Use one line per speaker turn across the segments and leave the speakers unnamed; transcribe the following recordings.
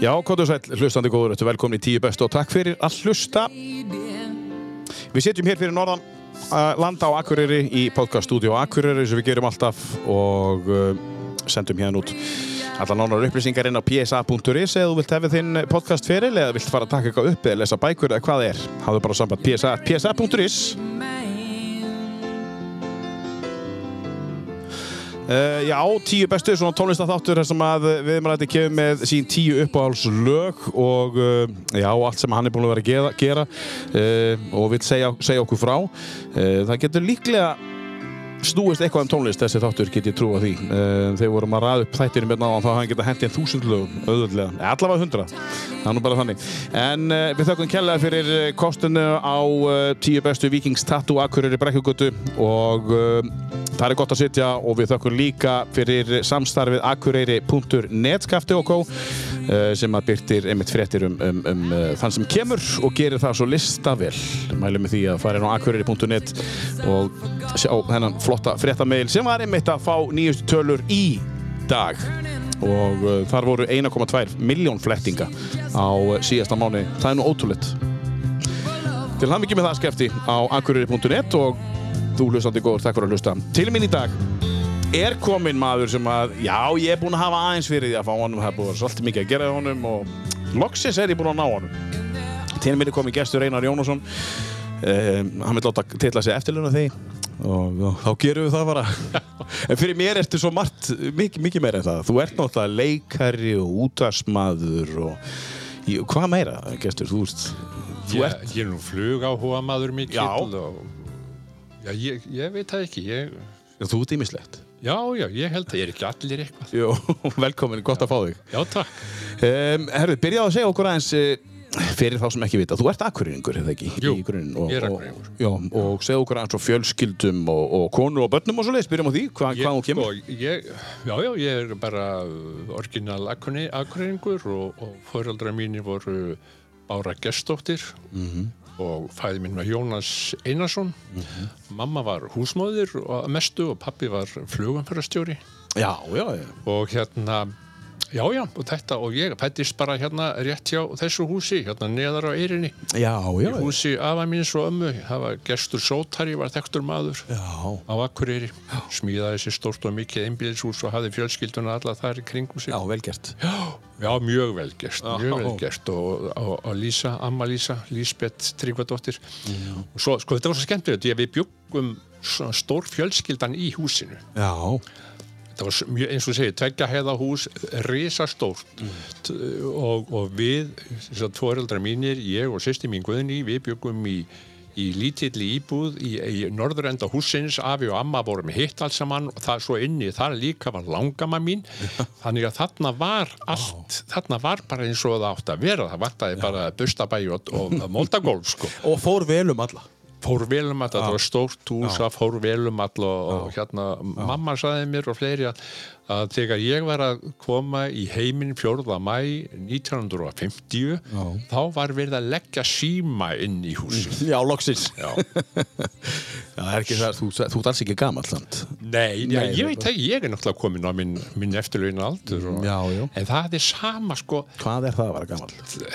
Já, Kottur Sæll, hlustandi góður, þetta er velkomin í tíu bestu og takk fyrir að hlusta. Við sitjum hér fyrir norðan uh, landa á Akureyri í podcaststudio Akureyri sem við gerum alltaf og uh, sendum hérna út allar nánar upplýsingar inn á psa.is eða þú vilt hefði þinn podcast fyrir eða vilt fara að taka eitthvað upp eða lesa bækur eða hvað það er. Hafðu bara samband psa, psa.is Uh, já, tíu bestu, svona tónlistatháttur þar sem að við erum rætti kemur með sín tíu uppáhaldslög og uh, já, allt sem hann er búin að vera að gera, gera uh, og vil segja, segja okkur frá. Uh, það getur líklega snúist eitthvað um tónlist, þessi þáttur get ég trú á því. Uh, þegar við vorum að ræða upp þættirinn með náðan þá hann geta hendið þúsund lögum, auðvöldlega, allavega hundra, það er nú bara þannig. En uh, við þökkum kjallaði fyrir eh, kostinu á uh, tíu bestu Vikings Tattoo Akureyri Brekkugötu og uh, það er gott að sitja og við þökkum líka fyrir samstarfið akureyri.net kafti og kó eh, sem að byrtir einmitt fréttir um, um, um eh, þann sem kemur og gerir það svo listavel mælum við því að fara inn á akureyri.net og sjá þennan flotta fréttameil sem var einmitt að fá nýjustu tölur í dag og uh, þar voru 1,2 miljón flettinga á eh, síðasta mánu það er nú ótrúleitt Til hann ekki með það skefti á akureyri.net og þú hlustandi góður, takk fyrir að hlusta. Til mín í dag er kominn maður sem að, já, ég er búinn að hafa aðeins fyrir því að fá honum, það er búið svolítið mikið að gera í honum og loksins er ég búinn að ná honum. Til mín er kominn gestur Einar Jónasson, um, hann vil láta tilla sig eftirluna þig og, og þá gerum við það bara. en fyrir mér ertu svo margt, mikið, mikið meira en það. Þú ert náttúrulega leikari og útarsmaður og Jú, hvað meira, gestur, þú veist, þú ert
Ég, ég er nú flug á hóamaður mikill
Já.
og já, ég, ég veit það ekki ég,
Já, þú ert ímislegt.
Já, já, ég held það, ég er ekki allir eitthvað
Jó, velkomin, gott að fá þig.
Já, takk
Um, herru, byrjaðu að segja okkur aðeins eh, fyrir þá sem ekki vita. Þú ert akkurýringur, hefði ekki?
Jú,
í grunninn og-
ég er
og-
Akureyringur.
Já, og segja okkur aðeins frá fjölskyldum og, og konur og börnum og svo leiðis. Byrjum á því, hva,
ég,
hvaðan þú kemur.
sko, ég, Já, já, ég er bara uh, orginal akkurringur og, og fóraldra mínir voru Bára Gestóttir
Mhm.
og fæði mín var Jónas Einarsson
Mhm.
Mamma var húsmóðir og að mestu og pappi var flugumferðarstjóri
Já, já, já.
og hérna Já, já, og þetta, og ég fættist bara hérna rétt hjá þessu húsi, hérna neðar á eyrinni,
Já, já,
í
já.
húsi afa míns og ömmu, það var gestur sótari, var þektur maður
Já,
á Akureyri, smíðaði sér stórt og mikið einbíðishús og hafði fjölskylduna alla þar í kringum sig.
já velgjert.
Já, mjög vel gert, mjög
Já.
vel gert og, og, og Lísa, amma Lísa, Lísbeth Tryggvadóttir og svo, sko, þetta var svo skemmtilegt, því að við bjuggum svona stór fjölskyldan í húsinu
Já,
þetta var s- mjög, eins og segja, tveggja heiða hús risastórt og, og við, þess að tvoreldra mínir ég og sýsti mín Guðni, við byggum í í lítilli íbúð í, í norðurenda húsins, afi og amma vorum hitt alls saman og það svo inni þar líka var langama mín þannig að þarna var allt þarna var bara eins og það átt að vera það vartaði bara bustabæi og, og moldagólf sko
og fór vel um alla.
fór vel um allt, þetta var stórt hús það fór vel um allt og, og hérna mamma saði mér og fleiri að, að þegar ég var að koma í heiminn 4. mæ 1950 þá var verið að leggja síma inn í húsið
Já, loksins.
Já.
Já, það er ekki það, þú, þú ert alls ekki gamall samt.
Nei, já,
Nei,
ég veit ekki, ég er náttúrulega komin á minn, minn eftirlaun aldur og,
Já, já.
en það er sama sko,
Hvað er það að vera gamall?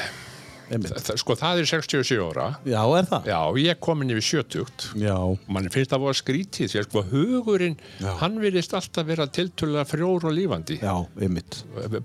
Einmitt.
það, sko það er 67 ára
Já, er það?
já, ég er komin yfir 70
Já,
mann finnst það voru skrítið því að sko hugurinn,
Já.
hann virðist alltaf vera tiltölulega frjór og lífandi
já, einmitt.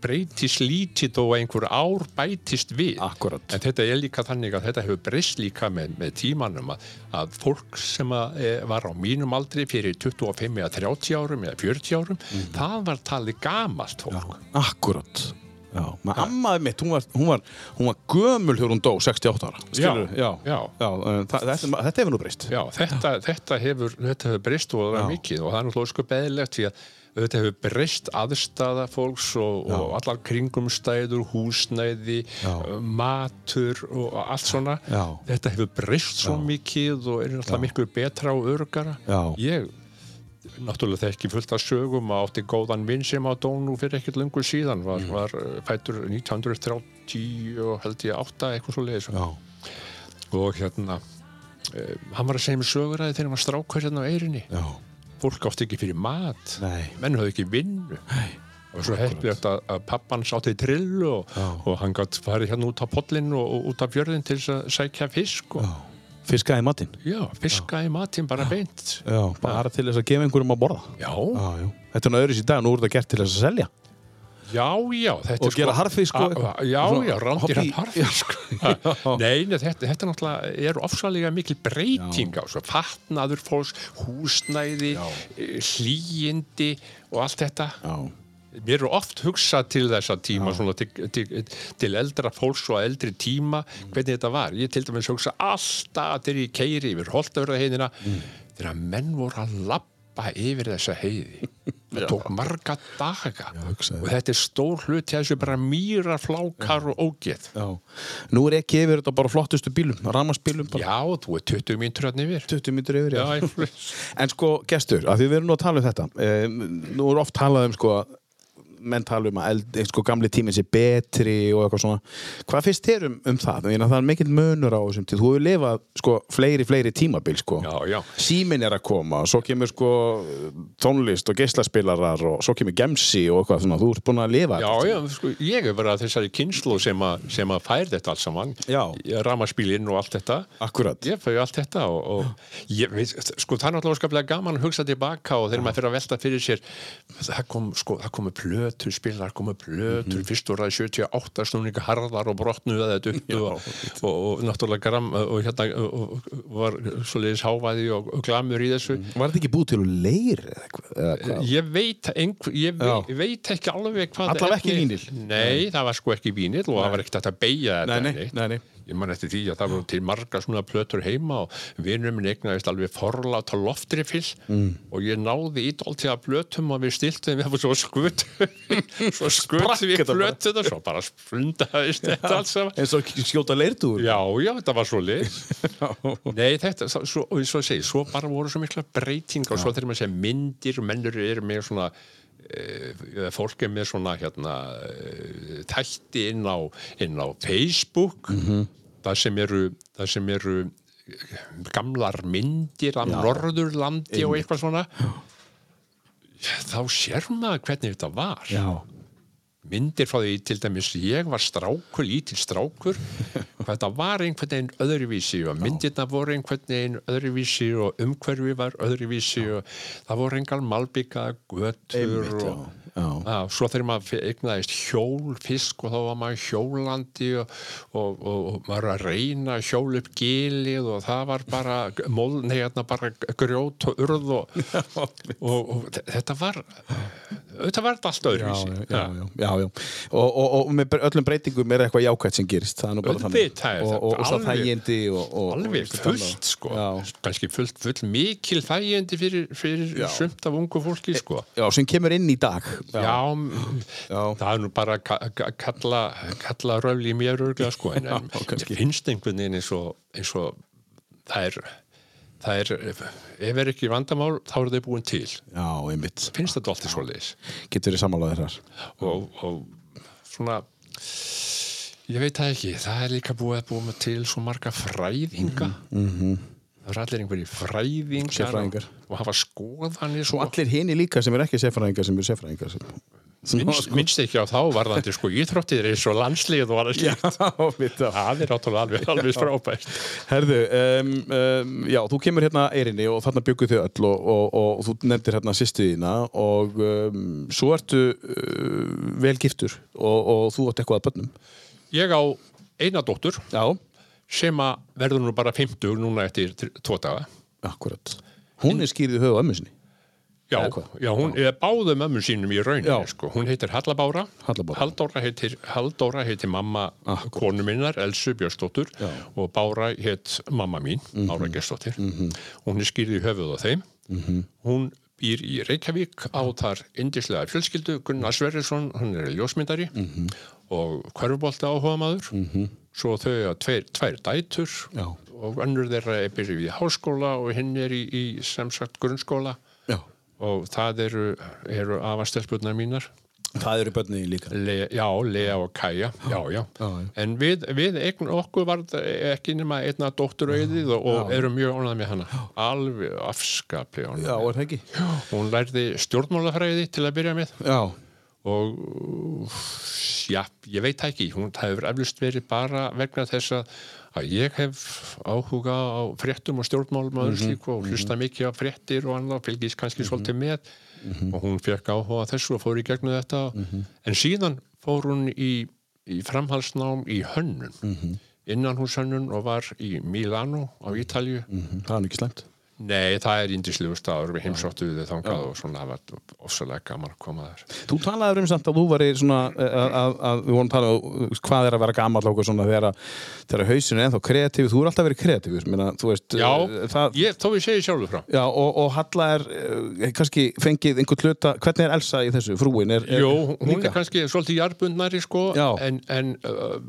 breytist lítið og einhver ár bætist við
Akkúrat.
en þetta er líka þannig að þetta hefur breyst líka með, með tímanum að, að fólk sem að, e, var á mínum aldri fyrir 25 eða 30 árum eða 40 árum,
Mhm.
það var talið gamalt fólk
Akkurat Já, Eh. maður ammaði mitt, hún var, hún var, hún var gömul þegar hún dó, 68 ára Skilurðu?
Já, já.
já eh, það, þetta, þetta hefur nú breyst
Já, þetta, þetta hefur, þetta hefur breyst og það er mikið og það er náttúrulega sko beðilegt því að þetta hefur breyst aðstæða fólks og, og allar kringumstæður, húsnæði,
Já.
uh, matur og allt svona.
Já.
Þetta hefur breyst svo mikið og er náttúrulega miklu betra og örugara.
Já.
Ég náttúrulega þekki fullt af sögum að átti góðan vinn sem á Dónu fyrir ekkert lungu síðan
Mm.
var, var uh, fætur 1930 og held ég átta eitthvað svo leiðis
já,
og hérna uh, hann var að segja mér söguræði þegar hann var strákur hérna á eirinni
já,
fólk átti ekki fyrir mat
Nei.
menn höfðu ekki vinnu Nei. og svo heppilegt að, að pappan sátti trill og, og hann gætt farið hérna út á pollin og, og út á fjörðin til þess að sækja fisk og,
Fiskaði matinn.
já, fiska í matinn bara beint
Já, bara til þess að gefa einhverjum að borða.
já,
Já, já. Þetta er náður í dag, nú er þetta gert til þess að selja.
já, já
Og
þetta er sko-
gera harðfisk og
A-
eitthvað.
a- já,
Svona
já, rándir
hobby-
hann harfisk nei, nei, þetta, þetta er náttúrulega er ofsalega mikil breyting á svo fatnaður fólks, húsnæði eh, hlýindi og allt þetta
Já.
Mér eru oft hugsað til þessa tíma svona, til, til, til eldra fólks og eldri tíma
Mm.
hvernig þetta var. Ég til dæmis hugsa alltaf þegar ég keiri yfir holtavörðaheiðina
Mm.
þegar menn voru að lappa yfir þessa heiði. Það tók marga daga
hugsaðu.
og þetta er stór hlut til þessu bara mýra flákar og ógeð.
Já. Nú er ekki yfir þetta bara á flottustu bílum, ramarsbílum, bara
Já, þú er 20 mínútur hann yfir.
20 mítur yfir.
Já, ég-
En sko, gestur, að því við erum nú að tala um þetta um, Nú er oft talað um sko menn tala um að eld, sko, gamli tíminn sé betri og eitthvað svona Hvað finnst þér um, um það? Þannig að það er mikill munur á þessum til Þú hefur lifað sko fleiri, fleiri tímabil sko
já, já.
Síminn er að koma, svo kemur sko tónlist og geislaspilarar og svo kemur gemsi og eitthvað svona Þú ert búin að lifa
Já,
þetta.
já, sko, ég er bara þessari kynslu sem, að- sem að fær þetta alls saman
Já.
ramaspílinn og allt þetta
Akkúrat.
Ég fæði allt þetta og, og ég, við, sko, það er náttúrulega skaplega gaman að hugsa tilbaka og þegar maður fyrir að velta fyrir sér það kom, sko, það komu plötur spilar, komu plötur,
Mhm.
fyrst voru það 78 snúninga harðar og brotnuðu þetta upp og, og, og náttúrulega gram, og hérna og, og, var svoleiðis hávaði og, og glamur í þessu
Mhm. Var þetta ekki búið til að leir eða eitthvað? eða hvað?
Ég veit, einhver, ég
Já.
veit, veit ekki alveg hvað
Allavega
efni-
ekki vínyl.
Nei, það var sko ekki vínil og það var ekkert hægt að beigja
Nei,
þetta
nei,
neitt.
nei, nei.
Ég man eftir því að það voru til marga svona plötur heima og vinur minn eignaðist alveg forláta loftrifill mm. og ég náði ídóltið að plötum og við stiltum við svo skut svo skut við
þetta bara.
plötuna svo bara splundaðist þetta allt saman
Eins og skjóta leirtúr
Já, já, þetta var svo lið Nei, þetta, svo- svo, og svo að segja svo bara voru svo mikla breytingar og svo þegar maður segja myndir, mennur eru með svona eh, fólk er með svona hérna eh, tætti inn á, inn á Facebook mm það sem eru það sem eru eh, gamlar myndir af Norðurlandi og eitthvað svona þá sér maður hvernig þetta var
Já.
myndir frá því til dæmis ég var strákur, lítil strákur hvað þetta var einhvern veginn öðruvísi og myndirna voru einhvern veginn öðruvísi og umhverfi var öðruvísi og það voru engar malbygga götur
Einmitt, já.
og
Já.
Að, svo þegar maður fe- eignaðist hjól fisk og þá var maður hjólandi og, og, og, og maður var að reyna að hjóla upp gilið og það var bara, mól, nei, hérna bara grjót og urð og, og, og, þe- þetta var þetta var þetta allt
já,
öðruvísi
já, já, já, já, já. Og, og, og með bre- öllum breytingum er eitthvað jákvæmt sem gerist það er nú bara
Auðvitað er
og,
þetta
og, og svo
alveg-
þægindi og, og,
alveg
og,
fullt sko
já.
kannski fullt, fullt mikil þægjandi fyrir, fyrir sumt af ungu fólki sko
já, sem kemur inn í dag
já,
Já.
það er nú bara að ka- ka- kalla, kalla röfli í mér örgla sko en, en
Já, kannski.
mér finnst einhvern veginn eins og, eins og það er það er, ef, ef er ekki vandamál þá eru þau búin til,
já, einmitt,
finnst þetta alltaf svoleiðis
getur verið samanlega þessar
og, og svona ég veit það ekki, það er líka búið að búið með til svo marga fræðinga
Mhm,
það eru allir einhverjir fræðingar
Sérfræðingar.
og, og hafa skoðanir
og
og
allir hini líka sem er ekki sefræðingar sem eru sefræðingar sem, sem sko-
minnst, minnst ekki á þá varðandi sko íþróttir eins og landslið og alveg
já,
slíkt
mitt á
það er áttúrulega alveg, alveg frábært
Herðu, um, um, já, þú kemur hérna Eirinni og þarna byggu þau öll og, og, og, þú nefndir hérna sýstuðina og um, svo ertu uh, vel giftur og, og þú átt eitthvað að bönnum
ég á eina dóttur
Já,
sem að verður nú bara 50 núna eftir tr- tvo daga
akkurat Hún er skýrði höfu á ömmu sinni
Já,
Eða hvað?
já hún er báðu mömmu sínum í
Já.
rauninni, sko. Hún heitir Hallabára.
Halla Bára.
Halldóra heitir, Halldóra heitir mamma konu minnar, Elsu Björnsdóttur
Já. Mhm.
og Bára heit mamma mín, Bára Gestóttir. Hún er skýrð í höfuð á þeim.
Mhm.
Hún býr í Reykjavík á þar indislega fjölskyldu, Gunnar Sverrisson, hann er ljósmyndari
Mhm.
og hverfubólta áhuga maður. Svo þau að tveir, tvær dætur
Já.
og önnur þeirra er byrjuð í háskóla og hinn er í, í sem sagt grunnskóla
Já
og það eru, eru afastelpunar mínar
Það eru bönnin líka
Le, já, Lea og Kaja já, já.
já.
en við, við eign, okkur var ekki nema einna dótturauðið og, og erum mjög ánægð með hana alveg afskaplega ánægð
Já, er það ekki?
hún lærði stjórnmálafræði til að byrja með
Já,
og já, ég veit það ekki, hún það hefur eflust verið bara vegna þess að að ég hef áhuga á fréttum og stjórnmálum og öðru slíku og hlusta mikið á fréttir og annað, fylgist kannski svolítið með og hún fekk áhuga á þessu og fór í gegnum þetta en síðan fór hún í, í framhalsnám í hönnun innan hún hönnun og var í Milano á Ítalju
Mhm, Það er nú ekki slæmt.
Nei, það er indislegu staður, við heimsóttu við þau þangað og svona það var ofsalega gaman að koma þær.
Þú talaður um samt að þú væri svona eh, að, að, að við vorum að tala um hvað er að vera gammal og svona þegar, að- þegar hausinu er ennþá kreatíf, þú er alltaf verið kreatíf meina, þú veist,
Já,
eh, það,
ég, þó ég segi sjálfur frá.
já og, og Halla er eh, kannski fengið einhvern hluta, hvernig er Elsa í þessu, frúin er, er
Jó, hún
Eh, líka?
er kannski svolítið jarbundnari sko,
Já.
en, en uh,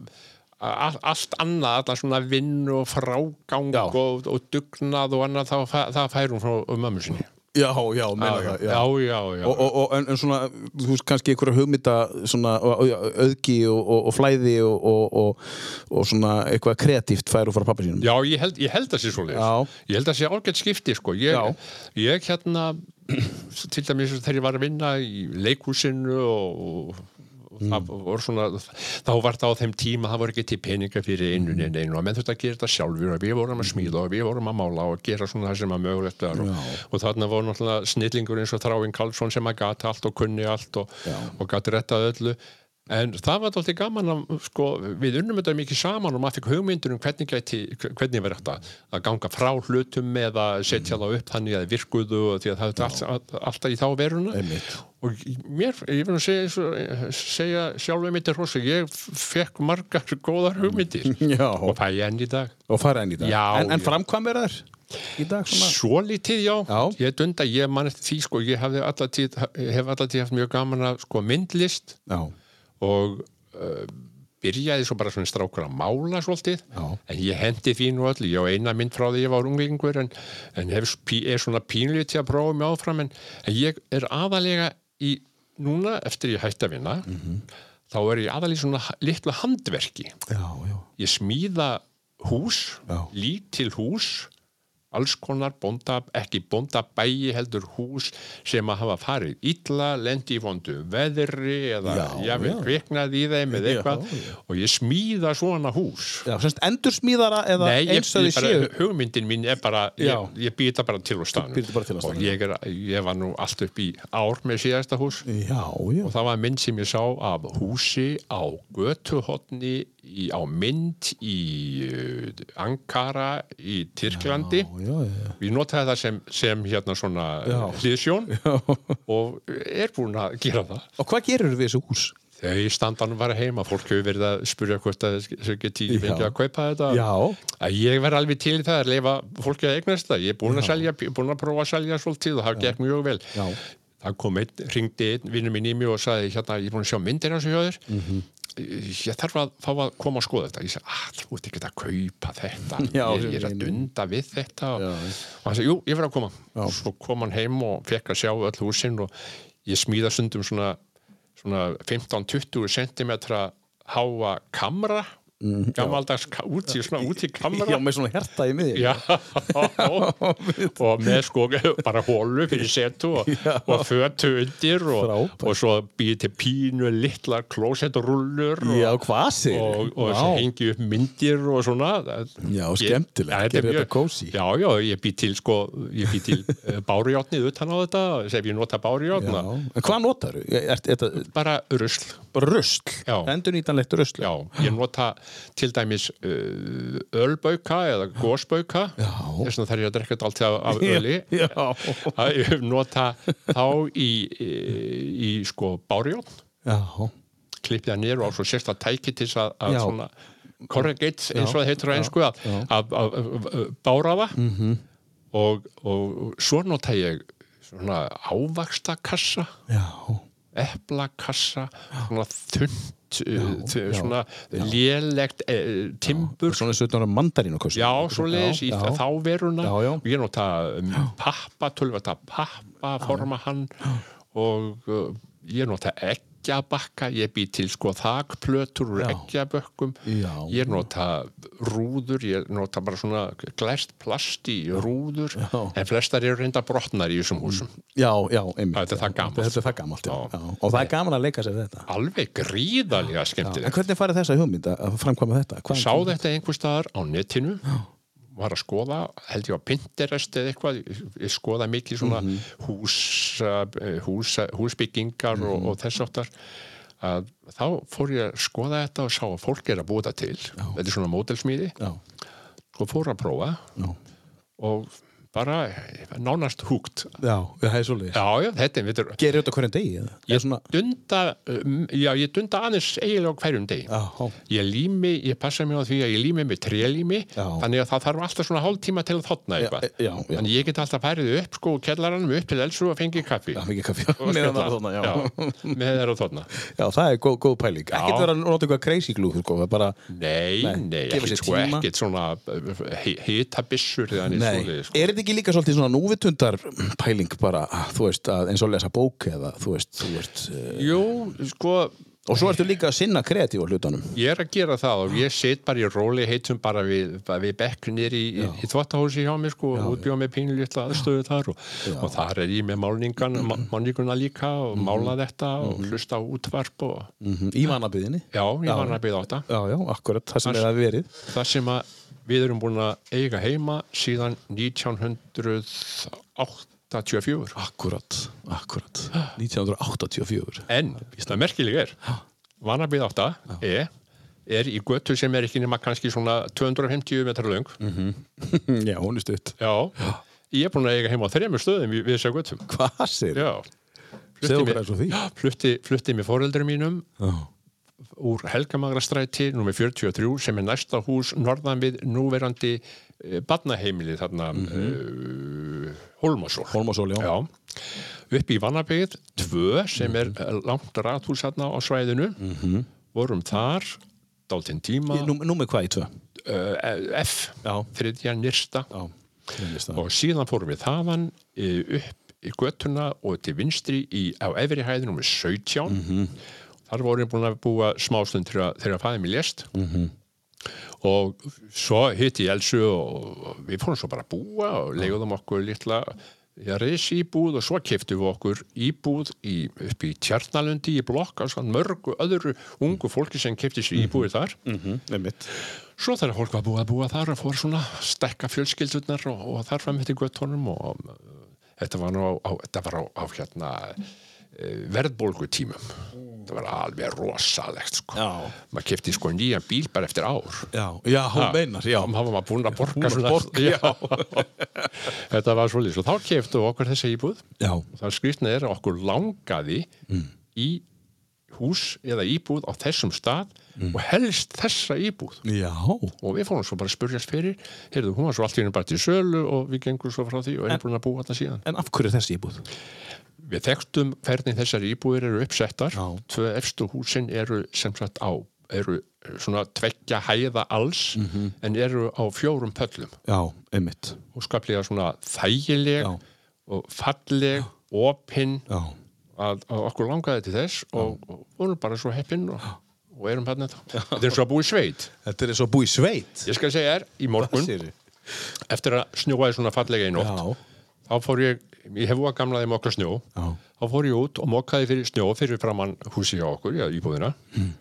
all, allt annað, alltaf svona vinn og frágang
Já.
og, og dugnað og annað, þá, fæ- það fær hún frá mömmu sinni.
já, já, meina það, já.
já, já. já.
Og, og, og en, en svona, þú veist, kannski einhverja hugmynda svona, og- og- auðgi og, og, og flæði og, og, og, og svona eitthvað kreatíft færu frá pappa sínum
Já, ég held, ég held að sé svo
Já.
Ég held að sé ágætt skipti, sko. Ég,
Já.
ég hérna, til dæmis þegar ég var að vinna í leikhúsinu og, og
Mm.
það voru svona, þá var það á þeim tíma, það voru ekki til peninga fyrir einu
Mm.
en einu og menn þurfti að gera þetta sjálfur og við vorum að smíða og við vorum að mála og gera svona það sem að mögulegt var og, og þarna voru náttúrulega snillingur eins og Þráin Karlsson sem að gata allt og kunni allt og, og gata rettað öllu En það var alltaf gaman að, sko, við unnum þetta mikið saman og maður fikk hugmyndur um hvernig, gæti, hvernig verið þetta að ganga frá hlutum eða setja það upp þannig að þeir virkuðu og því að það er allt, alltaf í þá veruna.
Einmitt.
Og mér, ég vil nú segja, eins og- segja sjálfum mitt er hrosa, ég fekk margar góðar hugmyndir
Já.
og fæ ég enn í dag.
og fara enn í dag
Já,
en, en
já.
framkvæmur þær í dag svona
Svo lítið, já.
Já.
Ég dunda, ég man eftir því, sko, ég hafði alla tíð, hef alla tíð haft mjög gaman að, sko, myndlist
já.
og uh, byrjaði svo bara svona strákur að mála svolítið,
Já.
en ég hendi því nú öll, ég á eina mynd frá því ég var unglingur en, en hef, pí- er svona pínlið til að prófa mig áfram, en, en ég er aðalega í, núna eftir ég hætti að vinna, þá er ég aðalega í svona ha- litlu handverki
Já, já.
ég smíða hús,
Já.
lítil hús alls konar bónda, ekki bóndabægi heldur hús sem að hafa farið illa, lendi í vondu veðri eða
Já,
jafnvel
já.
kviknaði í þeim eða
Já,
eitthvað
já.
og ég smíða svona hús
Já, semst endursmíðara eða
Nei, ég,
eins og
ég
þið
bara,
séu
hugmyndin mín er bara ég,
Já.
ég býð það bara til á staðnum
býrð þetta bara til á staðnum.
og ég, er, ég var nú allt upp í ár með síðasta hús
Já, já.
og það var mynd sem ég sá af húsi á götuhotni í, á mynd í uh, Ankara í Tyrklandi
já, já.
Við notaði það sem, sem hérna svona já. hliðsjón og er búin að gera það.
Og hvað gerur við þessu hús?
Þau standanum var heima, fólk hefur verið að spurja hvort að þau geti
Já.
fengið að kaupa þetta.
Já.
Að ég verð alveg til í það að leifa fólki að eignast það. Ég er búin að selja, búin að prófa að selja svolítið og það gekk mjög vel.
Já.
Það kom einn, ringdi einn vinnu minn í mig og sagði hérna, ég er búin að sjá myndir hans í höður. Mm
Mhm.
-hmm. Ég þarf að fá að koma að skoða þetta. Ég sagði, að þú ert ekki að kaupa þetta.
Já,
ég, ég er að
nei, nei.
dunda við þetta.
Já.
Og hann sagði, jú, ég verð að koma. Svo kom hann heim og fekk að sjá öll húsin og ég smíða stundum svona, svona 15-20 cm háa kamra, gammaldags ka- út í, svona út í kamra.
Mm, Já, með svona herta í miði.
Já, og með sko bara hólu fyrir setu og, og fötu undir og,
Frábært.
og svo býði til pínu litlar klósettrullur og,
Já, kvasir.
og, og svo hengi upp myndir og svona
Já,
Ég-
skemmtilegt.
Já,
Gerir
mjög-
þetta kósí.
Já, já, ég bý til sko, ég bý til eh, bárujárnið utan á þetta, sem ég nota
Já.
bárujárna
En hvað notar þú? Er þetta
bara rusl,
bara rusl?
Já.
Endurnýtanlegt rusl?
já, ég nota til dæmis eh, ölbauka eða gósbauka
Já.
þess vegna þarf ég að drekka þetta allt af, af öli
Já.
að ég hef nota þá í, í, í sko bárjón
Já.
klippið það niður og á svo sérsta tæki til þess að, að
Já.
svona corrugate eins og það heitur á einsku að, að, að, að, að báraða -hmm. og, og svo nota ég svona ávakstakassa
Já.
eplakassa svona þund já, svona lélegt e, timbur
Svona þessu utan á mandarínu kosti.
Já, svo leiðis í
já.
þá veruna
Já, já.
og ég nota um, pappa, tölvata pappa, forma hann og uh, ég nota egg eggjabakka, ég bý til sko þakplötur úr
Já.
eggjabökkum
Já.
ég nota rúður ég nota bara svona glæst plast í rúður
Já. Mm.
en flestar eru reynda brotnar í þessum húsum
Já, já, einmitt.
Þetta er það gamalt.
Þetta er það gamalt, já.
Já.
já. Og það er gaman að leika sér við þetta.
alveg gríðalega
Já.
skemmtilegt
En hvernig farið þessa hugmynd að- að framkvæma þetta? Hvað
sá þetta einhver staðar á netinu var að skoða, held ég á Pinterest eða eitthvað, ég skoða mikið svona
Mhm.
hús, eh, hús, húsbyggingar
Mhm.
og, og þess áttar að þá fór ég að skoða þetta og sá að fólk er að búa þetta til þetta er svona mótelsmíði
Já,
og fór að prófa
já,
og bara nánast húgt
já, það er svolítið.
já, já, þetta er, veitur,
Gerir þetta á hverjum degi? eða? Eða
ég
svona,
dunda um, já, ég dunda aðeins eiginlega á hverjum degi
já, já,
ég lími, ég passa mig á því að ég lími með trélími,
Já.
þannig að það þarf alltaf svona hálftíma til að þotna eitthvað
já, já.
þannig ég get alltaf færið upp sko úr kjallaranum upp til elsu og fengi kaffi
já, mikið kaffi.
Og
Meðan
spjalla.
það er þarna, já.
hérna. já, með það er að þotna
Já, það er góð, góð pæling. Ekkert
Já.
vera að nota eitthvað crazy glú, sko, það er bara...
nei,
Nei,
nei,
gefa sér
ekkit, sko,
tíma.
ekkit svona eh, hitabissur eða neitt
Nei,
svoleiðis, sko.
er þetta ekki líka svolítið svona núvitundar pæling bara, þú veist, að eins og lesa bók eða, þú veist, þú veist... Uh,
jú, sko
og svo ertu líka að sinna kreatífa hlutanum.
Ég er að gera það og ég sit bara í róli heitum bara við, bara við bekknir í, í, í þvottahósi hjá mér sko og útbjóð með pínulítla aðstöðu þar og, og þar er ég með málningan, ma- málninguna líka og mála þetta og hlusta á útvarp og
Mm Í mannabyðinni.
já, ég var að byrja á þetta.
Já, já, akkurat, það sem er að verið.
Það sem að við erum búin að eiga heima síðan 1984
Akkurat, akkurat 1984
en það merkileg er, vanabíð 8 er, er í götu sem er ekki nema kannski svona 250 metrar löng
Hm, Já, hún er stutt
Já, ég er búin að eiga heima á þremur stöðum við, við þessar göttum.
Hvað sér?
Já.
Segðu
Flutti
okkur
með-
eins og því.
Já, flutti, flutti með fóreldur mínum
Já,
úr Helgamagrastræti nr. 43 sem er næsta hús norðan við núverandi eh, barnaheimili þarna mm uh, Holmasól.
Mhm. Hólmasól, já.
Já. Upp í Vannabegið, tvö sem er
Mhm.
eh, langt rathús þarna á svæðinu. -hmm. Vorum þar dálfinn tíma
Nú, Númer hvað Mhm. í tvö?
uh, F,
Já.
þriðja nyrsta
Já, ég veist það
og síðan fórum við þaðan eh, upp í göttuna og til vinstri í, á efri hæðinum við 17 þar vorum við búin að búa smástund þegar, þegar fæðið mér lést -hmm. og svo hitti ég Elsu og og við fórum svo bara að búa og leiðum okkur litla Já, reysi íbúð og svo keftum við okkur íbúð í, upp í Tjarnalundi í blokk, alls hann mörgu öðru ungu fólki sem kefti sér íbúið þar
Nei Mhm, mitt
Svo þegar fólk var búið að búa þar og fór svona að stekka fjölskyldurnar og, og þar fram eftir göttunum og um, þetta var nú á, á, þetta var á, á hérna verðbólgu tímum. Það var alveg rosalegt sko.
Mm. Já.
Maður kefti sko nýjan bíl bara eftir ár.
Já, já, hún
Ha.
meinar, já
Þá var maður búin að borga
Búinn að
svona.
borga,
já. þetta var svolítið. Svo þá keftu okkur þessa íbúð.
Já,
Það skrýtna er að okkur langaði
Mm.
í hús eða íbúð á þessum stað
Mm.
og helst þessa íbúð
já
og við fórum svo bara að spurjast fyrir heyrðu, hún var svo allt í henni bara til sölu og við gengum svo frá því og erum búin að búa þetta síðan
En af hverju er þessi íbúð?
við þekktum hvernig þessar íbúðir eru uppsettar
Já.
tvö efstu húsin eru sem sagt á eru svona tveggja hæða alls
Mhm.
en eru á fjórum pöllum
Já, einmitt
og skaplega svona þægileg
Já.
og falleg, opinn
Já,
að, að okkur langaði til þess og, og vorum bara svo heppinn og, og erum hérna þetta þetta er svo að búi sveit
þetta er eins og að búi sveit
ég skal segja þér, í morgun
Sýri.
eftir að snjóaði svona fallega í nótt
Já,
þá fór ég, ég hef að gamlaði moka snjó
já,
þá fór ég út og mokaði fyrir snjó fyrir framann húsi hjá okkur, já, íbúðina
Hmm.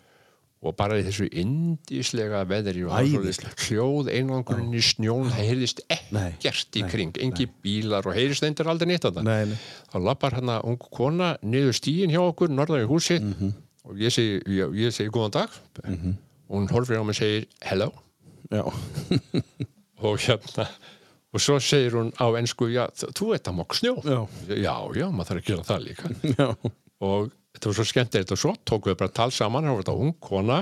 og bara í þessu indíslega veðri og það var
Æðislegt.
svoleiðis hljóð einangurinn í snjón, það heyrðist
Nei,
ekkert í kring, engi bílar og heyrðist eindir aldrei neitt að það
Nei, nei.
þá lappar hann að ungu kona niður stíin hjá okkur, norðan í húsi
Mhm.
og ég segi, ég, ég segi góðan dag og hún horfir á mig og segir hello
já
og hérna og svo segir hún á ensku já, þ- þú veit að mokk snjó
Já.
já, já, maður þarf að gera það líka
Já,
og þetta var svo skemmt eitt og svo tókum við bara tal saman, þá var þetta ung kona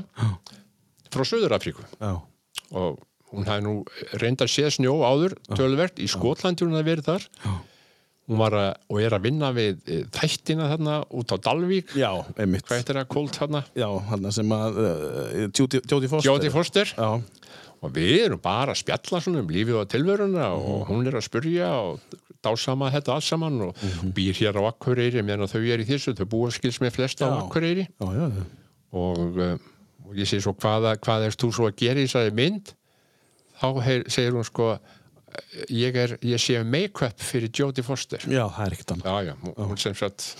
frá Suður Afríku
já,
og hún hafði nú reynd að séð snjó áður tölvert í Skotlandi hún hafði verið þar hún var að, og er að vinna við eh, þættina þarna út á Dalvík
já einmitt
hvað heitir það, Kolt þarna
Já, hann sem að uh, eh, Jodie Jodie Foster
Jóti Foster
Já,
og við erum bara að spjalla svona um lífið og tilveruna
Mhm.
og hún er að spurja og dásama þetta alls saman og
Mhm.
býr hér á Akureyri meðan þau er í þessu, þau búa skils með flesta á
Já.
Akureyri
Já, já, já.
og, eh, og ég segi svo hvaða, hvað erst þú svo að gera í þessari mynd þá heyr, segir hún sko ég, er, ég sé um make-up fyrir Jodie Foster
Já, það er ekkert annað.
já já, hún- hún sem sagt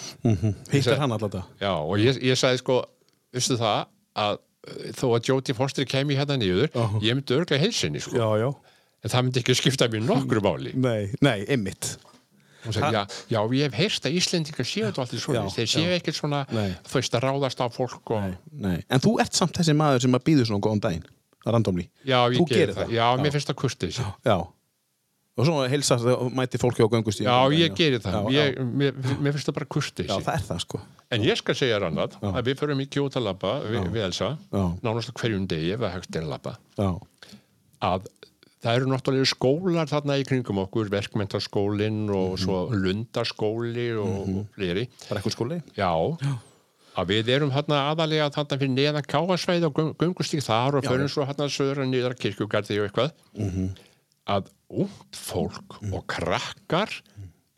Hittir hann alltaf það?
já og ég, ég sagði sko veistu það að eh, þó að Jodie Foster kemi hérna niður
Já.
ég myndi örgla heilsinni sko
Já, já.
en það myndi ekki skipta mér nokkru máli
Nei, nei, einmitt.
Hún sagði, já, já, ég hef heyrst að Íslendingar séu þetta alltaf svona,
Já,
þeir séu ekkert svona
Nei.
þú veist að ráðast á fólk og,
Nei. En þú ert samt þessi maður sem að býður svona góðan daginn, randomli.
já, ég
Þú
geri
gerir
það,
það.
já, mér finnst það kurtis
Já. Og svo heilsar það og mæti fólki á göngustíð.
Já, ég geri það. ég, Mér, mér finnst það bara kurteisi.
Já, það er það sko.
En ég skal segja þér annað að við förum í kjótalabba við, við Elsa,
Já.
nánast á hverjum degi ef við högst er að labba,
Já,
að það eru náttúrulega skólar þarna í kringum okkur, verkmentaskólinn og svo lundaskóli og, og fleiri.
bara eitthvað skóli.
Já, að við erum þarna aðalega þarna fyrir neðan káasvæði og göng, göngustík þar og förum svo þarna söður að niður að kirkjugarði og eitthvað að ungt fólk og krakkar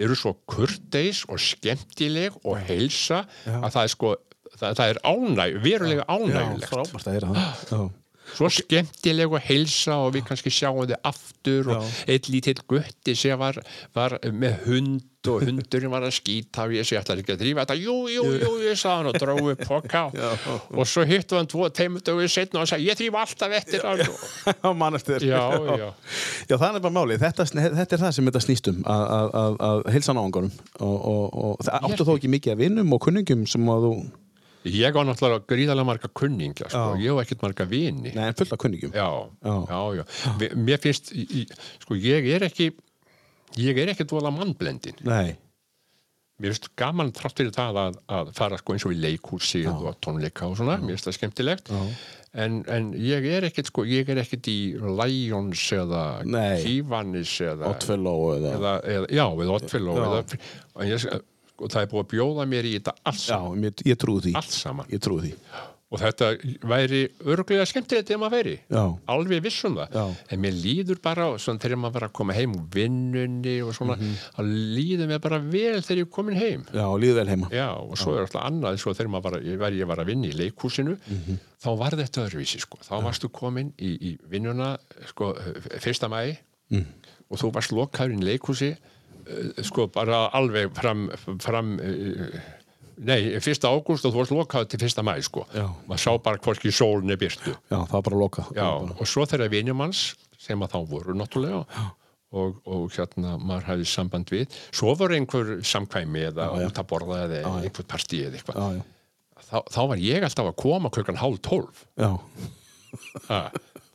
eru svo kurteis og skemmtileg og heilsa að það er sko það, það er ánæg, verulega ánægilegt
frábært að heyra það. Já.
svo skemmtileg og heilsa og við kannski sjáum þið aftur og eitt lítill gutti sem var, var með hund og hundurinn var að skýta og ég segi alltaf ekki að drífa þetta jú, jú, jú, ég sagði hann og dróði upp poka og svo hittu hann tvo teimundögu setna og hann sagði ég drífa alltaf eftir hann
Manastir.
Já, já.
Já, það er bara málið. Þetta, sn- þetta er það sem þetta snýst um, að, að, að, að heilsa náangarum. Og, og, og það áttu þó ekki mikið að vinnum og kunningum sem að þú...
ég á náttúrulega gríðarlega marga kunningja sko. ég á ekkert marga vini
Nei, en fullt af kunningum.
já,
Já.
já, já, Vi- mér finnst í- í- sko ég er ekki ég er ekki dvola mannblendin
Nei.
mér finnst gaman þrátt fyrir það að, að fara sko eins og í leikhúsið og tónleika og svona, mér finnst það skemmtilegt en, en ég er ekkert sko ég er ekkert í Lions eða
Nei.
Kívanis eða,
Oddfellow eða...
eða, eða já, eða Oddfellow
Já.
eða, og ég, sko, það er búið að bjóða mér í þetta allt,
Já,
saman,
mér, ég trúi því.
allt saman
Ég trúi því.
og þetta væri örglega skemmtilegt ef maður væri
Já.
alveg viss um það
Já.
en mér líður bara, svona, þegar maður var að koma heim úr vinnunni og svona
Mhm.
þá líður mér bara vel þegar ég er komin heim
Já, líðu vel heima.
Já, og svo er alltaf annað, svo þegar maður var, að- ég var, ég var að vinna í leikhúsinu, þá var þetta öðruvísi, sko. Þá varstu komin í, í vinnuna, sko, f- fyrsta mæ og þú varst lokaðurinn í leikhúsi, eh, sko, bara alveg fram, fram eh, nei, fyrsta ágúst og þú varst lokaður til fyrsta mæ, sko.
Já.
Maður sá bara hvorki sólni byrtu.
Já, það var bara að loka.
Já, og svo þeirra vinjumanns sem að þá voru náttúrulega og, og hérna maður hafði samband við svo voru einhver samkvæmi eða út að borða eða einhver partí eða eitthvað
Já, já.
þá, þá var ég alltaf að koma klukkan hálf tólf
Já,
ha.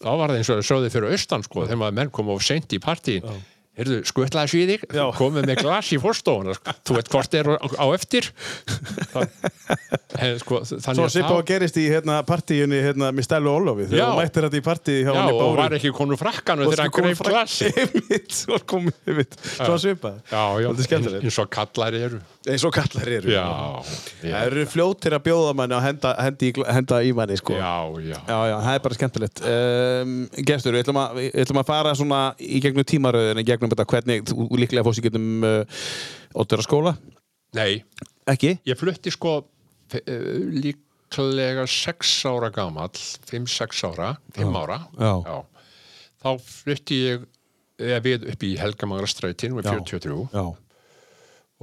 þá var það eins og sögði fyrir austan sko þegar maður menn kom of seint í partíin Heyrðu, skuttlaði sér í þig,
Já.
komið með glas í fórstofuna, sko. þú veit hvort er á, á eftir. Það, en, sko, þannig
Svo
að
svipa
þá-
og gerist í hérna, partíunni hérna, með Stælu og Ólafið
Já.
þegar þú mættir þetta í partíi hjá
Já,
hann í
og var
Báru
ekki konu frakkanu þegar hann greif glasi.
Einmitt, svo kom einmitt Svo svipað
Já, já,
Svolítið
eins,
skemmtilegt
eins og kallar eru
Eins og kallar eru
Já, já,
Það eru fljótir að bjóða manni og henda, henda, í, gl- henda í manni sko
já, já.
Já, já, það er bara skemmtilegt. Um, gestur, við ætlum, að, við ætlum að fara svona í gegnum tímaröðin, í gegnum þetta hvernig þú líklega fórst í gegnum uh, Óttara skóla,
Nei,
ekki?
ég flutti sko eh, líklega sex ára gamall, fimm, sex ára, fimm ára.
Já.
Þá flutti ég eða við upp í Helgamangrastrætin með 43
Já,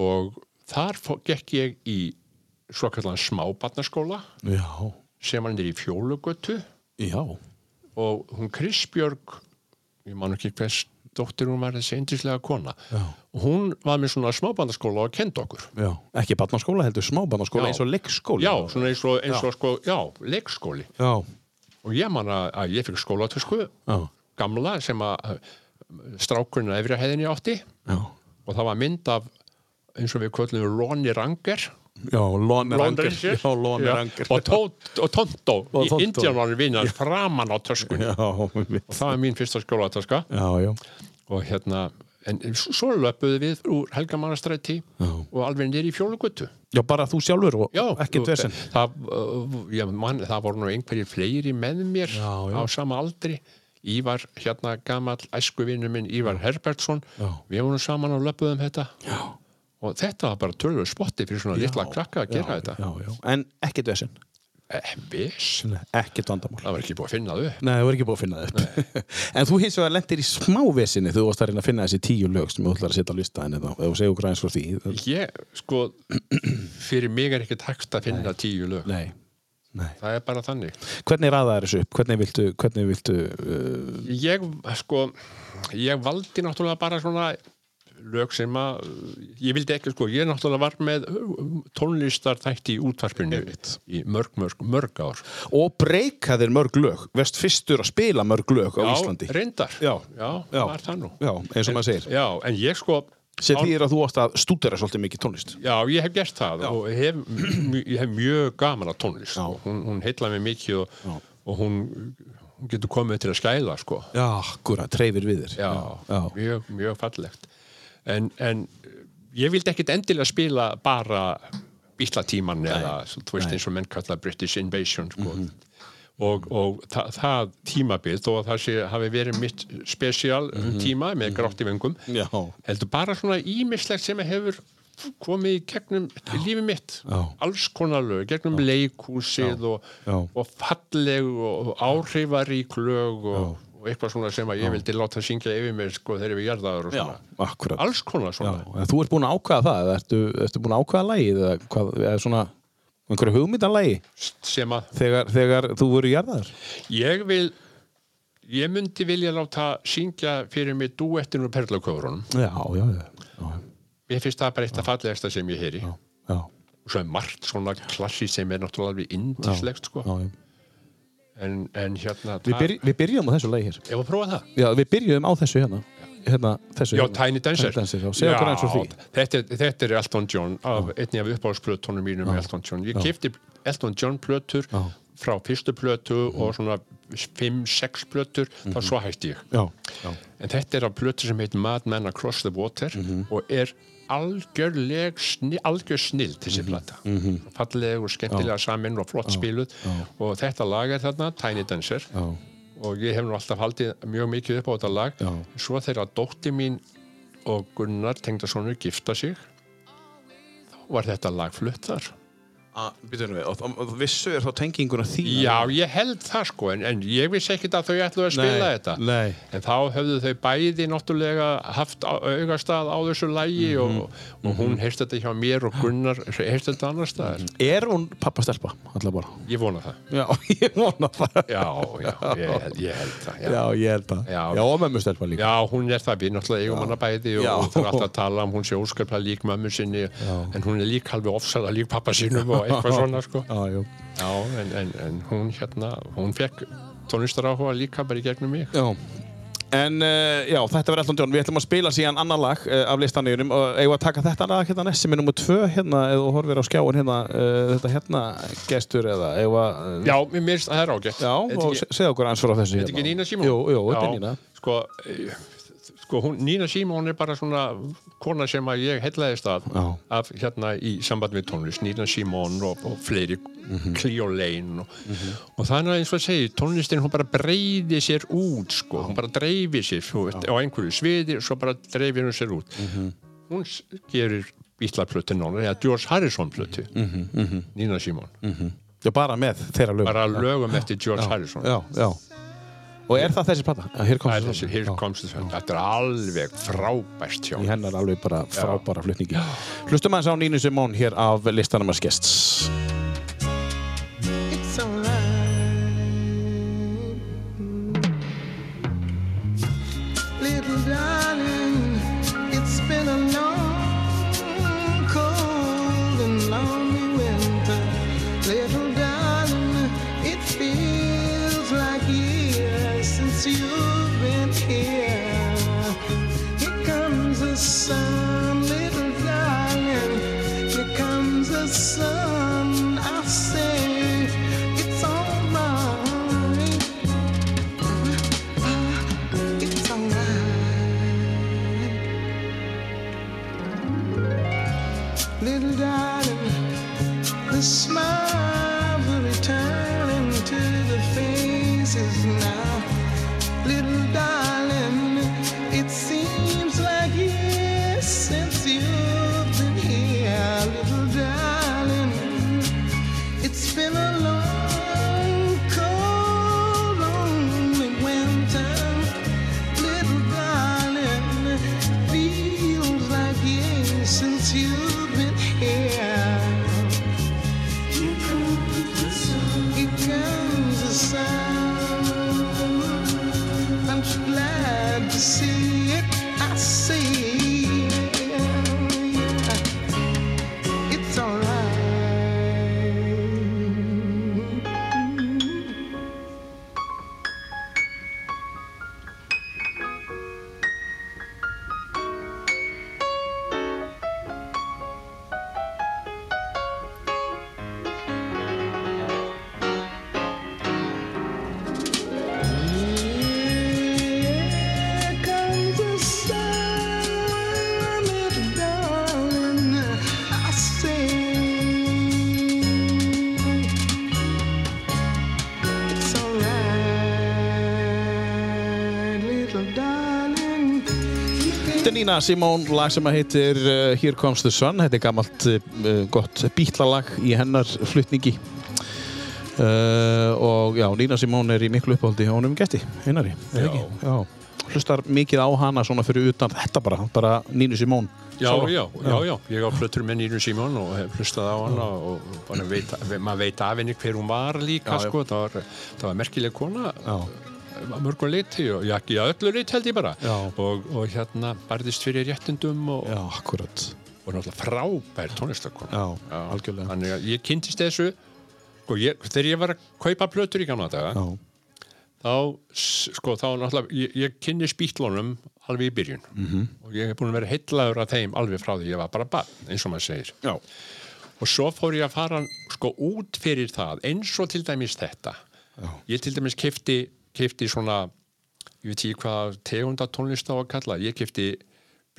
og þar fó- gekk ég í svo kallan smábarnaskóla
já,
sem hann er í fjólugötu
já,
og hún Kristbjörg ég man ekki hvers dóttir hún var þessi eindislega kona Já. hún var með svona smábandaskóla og kenda okkur
já. Ekki barnaskóla heldur, smá
Já.
barnaskóla eins og leikskóla.
Já, svona eins og, eins og sko, já, leikskóli
Já,
og ég man að, að ég fikk skólatösku
já,
gamla sem að eh, strákurinn að efri hæðinni átti
já.
og það var mynd af eins og við kvöldum Ronny Ranger
Já, Lóni
Lone
Ranger.
Ranger.
Já, Lóni
Já,
Ranger.
og, tó, og Tonto,
Og Tonto.
indjánvarinn vinnar framan á töskunni
Já, einmitt.
og það var mín fyrsta skólatöska
já, já,
og hérna en s- svo löpuðu við úr Helgamannastræti og alveg nýri í fjólugötu
já, bara þú sjálfur og ekki tversin.
það, uh, ég man, það voru nú einhverjir fleiri með mér
Já, já.
á sama aldri Ívar, hérna gamall æskuvinu minn Ívar Herbertsson
Já.
við vorum saman og löpuðum þetta já. og þetta var bara tölvur spotti fyrir svona litla krakka að gera þetta
já, já. En ekkert vesinn
eh, viss,
Ekkert vandamál
það var ekki búið að finna það upp
Nei, það voru ekki búið að finna það upp En þú hins vegar lendir í smávesinni þegar þú varst að reyna að finna þessi tíu lög sem þú ætlar að setja á listaðinni þá eða þú segir okkur aðeins frá því
ég, sko fyrir mig er ekki takt að finna tíu lög
Nei, nei
það er bara þannig
Hvernig raðaði þessu upp? Hvernig viltu, hvernig viltu uh,
ég, sko, ég valdi náttúrulega bara svona lög sem að, ég vildi ekki sko, ég náttúrulega var með tónlistar þætti í útvarpinu í mörg, mörg, mörg ár
Og breyka þér mörg lög Vest fyrstur að spila mörg lög á Íslandi
reyndar,
Já.
já,
Já.
var það nú
Já, eins og maður segir
já, en ég sko
Sér
á-
því er að þú ást að stúdera svolítið mikið tónlist
Já, ég hef gert það og hef, ég hef mjög gaman að tónlist
Já.
hún, hún heilla mig mikið og, og hún, hún getur komið til að skæla sko.
Já, gura, treyfir við þér
já,
já.
Mjög, mjög fallegt en, en ég vildi ekkit endilega spila bara bítlatíman eða svo- þú veist eins og menn kalla British Invasion sko.
Mhm.
og, og þa það tímabil þó að það sé, hafi verið mitt spesial um, tíma með grátti vengum
Mhm. Já.
heldur bara svona ímislegt sem hefur komið í gegnum lífi mitt,
Já.
alls konar lög gegnum leikhúsið Og,
Já.
og falleg og áhrifarík lög og, og eitthvað svona sem að ég vildi láta syngja yfir mér sko þegar við jarðaður og
Já,
svona
akkurat
alls konar
Já,
svona
en þú ert búin að ákvaða það eða ertu, ertu búin að ákvaða lagið eða, hvað, eða svona einhverju hugmyndanlægi
sem að
þegar, þegar þú voru jarðaður
ég vil ég myndi vilja láta syngja fyrir mig duettinu og perlaköfurunum
Já, já, já, já,
mér finnst það bara eitt af fallegasta sem ég heyri
já, já,
og svo er margt svona klassi sem er náttúrulega alveg indislegt sko
já.
en, en hérna
Við, byrj, við byrjum á þessu lagi hér
ef að prófa það
Já, við byrjum á þessu hérna, hérna þessu,
Já,
hérna.
Tiny Dancer,
Tiny Dancer já. Segja okkur eins og því
þetta, er- þetta er Elton John af einni af uppáhaldsplötunum mínum með Elton John ég kefti Elton John plötur frá fyrstu plötu
Mhm.
og svona 5-6 plötur, þá svo hætti ég
Já, já,
en þetta er af plötu sem heit Mad Men Across the Water
Mhm.
og er algjörleg sni, algjör snill þessi
Mhm.
plata falleg og skemmtilega samin og flott spiluð og þetta lag er þarna Tiny Dancer
já,
og ég hef nú alltaf haldið mjög mikið upp á þetta lag
Já.
svo þegar dótti mín og Gunnar tengdasonu gifta sig þá var þetta lag flutt þar
Býtum við, og, og vissu er þá tenginguna því
já, ég held það sko en, en ég vissi ekkit að þau ætlu að spila
Nei,
þetta
nei.
en þá höfðu þau bæði náttúrulega haft á- augastað á þessu lagi og, og hún heyrst þetta hjá mér og Gunnar heyrst þetta annar staðar
Er hún pappastelpa, allar bara
ég vona það
Já, ég vona það
já, já, ég, ég held það já.
Já, ég held það
Já.
já og mömmu stelpa líka
Já, hún er það, við náttúrulega eigum hana bæði og
Já.
það er alltaf að tala um, hún sé óskaplega lík mömmu sinni, en hún er lík alveg ofsala lík pappa sínum og eitthvað svona, sko.
Já, já,
Já, en, en, en hún hérna, hún fekk tónlistar áhuga líka bara í gegnum mig.
Já En uh, já, þetta verður Elton John, við ætlum að spila síðan annar lag uh, af listanýjunum og eigum við að taka þetta lag hérna næst sem er nummið tvö hérna eða þú horfir á skjáin hérna uh, þetta hérna gestur eða eigum við að
Já, mér minnst að það er ágætt.
já
Þetta
og
ekki-
se- segja okkur aðeins frá þessu hérna.
Þetta ekki Nína Simón?
Jú, jú, þetta er
Já,
Nína
Sko, eh, sko hún, Nína Simón er bara svona kona sem að ég hellaðist að
Já.
af hérna í samband við tónlist Nína Simón og, og fleiri
Mhm.
Cleo Lane og, og þannig að eins og að segja, tónlistin hún bara breyði sér út sko, hún bara dreifir sér þú veist, á einhverju sviði og svo bara dreifir hún sér út
Mhm.
hún s- gerir bítlarplötu nána, eða George Harrison plötu
Mhm,
Nína Simón,
Já, bara með þeirra lög
bara lögum eftir George Harrison
Mhm. Já, já Og er það þessi plata? Já, hér
Það er
komst
þessi, hér komst þessi, þetta er alveg frábært hjá
Í hennar alveg bara frábæra flutningi Hlustum aðeins á Nínu Simón hér af listanum að skests
It's alright, little darling. It's been a long, cold and lonely winter, little darling. It feels like years since you've been here. Here comes the sun, little darling. Here comes the sun. I say it's alright. It's alright, little darling. The smiles are returning to the faces now. Little little darling.
Þetta er Nína Simón, lag sem að heitir uh, Here Comes the Sun. Þetta er gammalt uh, gott bítlalag í hennar flutningi. Uh, og já, Nína Simón er í miklu uppáldi hjá honum gæsti, einari. er það ekki? já. Hlustar mikið á hana svona fyrir utan þetta bara, bara Nínu Simón.
Já,
Sóló.
já, já, já, ég á flöttur með Nínu Simón og hef hlustað á hana og bara veit, maður veit af henni hver hún var líka,
Já, já.
sko, það var, það var merkileg kona
Já,
að mörgum leiti og já, ekki að öllu leiti held ég bara
Já.
og, og hérna barðist fyrir réttindum og,
já, akkurat.
og náttúrulega frábær tónlistakona
Já, algjörlega.
þannig að ég kynntist þessu og ég, þegar ég var að kaupa plötur í gamla daga
Já,
þá, s- sko, þá náttúrulega ég, ég kynnist bítlónum alveg í byrjun -hmm. og ég hef búin að vera heitlaður af þeim alveg frá því ég var bara barn, eins og maður segir
já.
og svo fór ég að fara sko út fyrir það eins og til dæmis þetta ég til dæmis kefti, kefti svona ég veit ekki hvað tegunda tónlist á að kalla ég kefti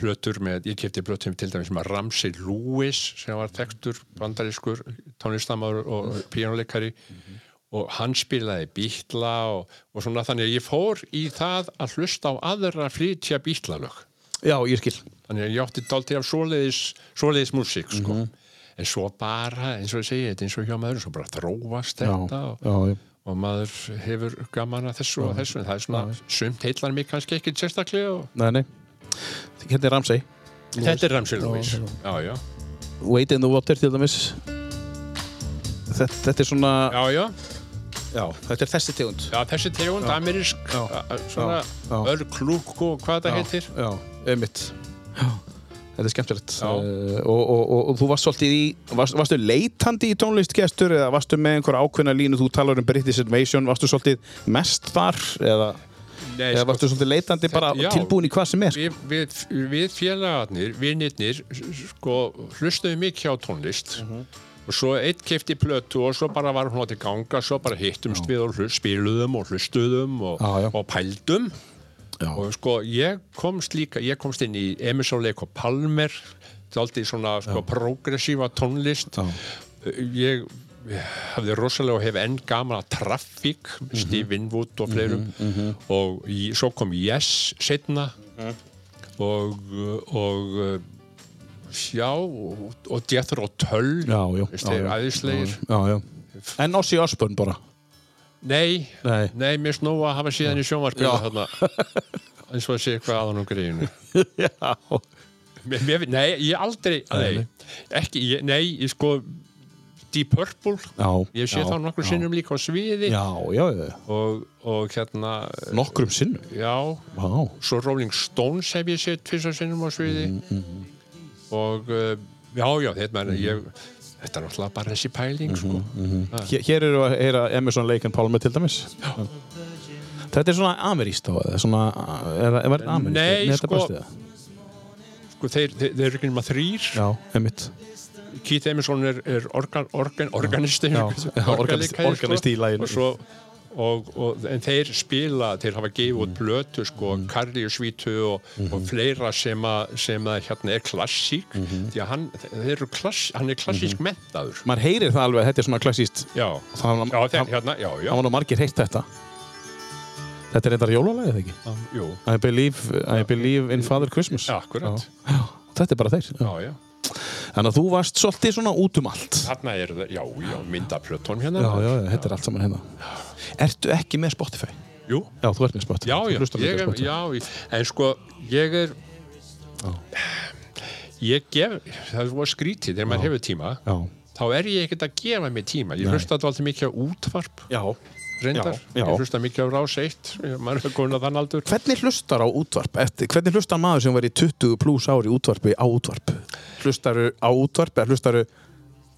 plötur með ég kefti plötur til dæmis með Ramsey Lewis sem var þekktur bandarískur tónlistamæður og píjánuleikari og hann spilaði bítla og, og svona þannig að ég fór í það að hlusta á aðra flytja bítlalög
Já, ég skil.
þannig að ég átti dálti af svoleiðis, svoleiðis músík sko.
Mhm.
en svo bara, eins og ég segi þetta er eins og hjá maður, svo bara þróast
Já,
þetta og,
já, já.
og maður hefur gaman að þessu og þessu, en það er svona sumt heillar mig kannski ekki sérstaklega og...
Nei, nei. Hérna er Ramsey.
þetta er Ramsey Lewis já, já,
Wait in the Water til dæmis. Þetta, þetta er svona,
já, já,
já, þetta er þessi tegund.
já þessi tegund amerísk,
Já.
a- a- svona
Já. Já.
örklúk og hvað það heitir
Já, einmitt Já, Þetta er skemmtilegt
Já.
uh, og, og, og, og þú varst svolítið í varst, varstu leitandi í tónlistgestur eða varstu með einhver ákveðna línu þú talar um British Invasion, varstu svolítið mest þar eða,
Nei,
eða
sko,
varstu svolítið leitandi bara
já.
tilbúin í hvað sem er
við, við, við félagarnir, vinnirnir sko, hlustuðum mikið á tónlist
Mhm.
og svo eitt kefti plötu og svo bara var hún átti ganga svo bara hittumst við og hlust, spiluðum og hlustuðum og,
Já, já.
og pældum
Já.
og sko ég komst líka ég komst inn í Emerson Lake og Palmer þáldi svona sko, progressífa tónlist
Já.
ég hafði rosalega og hef enn gaman að Traffic,
Mhm.
Steve Winwood og fleirum og í, svo kom Yes setna
Mhm.
og, og já og, og Jethro Tull
Já, já,
veist,
já,
þeir
já.
æðislegir
Já, já. En Ossi Osborn bara
nei,
Nei.
nei, mér snóa að hafa síðan í sjónvarpinu
Já.
þarna eins og að sé eitthvað aðan um greiðinu
Já,
Mér- mér- Nei, ég aldrei Nei, ekki, ég, nei, ég sko Deep Purple
já
Ég sé
já,
þá nokkur
já.
sinnum líka á sviði
Já, já, já,
og, og hérna
nokkrum sinnum
Já,
Vá,
svo Rolling Stones hef ég sett tvisar sinnum á sviði
Mm,
og uh, já, já, þetta, mm ég, þetta er náttúrulega bara þessi pæling sko.
Mm, hér, hér eru að heyra Emerson Lake and Palmer til dæmis já. Þetta er svona ameríst þá, eða svona, er, er, er ameríst?
Nei,
þetta
sko-
barstu það?
sko, þeir, þeir, þeir eru ekki nema þrýr
Já, einmitt
Keith Emerson er, er organ, organ, organisti
Já, já,
organisti-
organisti- organisti í laginu.
og svo og, og, en þeir spila, þeir hafa gefið út blötu sko, mm. Karli og Svítu og,
Mm-hmm.
og fleira sem að, sem að hérna er klassík því að hann, þeir eru klass, hann er
Mm-hmm.
klassísk mentaður
maður heyrir það alveg að þetta er svona klassíst
já,
það var,
já, þeir, hérna, já, já,
það var nú margir heyrt þetta þetta er eitthvað jólalagið ekki
jú
I believe, I believe in Father Christmas
Já, akkurat.
Já. Já, þetta er bara þeir
já, já,
þannig að þú varst svolítið svona út um allt já,
þarna er það, já, já, mynda plötun hérna
já, já, þetta er allt saman hérna ertu ekki með Spotify?
Jú,
já, þú ert með Spotify
já, já,
Þú hlustar
ég
líka á
er,
Spotify.
já, ég- en sko, ég er, ég gef, það var skrítið þegar maður hefur tíma,
já,
þá er ég ekkert að gefa mig tíma, ég
Nei.
hlusta þetta alltaf mikið á útvarp,
já.
reyndar,
Já, já.
ég hlusta mikið á rás eitt, maður er komin að þann aldur.
hvernig hlustar á útvarp? Eftir, hvernig hlustar maður sem verið 20 pluss ári útvarpi á útvarp? hlustaru á útvarp eða hlustaru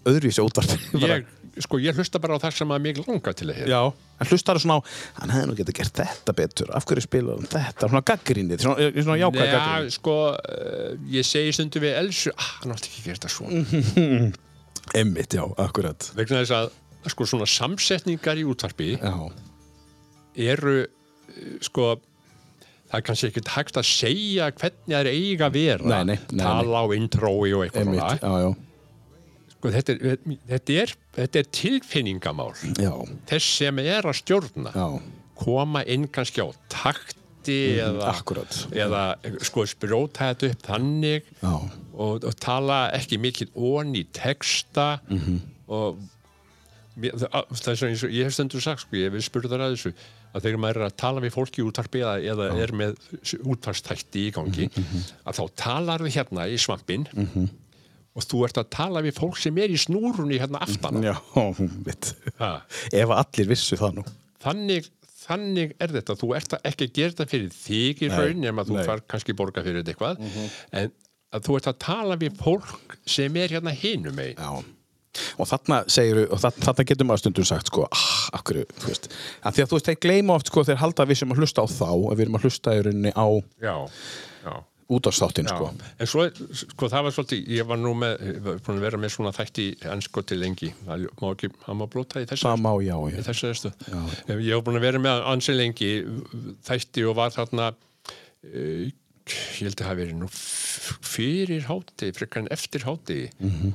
öðruvísi á útvarp? Bara-
Ég, sko, ég hlusta bara á það sem að mig langar til að hefða.
Já. En hlustar svona á, hann hefði nú getið gert þetta betur, af hverju spilaði hann þetta, svona gaggrínið, svona, eh, svona jákvæð
Já,
gaggrínið.
sko, uh, ég segi stundu við Elsu, ah, hann átti ekki að gera þetta svona.
Emmitt, já, akkurat.
Vegna þess að, sko, svona samsetningar í útvarpi,
Já,
eru eh, sko það er kannski ekkert hægt að segja hvernig það er eiga að vera
Nei, nei, nei, nei.
tala á intrói og eitthvað
emmitt,
svona.
já, já.
sko, þetta, er, þetta, er, þetta er tilfinningamál
Já,
þess sem er að stjórna
já,
koma inn kannski á takt gesti eða,
Mhm, Akkurat.
eða sko spróta þetta upp þannig
Já.
og, og tala ekki mikið ón í texta
Mhm.
og mér- það á- það er svo eins og ég hef stundur sagt sko, ég hef spurður að þessu að þegar maður er að tala við fólki í útvarpi eða, eða er með útvarstætti í gangi
Mhm,
að þá talar við hérna í svampin og þú ert að tala við fólk sem er í snúrunni hérna aftan á.
Já, mitt.
Ha.
Ef að allir vissu það nú.
þannig, þannig er þetta þú ert að ekki að gera þetta fyrir þig í
Nei,
raun nema þú
nei. Mhm.
far kannski borga fyrir þetta eitthvað en að þú ert að tala við fólk sem er hérna hinum megin
Já. Og þarna segir og þa- þarna getur maður stundum sagt sko, ah, akkur, þú veist, að því að þú veist, þeir gleyma oft sko, þeir halda að við sem að hlusta á þá, að við erum að hlusta í rauninni á
já, já
útastáttin,
Já,
sko.
en svo, sko, það var svolítið, ég var nú með, búin að vera með svona þætti ennsko til lengi, það má ekki, það má blóta í þessu
Það má, já,
í
já.
þessari stöð. Ég hef búin að vera með ansi lengi þætti og var þarna eh, ég held að hafa verið nú f- fyrir hátti, frekar en eftir hátti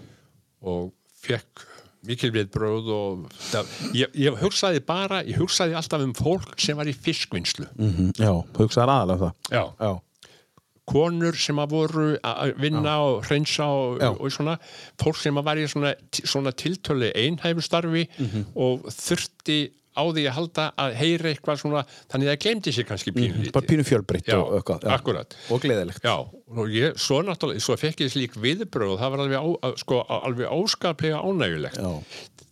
og fekk mikil viðbröð og það, ég, ég hugsaði bara, ég hugsaði alltaf um fólk sem var í fiskvinnslu
Mhm, Já, hugsaðar aðalega það.
Já.
Já.
konur sem að voru að vinna og hreinsa og,
Já.
og svona fólk sem að var í svona, svona tiltölu einhæfustarfi
Mhm.
og þurfti á því að halda að heyra eitthvað svona, þannig að það glemdi sér kannski
Mhm.
pínlítið.
Bara pínu fjölbreytt
Já,
og eitthvað. já.
akkúrat.
Og gleðilegt.
Já, og ég, svo náttúrulega, svo fekk ég slík viðbröð og það var alveg, á, að- sko, alveg óskaplega ánægulegt.
Já.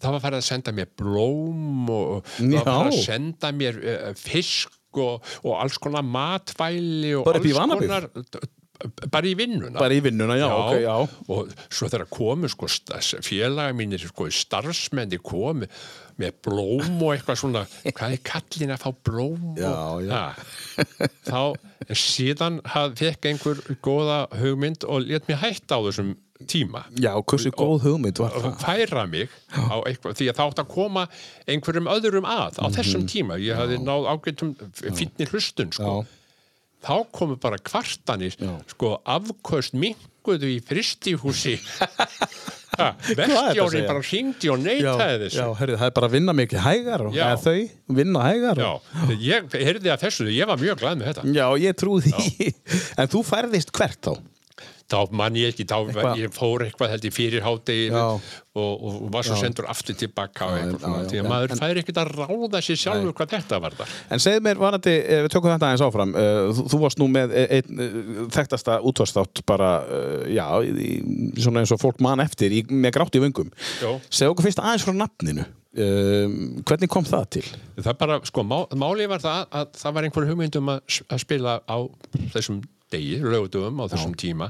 Það var farið að senda mér blóm og það
Já.
var farið að senda mér uh, fisk og, og alls konar matvæli og
Bara upp í
alls
Vanabyggð?
bara í vinnuna
Bara í vinnuna, já, ok, já.
og svo þegar komu sko, sta- félagar mínir, sko, starfsmenni komu með blóm og eitthvað svona hvað er kallin að fá blóm
Já,
og,
já.
Ha, þá, en síðan haf, fekk einhver góða hugmynd og let mér hætta á þessum tíma
Já, hversu góð hugmynd var
og
það?
færa mig á eitthvað, því að það átt að koma einhverjum öðrum að
Mhm.
á þessum tíma ég hafði náð ágættum fínni hlustun sko.
Já.
þá komu bara kvartanir
Já.
sko afköst minguðu í fristihúsi
þetta að
vestjórið
segja?
bara hringdi og neitaði
já,
þessu
herrið, það er bara að vinna mikið hægar og
Já.
eða þau vinna hægar
Já,
og,
ég heyrði að þessu, ég var mjög glæð með þetta
já, ég trú því en þú færðist hvert þá
þá man ég ekki, þá
Eitthvað-
ég fór eitthvað held ég fyrir hádegi
Já.
og, og, og var svo sendur aftur tilbaka og eitthvað
já,
svona,
já,
því að
en-
maður
en-
fær ekkert að ráða sér sjálfur hvað þetta var það
en segðu mér, varandi, eh, við tökum þetta aðeins áfram eh, þú, þú varst nú með eh, einn eh, þekktasta útvarsþátt bara eh, já, í, í- svona eins og fólk man eftir í, með grátt í vöngum
Já.
segðu okkur fyrst aðeins frá nafninu um, hvernig kom það til?
það bara, sko, má, máli var það að það var einhver hugmynd um að, s- að spila á þessum degi, lögutum á þessum tíma,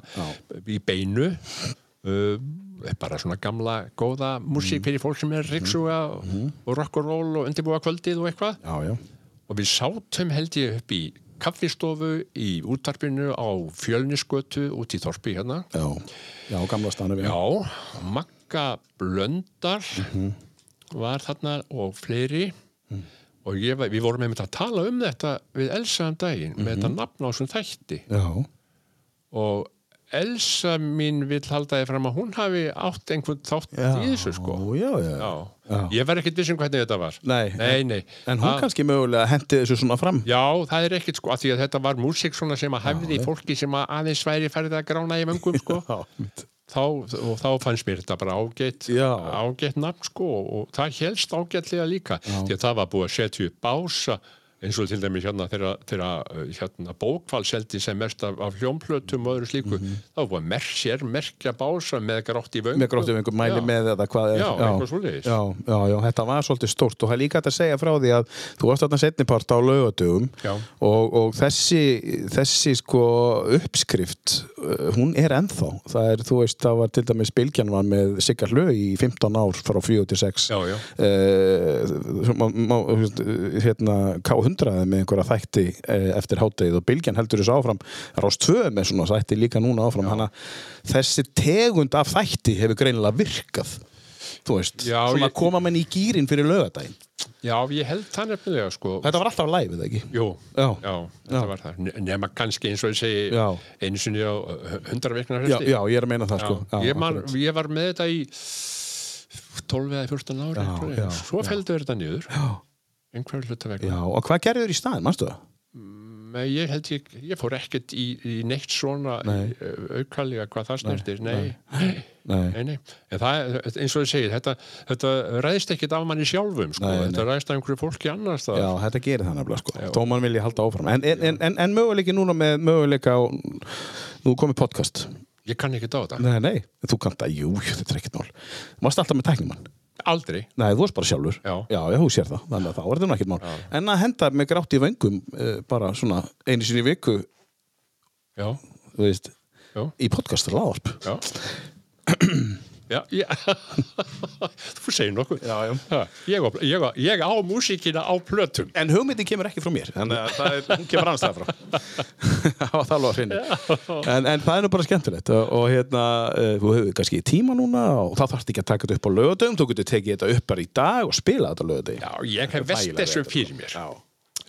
í beinu uh, bara svona gamla góða músík fyrir fólk sem er riksuga og, og rock'n'roll og undirbúa kvöldið og eitthvað
Já, já,
og við sátum held ég upp í kaffistofu í útarpinu á fjölnisgötu út í Þorpi hérna
já, já gamla stanu
Já, Magga Blöndal var þarna og fleiri og ég, var- við vorum einmitt að tala um þetta við Elsa um daginn með
Mhm.
þetta nafn á þessum þætti
já.
og Elsa mín vill halda því fram að hún hafi átt einhvern þátt í þessu sko
já, já,
Já. Ég var ekkert viss um hvernig þetta var
Nei,
nei, nei.
En hún
Það-
kannski mögulega hendi þessu svona fram
Ah. Já, það er ekkert sko, af því að þetta var músík svona sem að hefði fólki sem að aðeins væri færið að grána í vöngum sko.
mitt.
þá, og þá fannst mér þetta bara ágætt,
Já.
ágætt nafn sko og, og það helst ágætlega líka því að það var búið að setja upp bása eins og til dæmis hérna þegar, þegar uh, hérna, bókval seldi sem mest af, af hljómplötum og öðru slíku þá var merk sér, merkja bása með grátt í vöngum
með gróttum einhver mæli
Já.
með þetta hvað er
Já, eitthvað svoleiðis.
já, já, já, þetta var svolítið stórt og það er líka hægt að segja frá því að þú varst þarna setnipart á laugadugum
Já.
og, og þessi, þessi sko uppskrift uh, hún er ennþá það er, þú veist, það var til dæmis Bilgjan var með Sigga Hlö í 15 ár frá 4 til 6
Já, já.
Eh, má- má- þú veist, eh, hérna, K100 með einhverja þætti eh, eftir hátegið og Bilgjan heldur þessu áfram Rás 2 með svona þætti líka núna áfram þannig að þessi tegund af þætti hefur greinilega virkað þú veist,
Já,
svona
ég-
koma menn í gýrin fyrir lögadaginn
Já, ég held það nefnilega sko
þetta var alltaf læfið ekki
Jú,
Já.
þetta
Já.
var það Ne- nema kannski eins og ég segi
Já.
einu sinni á hundra vikna
já, já, ég er að meina það sko já,
ég, man,
akkurat.
ég var með þetta í 12 eða 14 ári
Já,
já,
já,
svo
já.
fældu þetta niður já. einhver hluta vegna
já, og hvað gerður í staðin, manstu það?
Nei, ég held ég, ég fór ekkert í, í neitt svona
Nei.
eh, aukalega hvað það snertir, nei,
Nei.
nei, nei. En það, er- eins og ég segir, þetta, þetta ræðist ekkert af manni sjálfum, sko,
Nei, nei.
þetta ræðist af einhverju fólki annars það.
Já, þetta gerir það nefnilega sko Dóman vilja halda áfram En, en, en, en, en möguleiki núna með möguleika á, Nú komið podcast
Ég kann ekkert á þetta,
Nei, nei, þú kannt að, jú, jú, þetta er ekkert mál Þú varst alltaf með tæknumann
aldrei.
Nei, þú varst bara sjálfur
Já.
já, já, hún sér það Þannig að þá er þetta nú ekkert mál En að henda með grátt í vöngum uh, Bara svona einu sinni í viku
Já,
Þú veist,
já,
í podcast er láðarp
já. Já, já, þú segir nokkuð.
Já, já.
Ég, á- ég, á- ég á músíkina á plötum.
En hugmyndin kemur ekki frá mér Þannig að það er, hún kemur annars það frá Það var það alveg að hreinu en, en það er nú bara skemmtilegt Og, og hérna, eh, þú hefur kannski tíma núna Og það þarfst ekki að taka þetta upp á lögadöfum Þú getur tekið þetta upp bara í dag og spila þetta lögadöf
Já, ég hef vest
þægilega
þessu
vetur.
fyrir mér.
Já.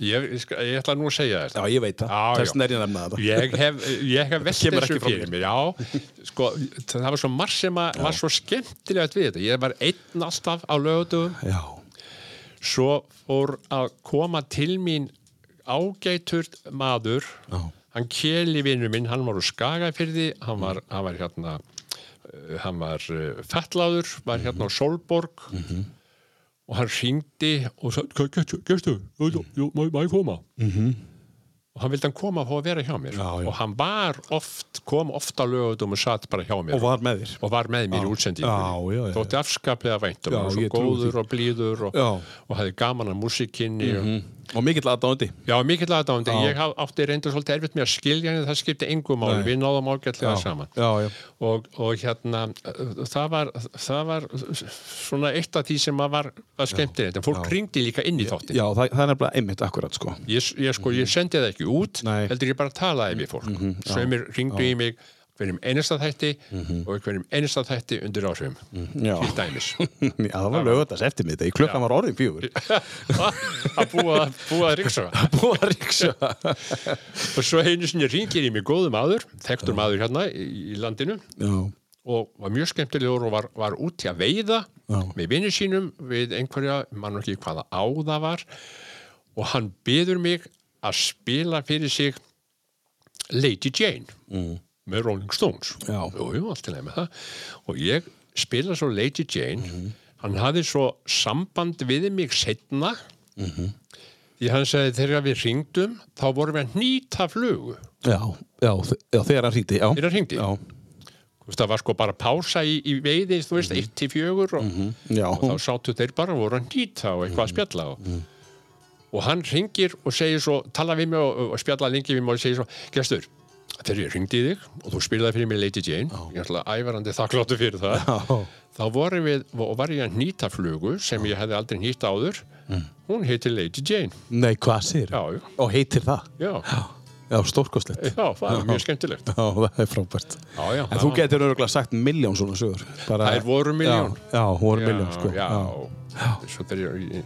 Ég, ég, skal- ég ætla nú að segja þetta.
Já, ég veit það,
Já, já.
þess er ég að nefna þetta
ég hef, ég hef velt
kemur
þessu
ekki frá
fyrir mér já, sko, það var svo marg sem að, var svo skemmtilegt við þetta ég var einn alltaf á lögutum
Já,
svo fór að koma til mín ágætur maður
Já.
hann keli vinnu minn, hann var úr Skagafyrði hann
Mhm.
var, hann var hérna eh, hann var uh, fettláður var
Mhm.
hérna á Solborg og hann ringdi og sagði, gestu, gestu, má má ég koma og hann vildi hann koma og fá að vera hjá mér
Mhm. Já, já.
og hann var oft, kom oft á lögutum og satt bara hjá mér
og var með þér
og var með mér í útsendingu
Já, já, já.
þótti afskaplega vænt og
Já,
var svo
ég trúi
góður
því.
og blíður og,
Já. Mhm.
og hafði gaman af músikinni og,
Og mikill aðdándi
já, mikill aðdáðandi, ég haf, átti reyndur svolítið erfitt með að skilja henni, það skipti engum máli,
Nei.
við náðum ágætlega
Já,
saman
já, já.
Og, og hérna uh, það var, það var svona eitt af því sem að var, var skemmtilegt, en fólk ringdi líka inn í þáttin
Já, það, það er nefnilega einmitt akkurat sko
ég, ég, sko, ég sendi það ekki út
Nei. Mhm.
heldur ég bara talaði við fólk mm -hmm, sömur ringdu í mig hverjum einasta þætti
Mhm.
og hverjum einasta þætti undir áhrifum
Já,
til dæmis
já það var lögðast eftir mig þetta Klukkan var orðin fjögur
að búa, búa að ríksaga
Búið að ríksa
og svo einu sinni ringir í mig góðum aður þekktur maður hérna í, í landinu
Já,
og var mjög skemmtilegur og var, var úti að veiða
Já.
með vinnir sínum við einhverja, mann ekki hvaða á það var og hann byður mig að spila fyrir sig Lady Jane með Rolling Stones
Mm. Já.
jú, jú, allt í lagi með það og ég spila svo Lady Jane
Mhm.
hann hafði svo samband við mig setna
Mhm.
því hann sagði þegar við ringdum þá vorum við að nýta flugu
já, já, þe- já þegar hann hringdi já.
Þegar hann hringdi?
Já,
Þú veist, það var sko bara pása í, í veiði þú
Mhm.
veist, 1-4 og,
já,
og þá sátu þeir bara og voru að nýta og eitthvað að spjalla og, og hann ringir og segir svo tala við mig og, og spjalla lengi við mig og segir svo gestur, þegar ég ringdi í þig og þú spilaði fyrir mig Lady Jane ég ætla ævarandi þakkláttu fyrir það
Já.
þá voru við, og var ég að nýta flugu sem ég hefði aldrei nýtt áður hún heitir Lady Jane
Nei, hvað sér?
Já, já.
Og heitir það?
já,
Já, já stórkostlegt
já það er mjög skemmtilegt
Já, það er frábært
Já, já,
En
það
þú
var-
getur örgulega sagt miljón svona sögur Bara...
Þær voru milljón.
Já, já voru miljón
já,
sko
já. Svo þegar ég-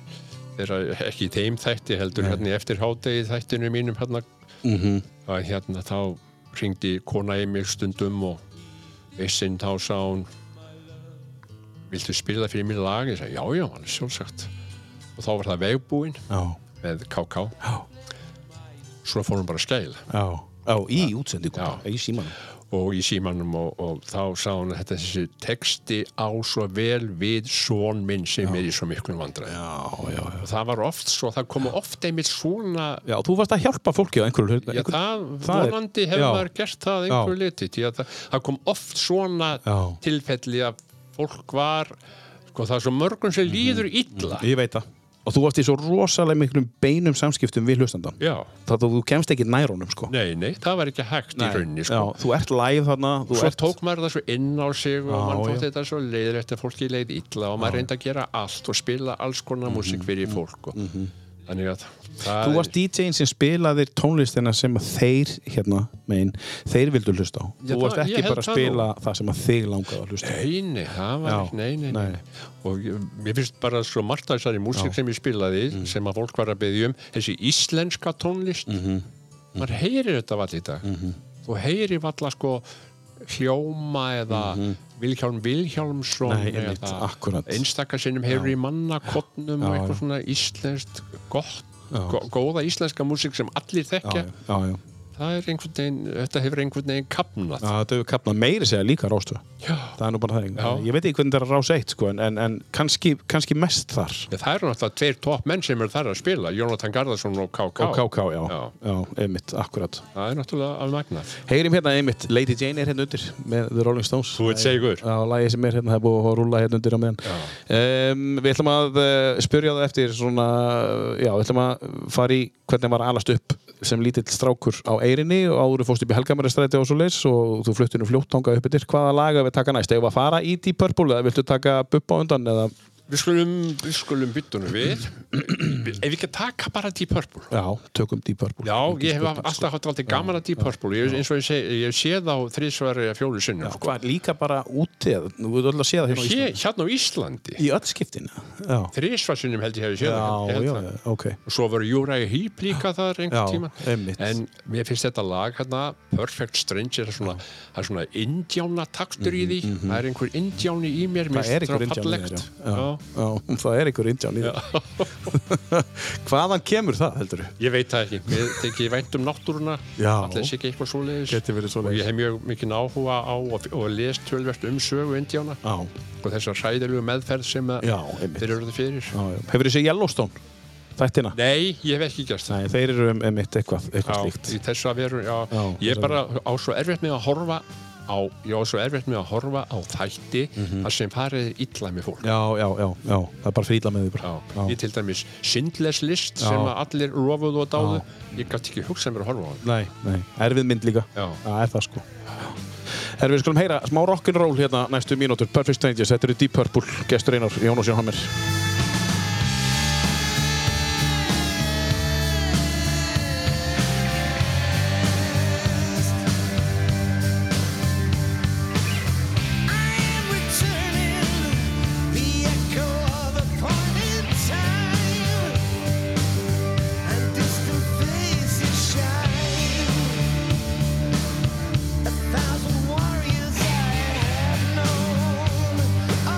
þegar ekki í þeim þætti heldur hérna í eftir hádegi þættinu mínum hérna,
Mhm.
að hérna þá ringdi kona í mig stundum og vissinn þá sá hún viltu spila fyrir mér lag? Ég sagði já, já, hann er sjálfsagt og þá var það vegbúinn
já,
með KK
Já.
svo fór hún bara að skæla
já, já, í útsendingu
Já.
bara, Í símanum
og í símanum og, og þá sá hún að þetta þessi texti á svo vel við són minn sem er í svo miklum vandræði
Já, já, já
og það var oft svo, það komu oft einmitt svona
Já, þú varst að hjálpa fólki á einhverju hlut
Já, það,
það er-
vonandi hefur
já.
maður gert það að einhverju liti, því að það, það kom oft svona
Já.
tilfelli að fólk var, sko það er svo mörgum sem
Mhm.
líður illa.
Ég veit það Og þú varst í svo rosalega miklum beinum samskiptum við hlustandan
Já,
Það þú kemst ekki nærunum sko
nei, nei, það var ekki hægt í rauninni, sko.
Já, þú ert live þarna þú
Svo
ert...
tók maður það svo inn á sig
Já,
og mann fótt
já.
þetta svo leiðir eftir fólki leið illa og maður reyndi að gera allt og spila alls konar músík fyrir fólk og þannig að það
Mhm, Þú varst DJ-in sem spilaðir tónlistina sem að þeir, hérna, megin, þeir vildu hlusta á.
Já,
þú varst
það- ég
ekki
held
bara að
það
spila það sem að þig langaði að hlusta á.
Neini, það var
Já,
ekki, nei, nei, nei.
nei.
Og ég- mér finnst bara svo margt af þessari músík sem ég spilaði,
Mhm.
sem að fólk var að beðja um, þessi íslenska tónlist, mm
Mhm.
-hmm. maður heyrir þetta vall í dag. Þú heyrir valla sko hljóma eða Vilhjálm Vilhjálmsson
Mhm. Nei, einmitt, akkurat.
einstakar sinnum heyrir í mannakotnum og eitthvað svona íslenskt gott Gó- góða íslenska músík sem allir
já,
þekkja
já, já.
það er einhvern veginn, þetta hefur einhvern veginn kapnað
Já, þetta hefur kapnað meiri segja líka rástu.
já.
Það er nú bara
Já.
það. Ég veit ekki hvernig þetta er rás eitt, sko, en, en, en kannski, kannski mest þar.
Ég, það eru náttúrulega tveir topp menn sem eru þar að spila Jónatan Garðarsson og KK,
Og KK, já.
Já.
Já, einmitt, akkurat.
það er náttúrulega alveg magnað
Heyrim hérna einmitt, Lady Jane er hérna undir með The Rolling Stones.
Þú ert segur.
Já, lagið sem er hérna, það er búið að rúla hérna undir á meðan. Um, við ætlum að uh, spyrja það eftir svona, já, við ætlum að fara í hvernig var að alast upp sem lítill strákur á Eyrinni og áður fórst upp í Helgamaristræti og svo leis og þú fluttir nú fljótt þangað upp yfir. Hvaða laga við taka næst? Eða að fara í Deep Purple eða viltu taka Bubba á undan eða?
Við skulum, við skulum byttunum við Ef við ekki taka bara Deep Purple
Já, tökum Deep Purple.
Já, ég hef alltaf hatt aldrei gaman að Deep Purple ég, eins og ég, seg, ég sé þá þrísværi að fjólu sinni sko.
Hvað, líka bara útið, nú við ætlum að sé það hérna á
Hér,
Íslandi.
Hérna á Íslandi
Í öll skiptin, já.
þrísværi sinnum held ég hefði séð hérna. það,
Já,
ég held
já,
það.
já, ok.
og svo voru Júræi Hýp líka þar
Já,
einhvern tíma
einmitt.
en mér finnst þetta lag hérna Perfect Stranger það er svona, það er svona indjána taktur í því það er einhver indjáni í mér mér
Mhm, Það er ykkur indján í þér, já. Já. Já,
finnst þetta fallegt.
það er ykkur indján í þér. Hvaðan kemur það, heldur
ég veit það ekki, mér þykir vænt um náttúruna
Já.
allir sé ekki eitthvað svoleiðis
Gæti verið svoleiðis.
og ég hef mjög mikið áhuga á og, og lest tölvert um sögu indjána
Já,
og þessar sæðilegu meðferð sem að
Já, einmitt.
þeir eru það fyrir
já, já. Hefur þið séð Yellowstone? Þættina?
nei, ég hef ekki gert það
Nei, þeir eru um, um mitt eitthvað, eitthvað
Já,
slíkt.
í þessu að veru, já.
Já,
ég
þessa
er bara á svo erfitt með að horfa á, ég á svo erfitt með að horfa á þætti þar sem farið illa með fólk.
Mhm. Já, já, já, já, það er bara fríla með því bara. Já.
Ég til dæmis Sindles list
Já.
sem að allir rofuðu og dáðu, ég gæti ekki hugsað mér að horfa á hann.
Nei, nei, erfið mynd líka.
Já.
Það er það sko. Herfið, við skulum heyra smá rock'n'roll hérna næstu mínútur. Perfect Strangers, þetta eru Deep Purple, gestur einar, Jónas Jón Hammer.
Warriors I have known. Oh.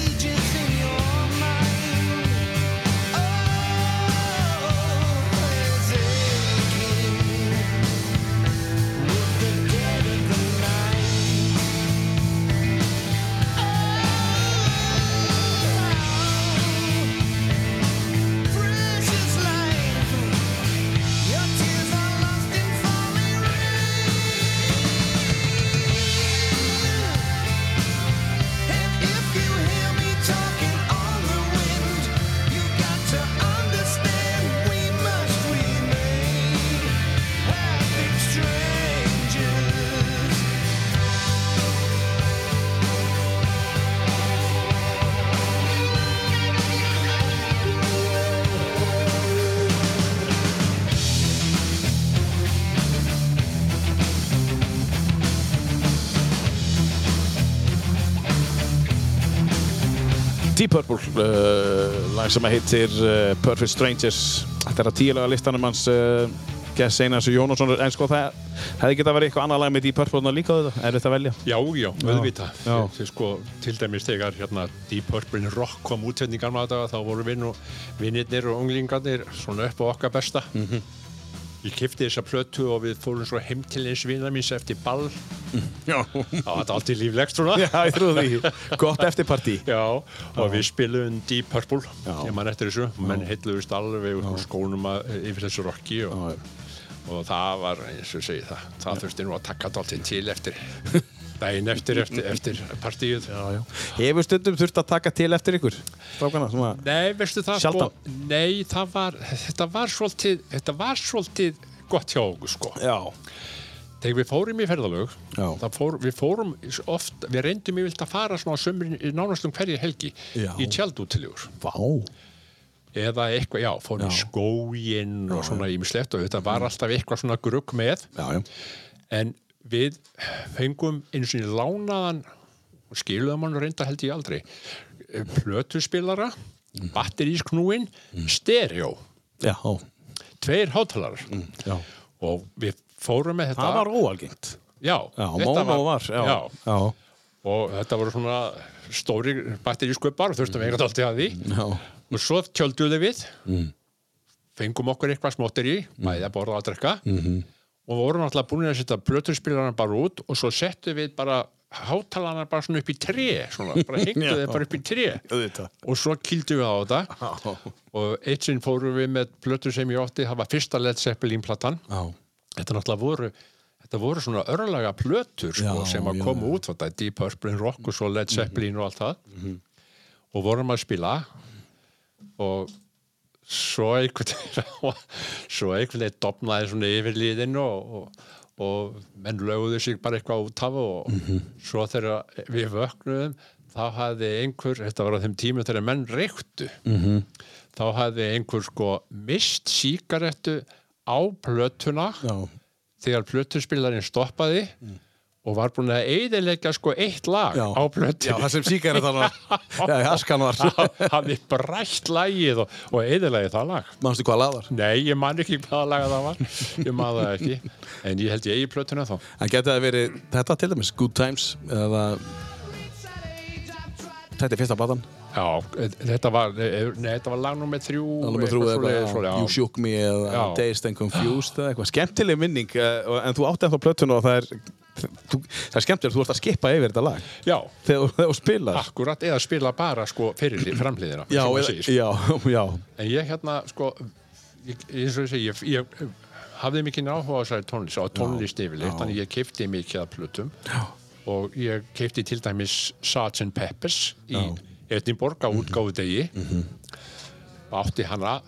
Oh,
Deep Purple uh, lag sem að heitir uh, Perfect Strangers Þetta er að tílega listanum hans uh, Gess Einars og Jónasson en sko það hefði getað verið eitthvað annað lag með Deep Purple þarna líka þetta, er þetta að velja?
Já, já, auðvitað.
já.
Þið sko, til dæmis þegar hérna Deep Purple Rock kom út hérna í gamla daga, þá voru vinn og vinnirnir og unglingarnir svona upp á okkar besta.
Mhm.
Ég kipti þessa plötu og við fórum svo heim til eins vinnar míns eftir ball.
Já,
Það var þetta aldrei líflegt svona.
ég trúi því Gott eftirparti
Já, og við spilum Deep Purple,
Já.
ég man eftir þessu, menn heilluðist alveg úr skónum að, yfir þessu rocki og, og það var, eins og segi það, það þurfti nú að taka dálítið til eftir, daginn eftir, eftir, eftir partíið. Já, já.
Hefur stundum þurft að taka til eftir ykkur? Strákana, svona
Nei, veistu það
Sjaldan.
sko, nei, það var, þetta var svolítið, þetta var svolítið gott hjá okkur sko.
Já,
Þegar við fórum í ferðalög,
Já.
það fór, við fórum oft, við reyndum yfirlt að fara svona á sömurinn, nánast um hverja helgi
Já.
í tjaldútilegur.
vá
Eða eitthvað, já, fórum í
Já.
skóginn og svona ímislegt og þetta var alltaf eitthvað svona grugg með.
Já, já
En við fengum eins og lánaðan, og skiluðum hann reynda held ég aldrei, eh, plötuspilara,
Mm.
batterísknúin, stereo.
Já,
tveir hátalarar
já.
og við fórum með þetta
Mm. Það var óalgengt
já,
Já,
þetta
Mónó var Já,
já,
já,
og þetta voru svona stóri batterísköpar
Mm.
þurftum við eitthvað alltaf að því
já.
og svo tjölduðu við
Mm.
fengum okkur eitthvað smóttir í bæði að borða og að drekka
Mhm.
-hmm. og vorum alltaf búin að setja blöturspilarna bara út og svo settum við bara hátalarna bara svona upp í tré svona, bara hengdu
Já.
þeir bara upp í tré
Auðvitað.
og svo kýldum við á þetta og eitt sinn fórum við með blötu sem ég átti, það var fyrsta Led Zeppelin platan
Já.
þetta náttúrulega voru þetta voru svona örlaga plötur sko,
Já,
sem
já,
að
Mhm.
koma út þetta er Deep Purple, Rock og svo Led Zeppelin og allt það og vorum að spila og svo einhvern svo einhvern veginn dopnaði svona yfir liðinu og, og, og menn löguðu sig bara eitthvað út af og
Mhm.
svo þegar við vöknuðum þá hafði einhver, þetta var á þeim tímum þegar menn reyktu
Mhm.
-hmm. þá hafði einhver sko mist síkarettu á plötuna
Já. Mm.
þegar plötuspilarinn stoppaði og var búin að eiðilegja sko eitt lag
Já.
á plötuna
Já, það sem síkar þetta var Já, í askan var
hafði brætt lagið og, og eðilagið það lag
Manstu hvað laðar?
Nei, ég man ekki hvaða laga það var ég man það ekki, en ég held ég eigi plötuna þá
En getið það verið þetta til dæmis, Good Times eða Þetta er fyrsta platan
Já, e- þetta var, e- nei, þetta var lag nummer þrjú
Það er nummer þrjú eða
svoleiðis,
eitthvað,
svoleiðis,
You
já.
Shook Me eða
Já.
Dazed and Confused eða eitthvað Skemmtileg minning, eh, og- en þú átti ennþá plötun og það er þú, Það er skemmtileg, þú ert að skipa yfir þetta lag
já,
þegar þú- þegar þú spilar
akkurat, eða spila bara sko fyrir framliðina
Já,
sem maður
eða-
segir.
já, já,
En ég hérna, sko, ég, eins og ég segi, ég, ég hafði mikið áhuga á þessari tónlist, á tónlist yfirleitt,
já.
þannig ég keipti mikið að plötum já. og ég keipti til dæmis Sgt. Peppers í Edinborg
Mhm.
á útgáfu degi átti hana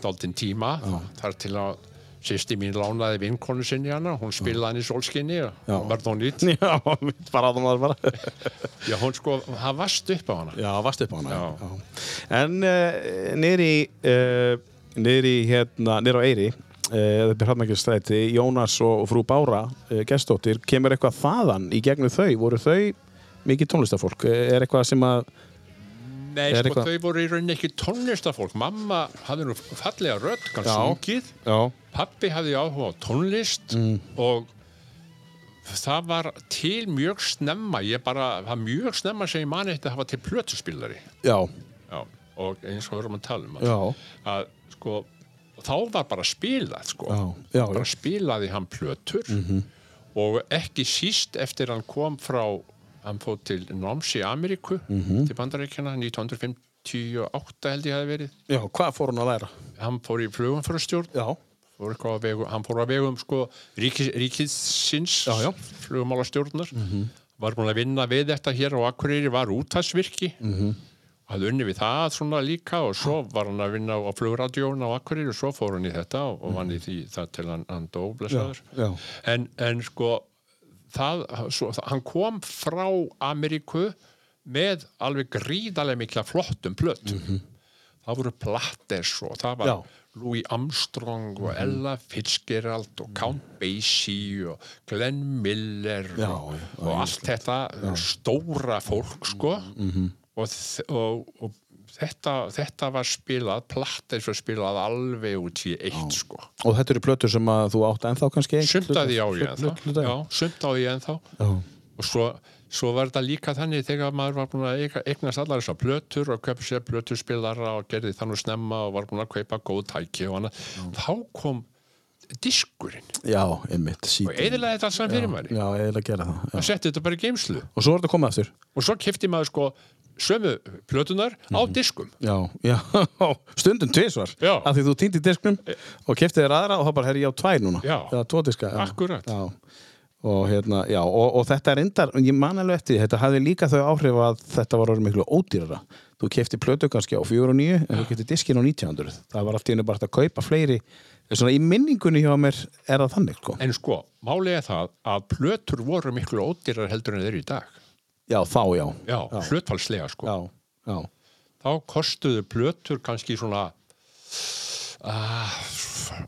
daldinn tíma, þar til að sýsti mín lánaði vinkonu sinni hana, hún spilaði hann í solskinni og
Já.
var þó nýtt.
já, mitt bara áðan var bara
Já, hún sko, hann vast upp á hana.
Já, varst upp á hana
Já.
já. En uh, nýri uh, nýri hérna, nýri á Eyri eða uh, Hrafnækjastræti, Jónas og frú Bára uh, gestóttir, kemur eitthvað þaðan í gegnum þau, voru þau mikið tónlistafólk, Eh, er eitthvað sem að
Nei,
Er
sko,
eitthvað-
þau voru í rauninni ekki tónlistafólk. Mamma hafði nú fallega rödd, kannski
Já.
sungið.
Já,
Pappi hafði áhuga á tónlist
Mm.
og það var til mjög snemma, ég bara, það var mjög snemma sem ég mani þetta að hafa til plötuspillari.
já,
Já. Og eins og við erum að tala um
já,
að, að sko, þá var bara spilað, sko.
já, já, Mhm. já.
Bara spilaði hann plötur og ekki síst eftir hann kom frá, hann fóð til Noms í Ameríku,
Mhm.
til Bandaríkjana, 1958 held ég hafi verið.
já hvað fór hún að læra?
Hann fór í flugumfærastjórn
Já,
fór eitthvað að vegu, hann fór að vegum sko, ríkis, ríkisins
Já, Mhm. já.
flugumálastjórnar var búin að vinna við þetta hér og Akureyri var útasvirki mm
Mhm.
-hmm. hafði unni við það svona líka og svo var hann að vinna á flugradjón á Akureyri og svo fór hann í þetta og, og vann í því það til hann, hann dó blessaður
Já, já.
en, en sko það, svo, hann kom frá Ameríku með alveg gríðarlega mikla flottum plötum það voru Platters og það var
Já. Mhm.
Louis Armstrong og Ella Fitzgerald og Count Basie og Glenn Miller
Já,
og,
já, Mhm.
og allt þetta stóra fólk sko og og, þ- og, og þetta, þetta var spilað, platt eins og spilað alveg út í eitt sko.
Og þetta eru plötur sem að þú átt ennþá kannski
sumt að því á ég
Hluta-
ennþá já, sumt á ég ennþá
Já.
og svo, svo var þetta líka þannig þegar maður var búin að eiga- eignast allar þessar plötur og kaupa sér plötuspilara og gerði þannig snemma og var búin að kaupa góð tæki og annað, þá kom diskurinn
Já, einmitt,
og
síðan
eðilega þetta alls að fyrir maður
Já, eiginlega gera það já.
það setti þetta bara í geimslu
Og svo er þetta komið aftur
og svo kefti maður sko sömu plötunar á diskum
Já, já, stundum tvisvar
Já. E-
Af því þú týndi disknum og kefti þér aðra og þá bara herri ég á tvær núna
Já.
Eða tvo diska já.
Akkúrat.
já. Og, hérna, já, og, og þetta er endar ég man alveg eftir, því, þetta hafði líka þau áhrif að þetta var orðið miklu ódýrara þú kefti plötu kannski á 4 og 9 en þú kefti diskin á 1900 það var allt í henni bara hægt að kaupa fleiri svona í minningunni hjá mér er það þannig sko.
en sko, málið er það að plötur voru miklu ódýrar heldur en þeir eru í dag
já, þá já
já, hlutfalslega sko
já, já,
þá kostuðu plötur kannski svona ah,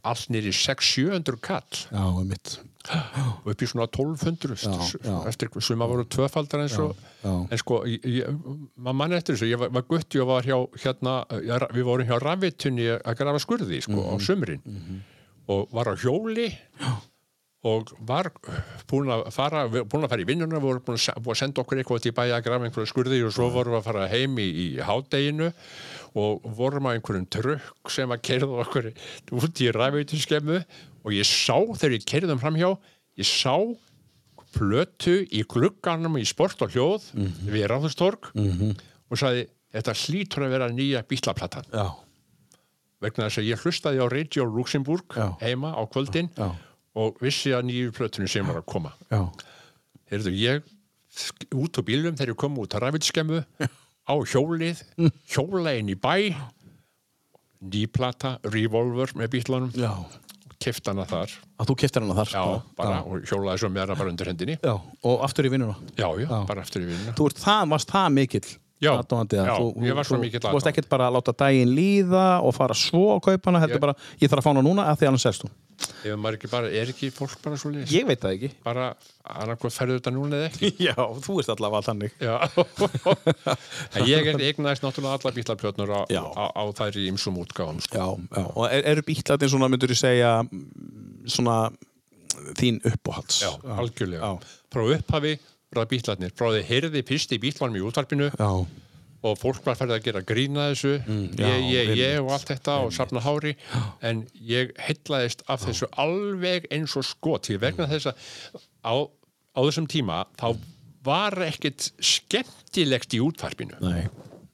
allt nýri 600-700 kall
já, mitt
og upp í svona 1200 st-
já.
eftir sem að voru tvöfaldar eins og
já.
en sko, ég- ég- maður mann eftir þessu ég var, var gutti og var hjá hérna, ég, við vorum hjá rafvitunni að grafa skurði sko,
Mhm,
á sumrin og var á hjóli og var búin að fara búin að fara í vinnuna, við vorum búin að, se- búin að senda okkur eitthvað til bæja að grafa einhverju skurði og svo vorum við að fara heim í, í hádeginu og vorum á einhverjum trukk sem að kerða okkur út í rafvituskemmu og ég sá þegar ég kerðum framhjá ég sá plötu í glugganum í sport og hljóð við Ráðustorg og sagði þetta hlýtur að vera nýja bílaplatan
já,
vegna þess að ég hlustaði á Radio Luxemburg
Já.
heima á kvöldin
Já.
og vissi að nýju plötunum sem var að koma
já,
Heyrðu, ég sk- út á bílum þegar ég kom út að rafitskemmu á hjólið, hjóla inn í bæ nýplata, revolver með bítlunum,
já.
keft hana þar
að þú keftir hana þar
já,
sko.
bara, og hjólaði svo með hana bara undir hendinni
já. og aftur í vinnuna
já, já, bara eftir í vinna
þú ert það, varst það mikill
Já,
aðdáandi, eða
já,
þú,
ég var svo
þú-
mikill
þú varst
aðdáandi.
ekkert bara að láta daginn líða og fara svo að kaupa hana, heldur
Ég-
bara ég þarf að fá hana núna að því annars selst hún
ef maður ekki bara, er ekki fólk bara svo leys
ég veit það ekki
bara, annarkoð ferðu þetta núna eða ekki
já, þú ert allavega þannig
já en ég er eignaðist náttúrulega alla bílaplötnur á,
Já.
á, á þær í ymsum útgáfum sko.
já, já. og er, eru bítlarnir svona, myndur þú segja mm, svona þín uppáhalds
já, algjörlega
já.
frá upphafi frá bílarnir, frá þið heyrði pisti bílarnum í útvarpinu
já, Mm,
og fólk var færið að gera grína þessu
já,
ég, ég, ég
einmitt,
og allt þetta og safna hári en ég hellaðist af þessu alveg eins og skoti
Mm.
vegna þess að á, á þessum tíma þá var ekkit skemmtilegt í útvarpinu
nei,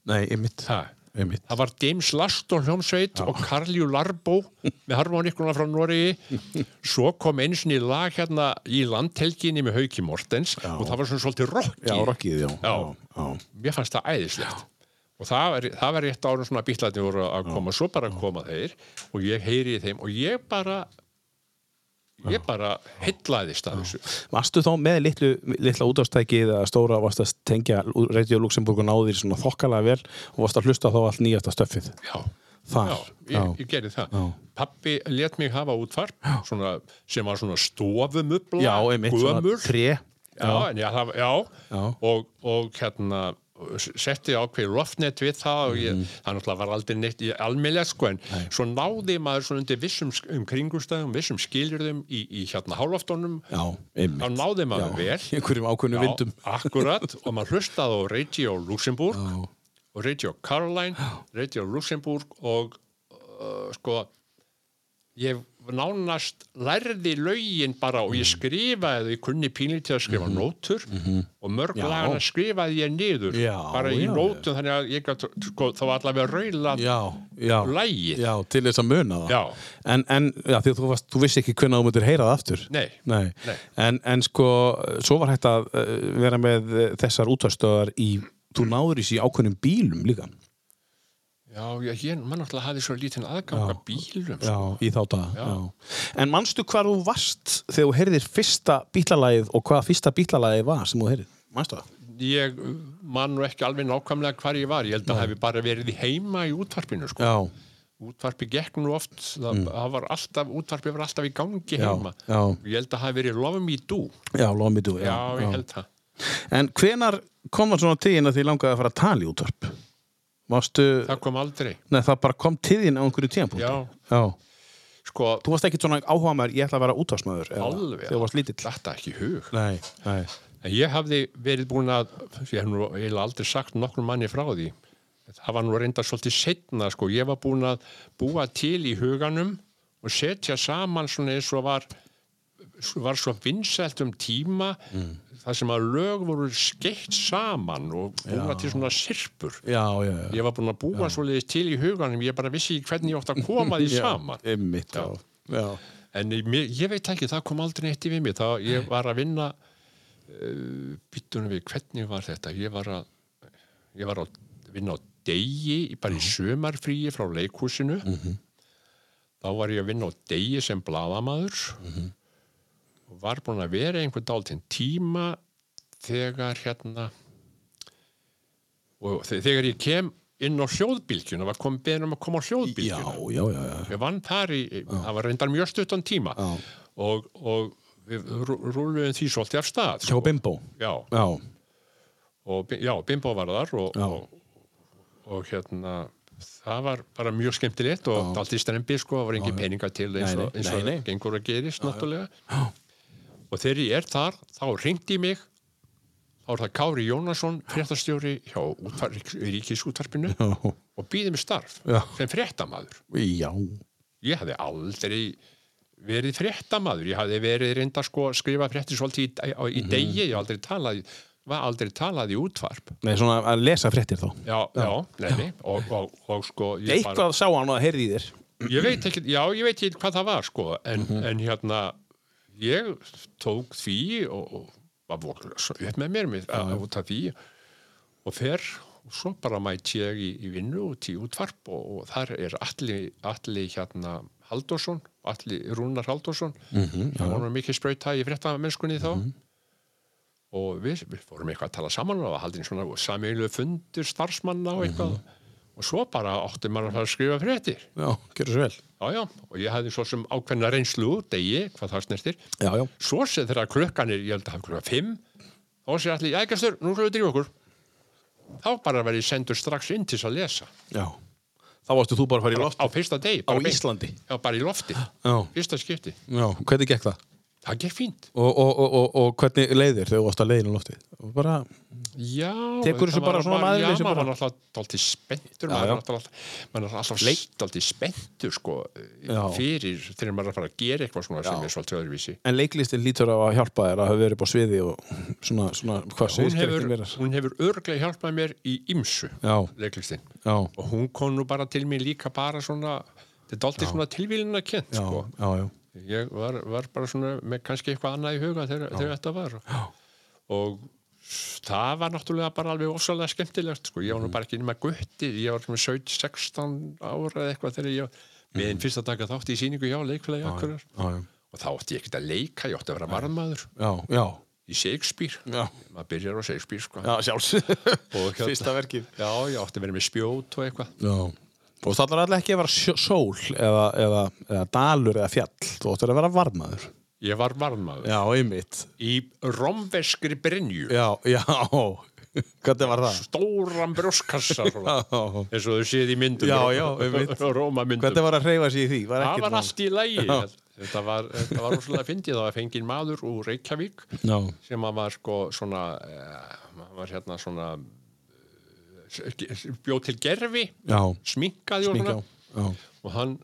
nei, einmitt
Ha.
einmitt,
Það var James Last og hljómsveit og Karliu Larbó með harmoníkuna frá Noregi svo kom einu sinni lag hérna í landhelginni með Hauki Mortens og það var svona svolítið rocki
já, rokkið, já
Já.
já,
Mér fannst það æðislegt og það var, það var rétt árum svona bílarni voru að koma svo bara koma þeir og ég heyri í þeim og ég bara ég bara hellaðist að þessu
Varstu þá með litlu, litla útástækið eða stóra varst að tengja Radio Luxemburg og náðir svona þokkalega vel og varst að hlusta þá allt nýjasta stöffið
Já
þar,
Já, ég, ég gerði það.
Ah, Já.
Pappi let mig hafa útvarp svona, sem var svona stofumubla,
já, einmitt,
gömur.
svona tre
Já, en já, það, var- já.
Já.
Og, og hérna s- setti ákveði loftnet við það og ég,
Mhm.
það náttúrulega var aldrei neitt í almennlega sko en svo náði maður svona undir vissum sk- um kringumstæðum, vissum skiljurðum í, í hérna háloftunum
Já,
þá
einmitt
náði maður vel
í einhverjum ákveðnum vindum
akkurat og maður hlustaði á Radio Luxemburg og Radio Caroline Radio Luxemburg og uh, sko ég nánast lærði lögin bara og ég
Mm.
skrifaði ég kunni pínlítið að skrifa nótur og mörg
Mhm. Já.
lagana skrifaði ég niður
Já,
bara í
já,
nótum þannig að ég gat, sko, það var allavega raula
Já, já,
Lagið.
já, til þess að muna það
Já.
En, en já, því að þú, varst, þú vissi ekki hvernig þú myndir heyra það aftur
Nei.
Nei.
Nei.
En, en sko, svo var hægt að eh, vera með eh, þessar útastöðar í, þú náður í þessi ákveðnum bílum líka
já, já, ég mann náttúrulega hafði svo lítinn aðgang að bílum
Já,
sko.
í þá dag já. En manstu hvar þú varst þegar þú heyrðir fyrsta bílalagið og hvað fyrsta bílalagið var sem þú heyrðir? Manstu það?
ég mann nú ekki alveg nákvæmlega hvar ég var, ég held að það hefði bara verið heima í útvarpinu sko
Já,
útvarpi gekk nú oft það, það var alltaf, útvarpi var alltaf í gangi
Mm. Já,
heima
já.
ég held að það hafi verið Love Me Do
já, lofum við þú
já, ég held það
En hvenar kom það svona til þín að því langaði að fara að tala í útvarp? Varstu,
það kom aldrei
nei það bara kom til þín á einhverju tímapunkt?
já,
Já.
sko,
Þú varst ekkit svona áhuga maður, ég ætla að vera útvarpsmaður. eða-
Alveg.
Þegar þú varst lítill.
þetta ekki í hug
Nei, nei.
En ég hafði verið búin að, ég hef nú eiginlega aldrei sagt nokkur manni frá því, það var nú reynda svolítið setna, sko, ég var búin að búa til í huganum og setja saman svona eins og var, var svo vinsælt um tíma,
Mm.
þar sem að lög voru skeitt saman og búa til svona sirpur.
Já, já, já.
Ég var búin að búa svoleiðis til í huganum, ég bara vissi ekki hvernig ég ótt að koma því
Já,
saman.
Einmitt, já. Já.
En ég, mér- ég veit ekki, það kom aldrei neitt í við mig. Það, ég var að vinna, uh, býttunum við, hvernig var þetta? Ég var að, ég var að vinna á degi, bara í sömarfríi frá leikhúsinu. Þá var ég að vinna á degi sem bladamaður. og Var búin að vera einhvern dálítinn tíma þegar hérna, og þe- þegar ég kem inn á hljóðbylgjuna, var komið beðin um að koma á
Já,
hljóðbylgjuna.
já, já, já.
Ég vann þar í, það var reyndar mjög stuttan tíma
Já.
og, og við rú- rúluðum því svolítið af stað. sko.
Hjá Bimbo.
Já,
Já.
og, Bi- já Bimbo var þar og,
Já.
og, og hérna, það var bara mjög skemmtilegt og allt í strembi sko, það var engin peninga til eins
Nei,
og,
nei,
eins og
nei, nei.
gengur að gerist náttúrulega. Og þegar ég er þar, þá ringdi mig, þá er það Kári Jónasson, fréttastjóri hjá útvar, ríkisútvarpinu
Já.
og býði mig starf
Já.
sem fréttamaður.
Já.
ég hafði aldrei verið fréttamaður, ég hafði verið reynda sko að skrifa fréttir svolítið í, í, í degi, ég aldrei talaði var aldrei talað í útvarp
Nei, svona að lesa fréttir þá.
já, já, nei, nei, og, og, og, sko ég, bara,
Eitthvað sá hann og heyrði í þér.
ég veit ekki, já, ég veit ekki hvað það var sko, en, en hérna ég tók því og, og var voklega svo upp með mér með, að, út af því og fer og svo bara mæti ég í, í vinnu út í útvarp og, og þar er allir alli hérna Haldursson, allir Rúnar Haldursson það var nú mikið sprauta í fréttamennskunni þá og við, við fórum eitthvað að tala saman og haldin svona samílu fundur starfsmanna og eitthvað og svo bara átti maður að fara að skrifa fréttir
Já, gerur svo vel.
Já, já, og ég hafði svo sem ákveðna reynslu úr degi, hvað það snertir.
Já, já.
Svo sem þegar klukkan er, ég held að hafa klukka fimm, þá sé allir, já, gæstur, nú slúið drífa okkur. Þá bara verði sendur strax inn til þess að lesa.
Já. Þá varstu þú bara að fara í loft
Á fyrsta degi.
á
bara beint.
Íslandi.
Já, bara í lofti.
Já.
Fyrsta skipti.
Já, hvernig gekk það?
Það gekk fínt.
Og, og, og, og, og hvernig leiðir þegar þú varst að leiðinu loftið? Og Bara,
Já.
Tekur
það
þessu
var-
bara svona
var-
maður
Já,
þessu
maður
bara-
var alltaf alltaf spenntur.
Já, já.
maður var alltaf- Maður var alltaf leitt alltaf spenntur, sko,
Já.
fyrir þegar maður er að fara að gera eitthvað svona sem er svolítið öðruvísi.
en leiklistin lítur á að hjálpa þér að hafa verið upp á sviði og svona, svona hvað
hún
segir
hefur,
skrekkinn verið?
hún hefur örglega hjálpað mér í ymsu
Já.
leiklistin
Já,
og hún kom nú bara til mér líka bara svona þetta er dálítið svona tilvílinna kent
já,
sko.
já, já.
ég var, var bara svona með kannski eitthvað annað í huga þegar, þegar þetta var já. og það var náttúrulega bara alveg ósvalega skemmtilegt sko.
Mhm.
ég var nú bara ekki nema gutti ég var svona 17-16 ára eða eitthvað þegar ég meðin fyrst að taka þátt í síningu hjá leikfélagi akkurar
Mhm. Já, já.
og þá átti ég ekkert að leika, ég átti að vera varmaður
Já, já.
í Shakespeare,
Já.
maður byrjar á Shakespeare sko.
Já, sjálfs.
Og hérna-
Fyrsta verkið.
Já, ég átti að vera með spjót og eitthvað.
Já. Og það er alltaf ekki að vera sjó- sól eða, eða, eða dalur eða fjall. Þú ættir að vera varmaður.
Ég var varmaður.
Já, einmitt.
Í romveskri brennju.
Já, já. Hvernig var það?
Stóran brjóskassa. svona.
Já.
Eins og þau séð í myndum.
Já, já, einmitt.
Róma myndum.
Hvernig var að hreyfa sig í því? Var
það
ekkert
var
mál.
allt í lægi. Þetta var, þetta var rosalega fyndið. Það var fengið maður úr Reykjavík
Já.
sem að var sko svona, uh, var hérna svona, uh, bjóð til gerfi,
Já,
sminkaði og
mingjá
svona. og hann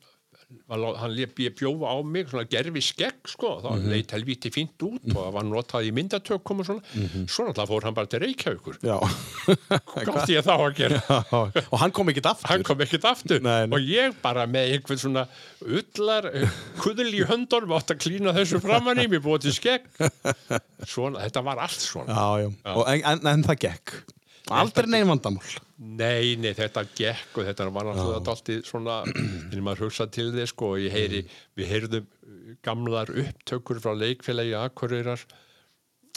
var lá- hann lef, bjófa á mig svona gerfi skegg sko, þá
Mhm.
leit helvíti fínt út og það var notað í myndatökum og svona svo náttúrulega fór hann bara til Reykjavíkur
Mhm. Já,
gátt ég þá að gera
já. Og hann kom ekkert aftur
hann kom ekkert aftur
Nei, nei.
og ég bara með einhvern svona ullar eh, kuðl í höndunum átt að klína þessu framan í mér búið til skegg svona, þetta var allt svona
Já, já, Og en, en, en það gekk Aldrei neinn vandamál
nei, nei, þetta gekk og þetta var náttúrulega dálítið svona þegar maður hugsa til þið sko og ég heyri, við heyrðum eh, gamlar upptökur frá leikfélagi Akureyrar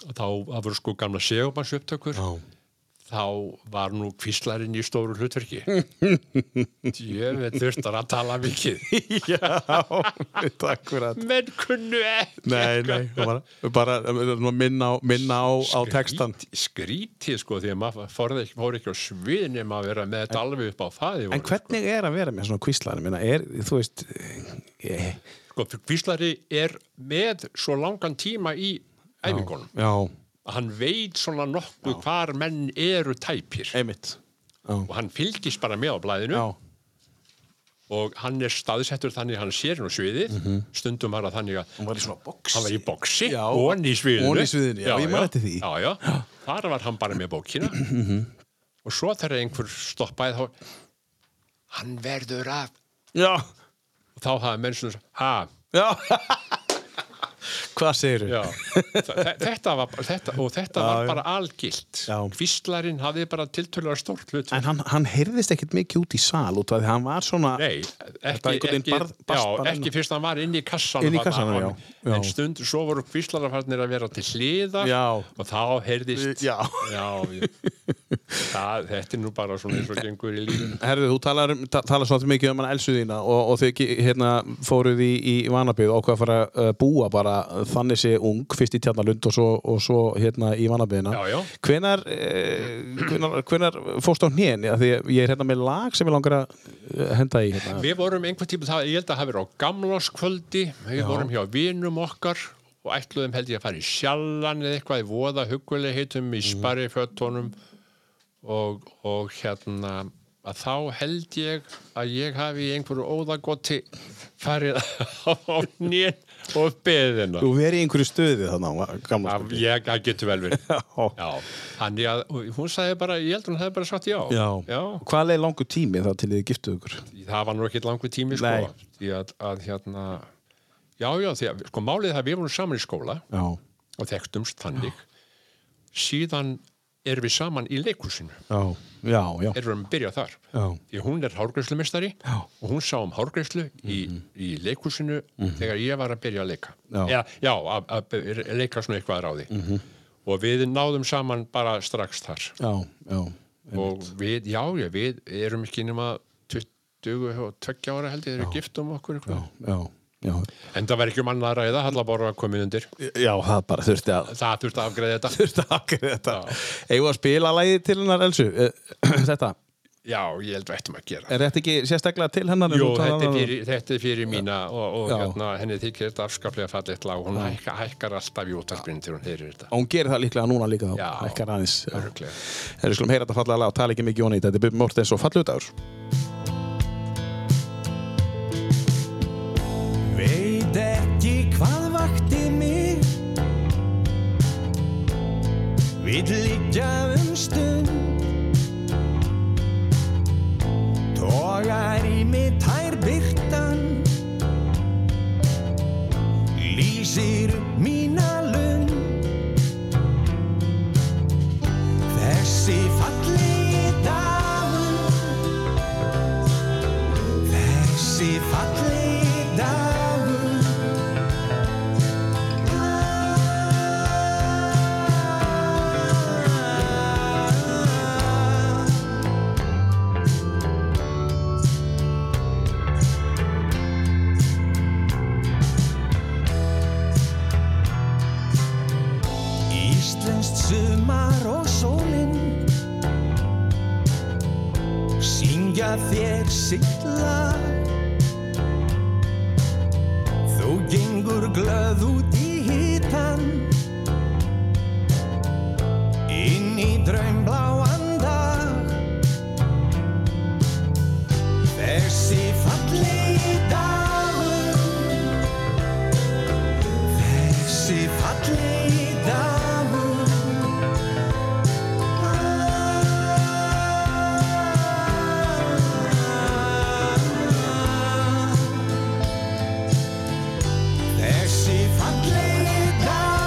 og þá það voru sko gamla segumanns upptökur þá var nú kvíslarinn í stóru hlutverki ég þurftar að tala mikið
Já, takk fyrir að
menn kunnu ekki
Nei, nei, bara, bara um, minna, á, minna á, á textan
Skrít- skrítið sko því að maður fór ekki, fór ekki á svið nema að vera með þetta alveg upp á það
En hvernig er að vera með svona kvíslar? Minna, er, þú veist eh,
sko, Kvíslari er með svo langan tíma í æfingunum
Já,
að hann veit svona nokkuð hvar menn eru tæpir
einmitt Já,
og hann fylgist bara með á blæðinu
já,
og hann er staðsettur þannig að hann sér nú sviðið
Mhm.
stundum var það þannig að hann var í svona boksi hann var í boksi,
Já.
og í sviðinu
Ofan í sviðinu, já, ég man eftir því. Mhm.
já, já. þar var hann bara með bókina og svo þegar einhver stoppaði þá hann verður af
já,
og þá hafa menn svona ha,
já. Hvað segirðu?
Já, þe- þetta var, þetta, og þetta
já.
var bara algilt
Já.
Kvíslarinn hafði bara tiltölulega stórt hlut
En hann, hann heyrðist ekkert mikið út í sal út af því að hann var svona
Nei,
Þetta
ekki,
einhvern veginn
ekki,
barð-
já,
barst bara inn á-
ekki fyrst hann var inn í kassan
Inn í kassanum, já, já.
En stund, svo voru kvíslararfarnir að vera til hliða
Já.
og þá heyrðist
Já.
já, ég- það, Þetta er nú bara svona eins og gengur í lífinu
Herðu, þú talar, um- ta- talar svolítið mikið um hann elsu þína og, og þau ge- hérna, fóruð í, í vanabíð og ákvað að fara að uh, búa bara uh, þannig sé ung, fyrst í Tjarnalund og svo, og svo hérna í vanabíðina
Já, já.
Hvenar, eh, hvenar, hvenar fórst á hnén? Já, því ég er hérna með lag sem ég langar að eh, henda í hérna.
Við vorum einhvern tíma, það, ég held að hafa verið á gamláskvöldi, við vorum hjá vinum okkar og ætluðum held ég að fara í sjallan eða eitthvað í voða hugulegheitum
Mhm.
í sparri fötunum og, og hérna að þá held ég að ég hafi í einhverju óðagoti farið á nýjan og beðina.
Þú verið í einhverju stöði þannig á gamla
Það- Ég, það getur vel verið. Já, þannig að og hún sagði bara, ég held hún hefði bara sagt já.
Já.
Já,
Hvað leið langur tími það til þið giftuð ykkur?
það var nú ekkert langur tími sko,
Nei.
því að, að hérna já, já, því að sko málið er það að við vorum saman í skóla
Já,
og þekktumst þannig síðan erum við saman í leikhúsinu
já, já, já,
erum við að byrja þar
já.
því að hún er hárgreifslumestari
Já. Mhm.
og hún sá um hárgreifslu í, í leikhúsinu þegar ég var að byrja að leika
Já. Mhm.
Eða, já að, að leika svona eitthvað að ráði og við náðum saman bara strax þar
já, já.
og við, já, já, við erum ekki nema 20 og 20 ára held ég þegar við giftum okkur já.
Já, já.
en það var ekki um annað að ræða, Hallabára var komin undir
Já, það bara þurfti að
það þurfti að afgreða þetta
þurfti að afgreiða þetta Eigum við að spila lagið til hennar Elsu Eh, Þetta,
já, ég held við ættum að gera
er þetta ekki sérstaklega til hennar en
Jú,
þú talar
þetta er,
um-
fyrir, þetta er fyrir mína og, og
Já.
hérna, henni þykir þetta afskaplega fallið lag og hún hækka, hækkar alltaf í útarpinu til hún heyrir þetta
Og hún gerir það líklega núna líka þá
Já.
Ekki aðeins
Örugglega.
Þegar við skulum heyra þetta fallega lag og tala ekki mikið jónið Þetta er Bubi Mortens og fallut ár
Veit ekki hvað vakti mig Vill liggja um stund Tógar í mig tær byrtan Lýsir upp mína lund Þessi fallegi dagur Þessi fallegi dagur Íslenskt sumar og sólinn syngja þér sitt lag Þú gengur glöð út í hitan inn í draumbláan dag Þessi fallegi dagur Þessi fallegi dagur Þessi fallegi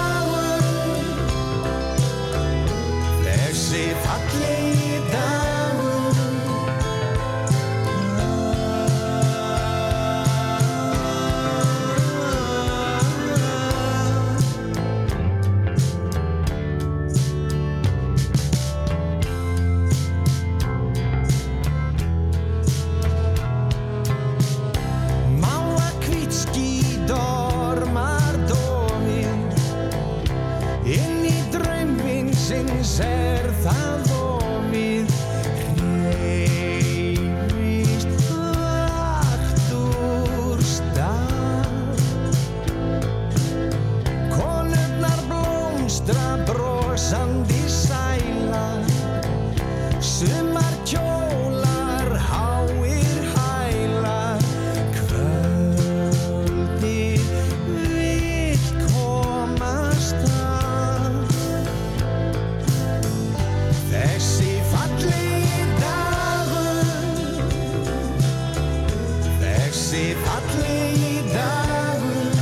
Þessi fallegi dagur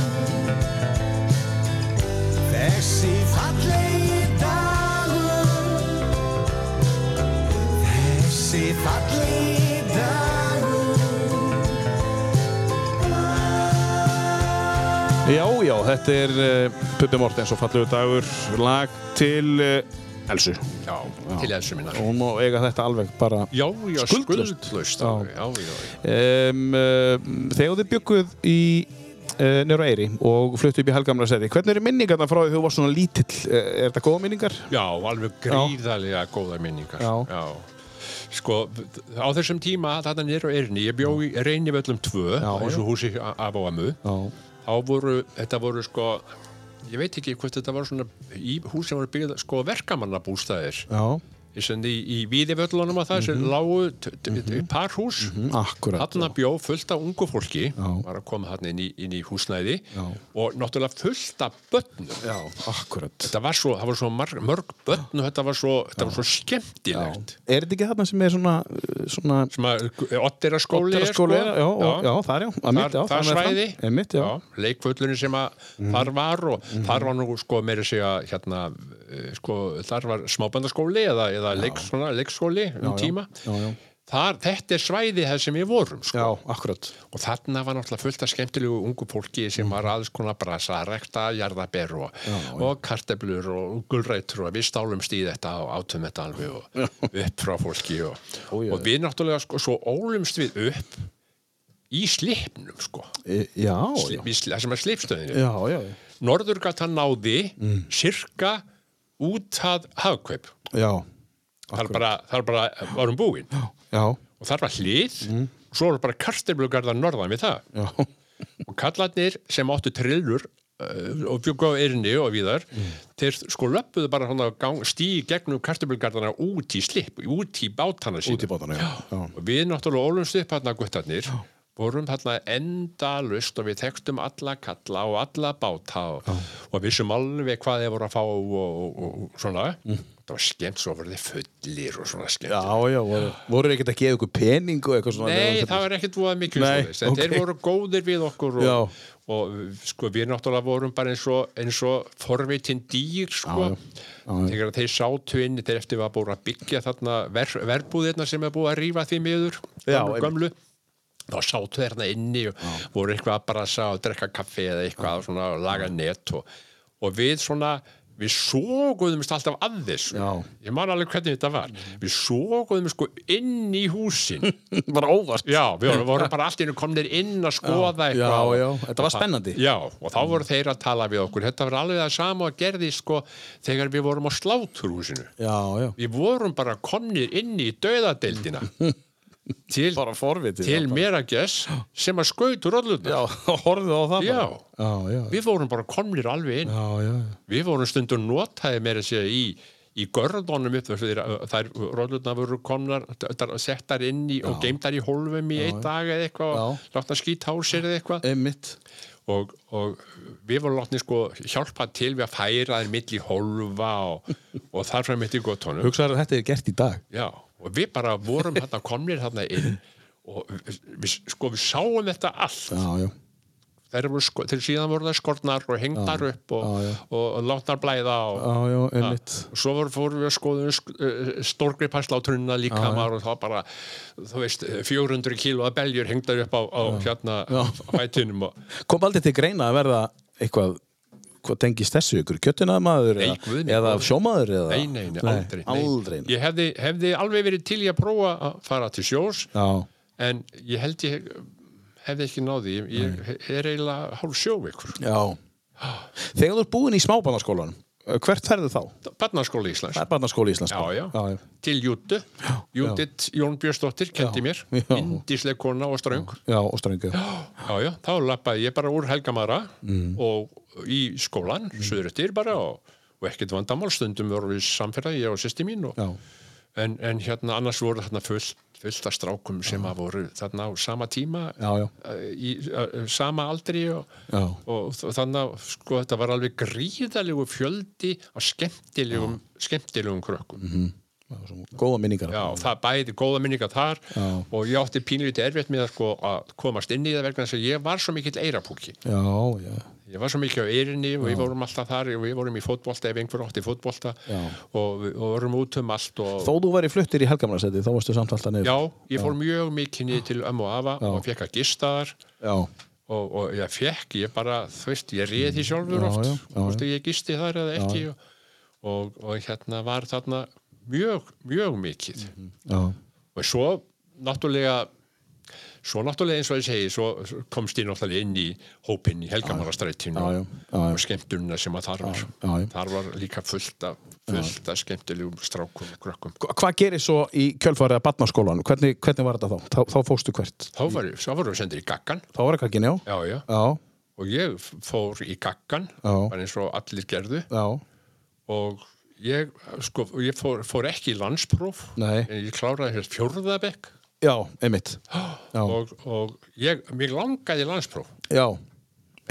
Þessi fallegi dagur Þessi fallegi dagur
Já, já, þetta er uh, Pubbi Mortens og Fallegur dagur lag til uh, Elsu
Já, til þessu minnar.
og hún má eiga þetta alveg bara
Já, já,
Skuldlaust.
skuldlaust.
Já.
Já, já, já.
um, uh, Þegar þið bygguð í uh, Nýra Eyri og fluttu upp í Helgamra seti hvernig eru minningarna frá því þú varst svona lítill uh, er þetta góða minningar?
Já, alveg gríðarlega góða minningar.
Já.
Sko, á þessum tíma, þarna nýr og erni, ég bjó í um reynivöllum 2,
Já,
eins og húsi a- af og amu.
Já,
Þá voru, þetta voru sko, ég veit ekki hvort þetta var svona, í hús sem voru byggð, sko, verkamannabústæðir.
já, Mhm.
Þessan í, í víðivöllunum og það, sem lágu t- t- t- parhús.
akkurat
Þarna bjó fullt af ungu fólki,
Mhm. Já.
var að koma þarna inn í, inn í húsnæði
Já.
og náttúrulega fullt af börnum.
Já, akkurat
þetta var svo, það var svo marg, mörg börn og þetta var svo, þetta var svo skemmtilegt
Er þetta ekki þarna sem er svona, uh, svona
sem að eh, otteraskóli
Oddera skóli, já, já, já, þar já, að mitt,
sko. Þar,
já,
þar
þannig að
svæði,
fram- einmitt, já. Mhm.
leikvöllurinn sem að þar var og þar var nú sko meira segja hérna, eh, sko, þar var smábandaskóli eða, eða leik, svona, leikskóli um
já.
tíma
Já, já.
Þar, þetta er svæði það sem við vorum sko.
já, akkurat
og þarna var náttúrulega fullt af skemmtilegu ungu fólki sem
Mm.
var aðeins konar brasa að rekta jarðaber og, og karteblur og gulrætur og við stálumst í þetta og átum þetta alveg og upp frá fólki og,
Ó, já.
og við náttúrulega sko, svo ólumst við upp í slipnum sko
e, Já, já,
Slip, í sli- það sem er slipstöðinu
já, Mm. já,
Norðurgata náði sirka út að hafkaup
já,
þar bara, þar bara eh, varum búin
já, Mm.
og þar var hlið og svo var bara karteblugarðar norðan við það
já.
og kallarnir sem áttu trillur uh, og bjúku á erinni og víðar þeir sko löppuðu bara hann að gang, stíi gegnum kartabelgarðana út í slip út í bátana sína
Út í bátana, já. Já.
og við náttúrulega ólumst upp hann að guttarnir vorum þarna endalust og við tekstum alla kalla og alla báta og, og vissum alveg hvað þeir voru að fá og, og, og svona það var skemmt svo voru þeir fullir og svona skemmt
Já, já, voru, voru ekkert að gefa ykkur pening og eitthvað svona
Nei, það var ekkert voða mikið um
Nei,
svoleiðis, en
ok.
þeir voru góðir við okkur
Já.
og, og sko, við náttúrulega vorum bara eins og, eins og forvitin dýr sko. þegar þeir sátu inn þeir eftir var búin að byggja þarna ver, verbúðirna sem er búið að rífa því miður
Já,
gömlu,
einmitt.
gömlu þá sátu þeirna inni og voru eitthvað að brasa og drekka kaffi eða eitthvað svona, og laga net og, og við svona við sóguðumst alltaf að þessu
Já. Mm.
ég man alveg hvernig þetta var við sóguðumst sko inn í húsin
var bara óvart
Já, við vorum, vorum bara allt í einu komnir inn að skoða
Já,
eitthvað.
já, þetta var spennandi.
Já, og þá voru þeir að tala við okkur. Þetta var alveg það sama að gerði sko þegar við vorum á sláturhúsinu.
Já, já,
Við vorum bara komnir inn í dauðadeildina til,
bara forvitið
til
já, bara.
mér að gess sem að skautu rollutna.
Já, horfðu á það
Já.
bara Já, já,
Við vorum bara komnir alveg inn.
já, já,
Við vorum stundum notaði meira að segja í í görðunum upp þess að þær rollutna voru komnar þar- settar inn í og geimdar í hólfum í einn dag eða eitthvað og látna skýta á sér eða eitthvað
einmitt
og, og við vorum látni sko hjálpa til við að færa þeir milli hólfa og, og þar fram mitt í gottunum
Hugsaðu að þetta er gert í dag
Já, og við bara vorum þarna komnir þarna inn og við, sko við sáum þetta allt
Já, já,
þeir, voru, sko, þeir síðan voru það skornar og hengdar upp og,
já, já.
og, og látnar blæða og,
já, já, einmitt
og svo voru, fórum við að um skoðum stórgripaslátrunna líka maður og þá bara, þú veist, 400 kíló að beljur hengdar upp á, á hérna
Já.
fætinum og
Kom aldrei til greina að verða eitthvað Hvað tengist þessu ykkur? Kjötunaðmaður
Nei,
eða,
guð minn,
eða
aldrei.
sjómaður eða
Nei, nei, nei, aldrei. nei.
Aldrei nei.
Ég hefði, hefði alveg verið til í að prófa að fara til sjós,
Já,
en ég held ég hefði ekki náði. Ég, ég er eiginlega hálf sjóveikur.
já Þegar þú ert búin í smábannaskólan Hvert ferðu þá?
Barnaskóli Íslands.
Það er barnaskóli Íslands
Já, já.
já, já.
Til Jútu. Jútit Jón Björnsdóttir
Já,
kendi mér.
já.
Indísleg kona og ströng.
já og ströngu
Já, já. Þá lappaði ég bara úr Helgamara
Mm.
og í skólan, mm. söðurettir bara og, og ekkert vandamál stundum voru við samfélagi, ég og sýsti mín og,
Já,
en, en hérna annars voru þarna fullt, fullt af strákum sem að voru þarna á sama tíma
Já, já.
eh, í eh, sama aldri og,
Já.
og þ- þannig að sko, þetta
Mhm.
var alveg gríðalegu fjöldi af skemmtilegum, skemmtilegum krökkum mm -hmm.
Það var svona góða minningar.
Já, það bæði góða minningar þar og ég átti pínlítið erfitt með að, sko, að komast inn í það vegna þess að ég var svo mikill eirapúki.
Já, já.
Ég var svo mikið á eirinni og við vorum alltaf þar og við vorum í fótbolta ef einhver átti fótbolta
Já.
og, við- og vorum út um allt og
Þó þú væri fluttir í helgamlarsæti, þá varstu samt alltaf niður.
já, ég fór mjög mikið niður til ömmu og afa og fekk að gista þar
Já.
og, og ég fekk, ég bara, þú veist, ég réði því sjálfur
Mm. Já,
oft,
já, já,
hvort að ég gisti þar eða ekki og, og, og hérna var þarna mjög, mjög mikið
Já.
og svo náttúrulega svo náttúrulega eins og ég segi svo svo komst ég náttúrulega inn í hópinn í Helgamarastrættinu
Já, já, já, já.
og skemmtunina sem að þar var
já, já.
þar var líka fullt af, fullt af skemmtilegum strákum og krökkum
Hva- Hvað gerir svo í kjölfarið að barnaskólan? Hvernig, hvernig var þetta þá? Þá, þá fóstu hvert?
þá var, svo vorum við sendir í gaggan
Þá var ekki, já.
já, já.
Já,
og ég f- fór í gaggan
Já.
var eins og allir gerðu
já.
og ég, sko, ég fór, fór ekki í landspróf
Nei.
en ég kláraði hér fjórðabekk
Já, einmitt. Já.
og, og ég, mig langaði í landspróf
Já.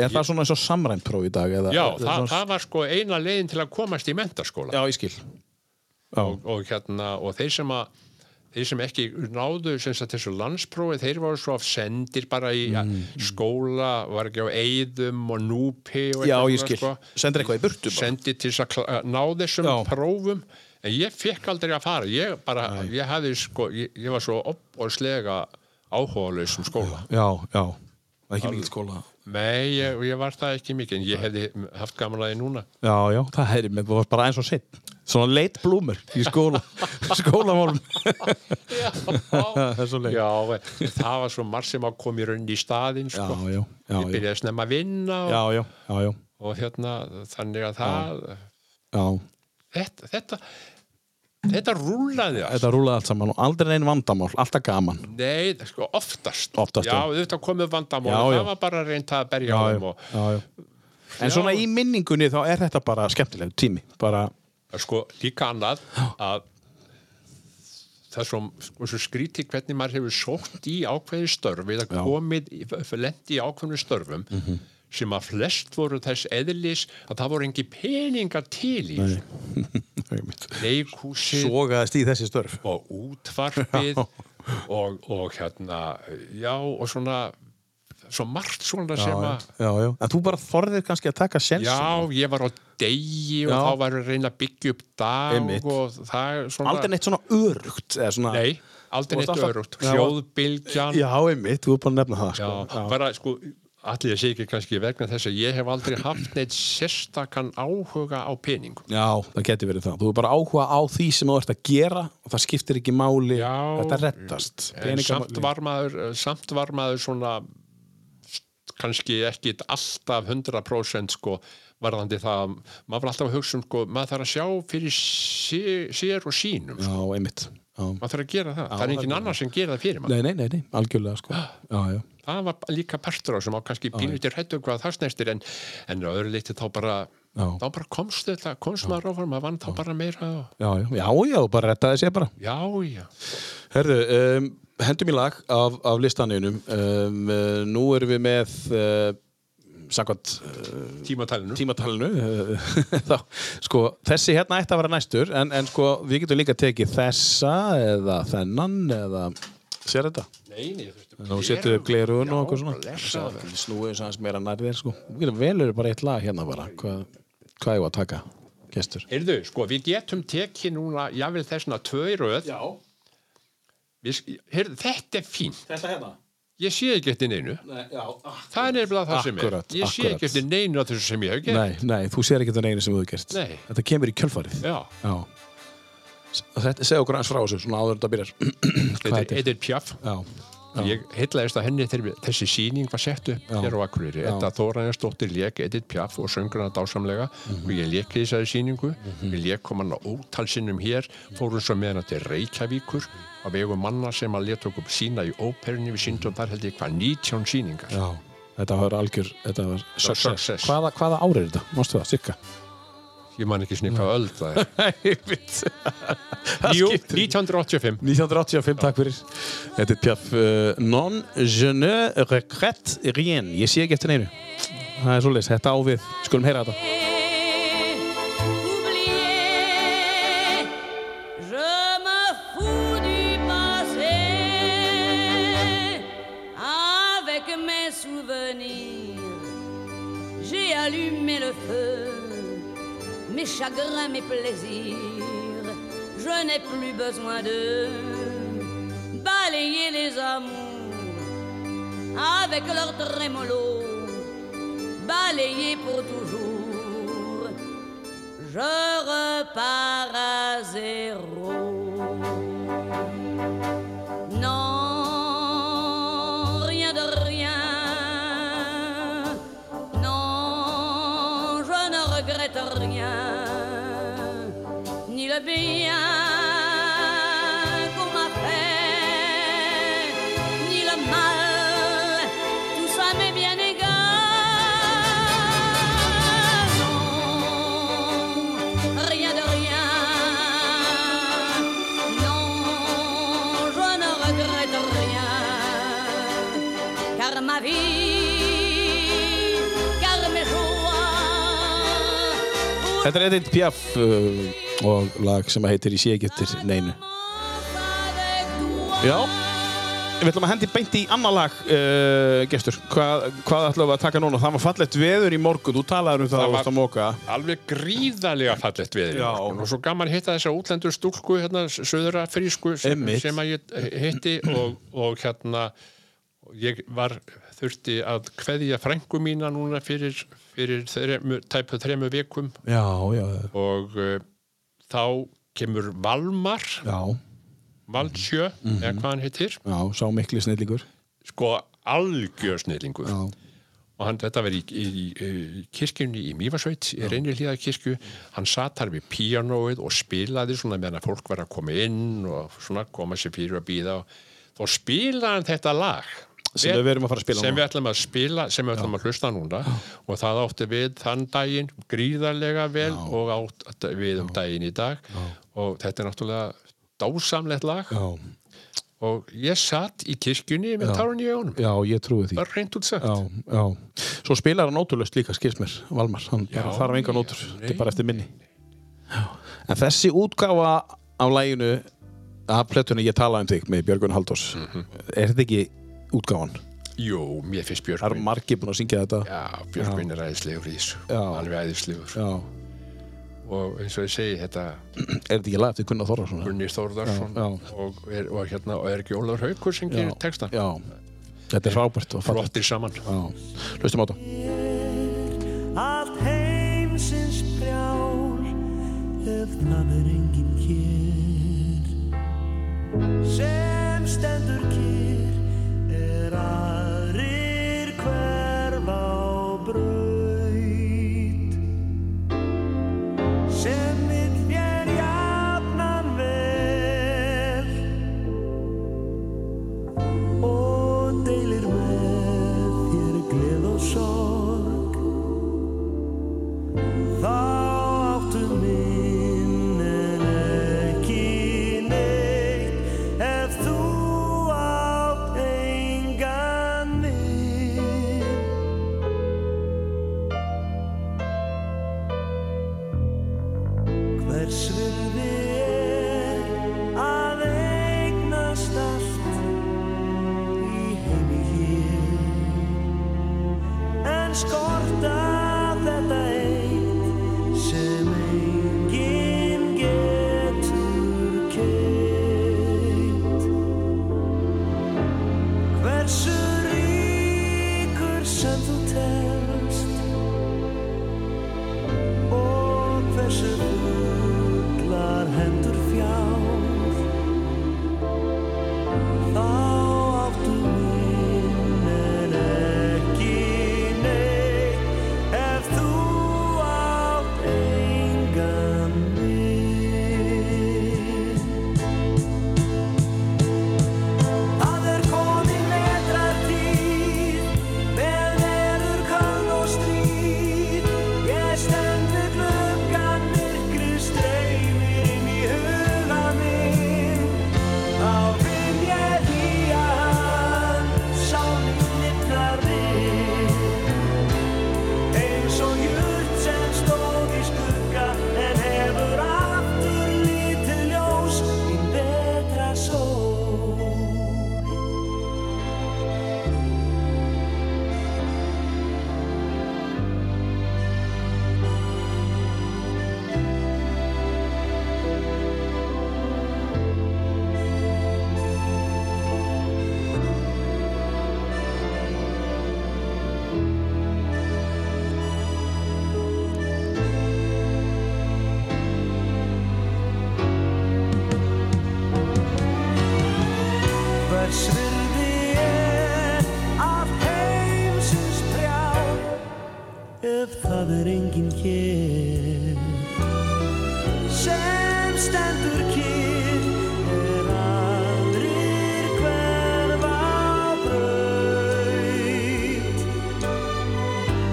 Er það svona eins og samrænt próf í dag? Eða,
Já,
er
það,
svona...
það var sko eina leiðin til að komast í mentaskóla
Já, ég skil. Já,
og, og, hérna, og þeir sem að þeir sem ekki náðu sem sagt, þessu landsprófi, þeir voru svo af sendir bara í mm. skóla var ekki á eyðum og núpi og
já
eitthvað
ég
svona,
skil.
sko.
Sendir eitthvað í burtu bara.
sendir til þess að kla- að ná þessum
Já.
prófum en ég fekk aldrei að fara ég, bara, ég, hafði, sko, ég, ég var svo opbóðslega áhugalaus um skóla
Já, já. Það er ekki mikið skóla.
nei, ég, ég var það ekki mikið en ég hefði haft gaman að því núna
Já, já, það hefði mig það var bara eins og sitt. Svona leit blúmur í skóla, skólamálum. það er svo leik.
Já, það var svo margt sem að koma í rauninni í staðinn sko.
Já, já, já,
Ég byrjaði snemma að vinna og,
Já, já, já, já.
og hérna, þannig að það
já.
þetta, þetta þetta rúlaði allt.
Þetta rúlaði allt saman og aldrei neinn vandamál, alltaf gaman.
Nei, sko, oftast.
Oftast,
já.
já.
auðvitað komið vandamál
Já,
og
já.
það var bara að reynda að berja á þeim og
já, já. En svona í minningunni þá er þetta bara skemmtileg tími, bara,
sko, líka annað að það er svo, sko, svo skríti hvernig maður hefur sótt í ákveðin störf
Já.
eða
Mhm.
komið, lendi í ákveðin störfum sem að flest voru þess eðlis að það voru engi peningar til í þessu. leikhúsið
sogaðist í þessi störf.
og útvarpið og, og hérna já og svona svo margt svona sem
Já,
að
já, já. En þú bara þorðir kannski að taka sjensin.
Já, ég var á degi og
Já.
þá var að reyna að byggja upp dag
Einmitt.
og það er svona
Aldrei neitt svona örugt, eða svona...
Nei, aldrei
Þú varst
neitt
alltaf-
örugt
Já.
Hljóðbylgjan
Já, einmitt, þú er bara að nefna það,
Já,
sko.
bara sko allir sé ekki kannski vegna þess að ég hef aldrei haft neitt sérstakann áhuga á peningum
Já, það geti verið það. Þú er bara áhuga á því sem þú ert að gera og það skiptir ekki máli,
Já.
þetta rettast.
en samt var maður eh, samt var maður svona kannski ekki alltaf 100% sko varðandi það, maður var alltaf að hugsa um sko, maður þarf að sjá fyrir sér, sér og sínum, sko.
Já, einmitt. Já.
maður þarf að gera það það er
það
engin annar sem gera það fyrir maður,
Nei, nei, nei, nei, algjörlega, sko. Já, já.
það var líka partur á sem á kannski pínutir hættu hvað það snertir en, en að öðru leyti þá bara
Já.
þá bara komst þetta, komst maður áfram maður vann þá bara meira og,
Já, já, já, já, þú bara rettaði sér bara.
já, já
Herðu, um, hendum í lag af, af listaninum. Um, uh, nú erum við með, uh, sakvæmt uh,
tímatalinu
tímatalinu, uh, þá, sko, þessi hérna ætti að vera næstur, en, en sko, við getum líka tekið þessa eða þennan eða, sér þetta?
Nei, nei, þú veist,
Nú setur við glerugun og eitthvað
Já,
svona.
blessaður.
Snúið þess aðeins meira nær þér, sko. Við getum velur bara eitt lag hérna bara. Hvað, hvað ég var að taka, gestur?
Heyrðu, sko, við getum tekið núna, ég vil þessna tvö í röð.
Já,
Við sk- Heyrðu, þetta er fín.
þetta hérna.
Ég sé ekki eftir neinu.
Nei, já, Ah,
Það er nefnilega það
Akkúrat,
sem er. Ég sé
akkúrat.
ekki eftir neinu af þessu sem ég hef gert.
Nei, nei, þú sér ekki þannig einu sem þú hefur gert
Nei.
Þetta kemur í kjölfarið
Já,
Já S- Þetta segja okkur aðeins frá þessu, svona áður en þetta byrjar
þetta
þetta
er
er?
Edir Piaf.
Já,
Ég heitlaðist að henni þegar við- þessi síning var sett upp hér á Akureyri. Þetta Þóraðinsdóttir lék Edith Piaf og söngurna dásamlega
Mhm.
og ég lék í þessari síningu. Ég lék kom hann á ótalsinnum hér, fórum svo með hann til Reykjavíkur á vegu manna sem að leta okkur sína í óperunni við síndum þar held ég hvað 19 síningar.
já Þetta var algjör, þetta var success,
success.
Hvaða, hvaða ári er þetta? Mástu það, sykka?
Ég man ekki svona hvað öll það er.
Jú,
Jú, 1985.
1985, takk fyrir Þetta er pjaf uh, Non je ne regrette rien Ég sé ekki eftir neinu Það er svoleiðis, þetta ávið, skulum heyra þetta
Oublié, je
souvenirs. J'ai allumé le feu, mes chagrins, mes plaisirs. Je n'ai plus besoin de balayer les amours avec leur trémolo, balayer pour toujours. Je repars à zéro. Non, rien de rien. Non, je ne regrette rien. Ni le bien qu'on m'a fait, ni le mal. Tout ça m'est bien égal. Non, rien de rien. Non, je ne regrette rien, car ma vie, car mes joies,
Þetta er Edith Piaf uh, og lag sem að heitir Í sé ekki eftir neinu. Já, við ætlum að hendi beint í annað lag, uh, gestur. Hvað, hvað ætlum við að taka núna? Það var fallegt veður í morgun, þú talaður um það,
Það
það
var-
varst að móka.
alveg gríðalega fallett við
Já.
og svo gaman hitta þessa útlendur stúlku hérna, söðra frísku sem,
Einmitt.
sem að ég hitti og, og hérna ég var þurfti að kveðja frængu mína núna fyrir, fyrir þremu, tæpu þremu vikum
Já, já,
og uh, þá kemur Valmar
já,
Valdsjö,
Mhm.
eða hvað hann hittir
já, sá mikli snillingur.
sko algjör snillingu
Já.
og hann, þetta var í, í, í í kirkjunni í Mýfarsveit, í reynir hlýða kirkju hann satt þar við píanóið og spilaði svona meðan að fólk var að koma inn og svona koma sér fyrir að býða og þá spilaði hann þetta lag
Sem við erum að fara að spila
sem
núna.
við ætlum að spila, sem við ætlum að hlusta núna og það átti við þann daginn gríðarlega vel og átt við um daginn í dag og þetta er náttúrulega dásamlegt lag
Já,
og ég satt í kirkjunni með tárun í augunum,
já, ég trúi því.
bara reynd út sagt
Já, já. Svo spilar hann ótrúlega líka, skilst mér, Valmar. Hann bara
Já,
þarf enga nótur,
já,
þetta er bara eftir minni. Já. En þessi útgáfa af læginu, af plötunni ég talaði um þig með Björgun Haldós,
Mhm.
er þetta ekki útgáfan?
Jú, mér finnst
Það
Björgvin
eru margir búin að syngja þetta.
Já, Björgvin er æðislegur í þessu
Já.
alveg æðislegur
Já.
og eins og ég segi þetta
Er þetta ekki lag eftir Gunnar Þorrarsson?
Gunni Þórðarsson
Já, já.
og, er- og, hérna, og er ekki Ólafur Haukur sem gerir textan
Já. Þetta er frábært og fallegt.
flottir saman
Já. Hlustum á þetta.
að heimsins brjál ef það er enginn hér sem stendur kýr er aðrir hverf á braut sem vill þér jafnan vel og deilir með þér gleð og sorg Þá áttu minnin ekki neitt ef þú átt engan mig. Hvers virði er að eignast allt í heimi hér en skorta þetta eitt sem enginn getur keitt Hversu ríkur sem þú telst og hversu fullar hendur fjár þá áttu minnin ekki neitt ef þú átt engan mig Það er komin vetrartíð með veður kann það er enginn hér sem stendur kyrr er aðrir hverfa braut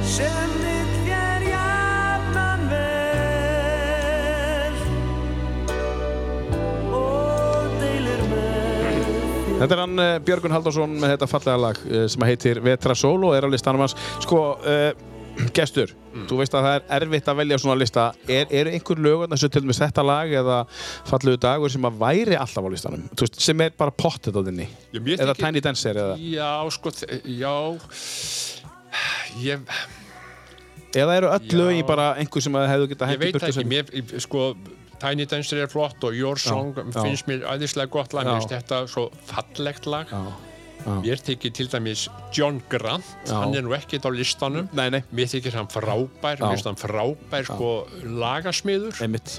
sem vill þér jafnan vel og deilir með
Þetta er hann eh, Björgun Halldórsson með þetta fallega lag eh, sem heitir Vetra Sól og er á listanum hans. Sko, uh, gestur, þú veist að það er erfitt að velja svona lista. Er, eru einhver lögum þessu til dæmis þetta lag eða fallegu dagur sem að væri alltaf á listanum? Þú veist, sem er bara pottet á þinni?
Já, mér
Eða
þykir-
Tiny Dancer eða?
Já, sko, þ- já Ég,
Eða eru öll
Já.
lögin bara einhver sem að hefðu getað
ég
hengt í
veit
burtu
það ekki
sem-
mér, ég- sko, Tiny Dancer er flott og Your Song
já.
finnst mér aðeinslega gott lag, mér
Já.
finnst þetta svo fallegt lag
Já, já.
Mér þykir til dæmis John Grant,
Já.
hann er nú ekkert á listanum
Nei, nei.
Mér þykir hann frábær,
Já.
mér finnst hann frábær sko lagasmiður,
Einmitt.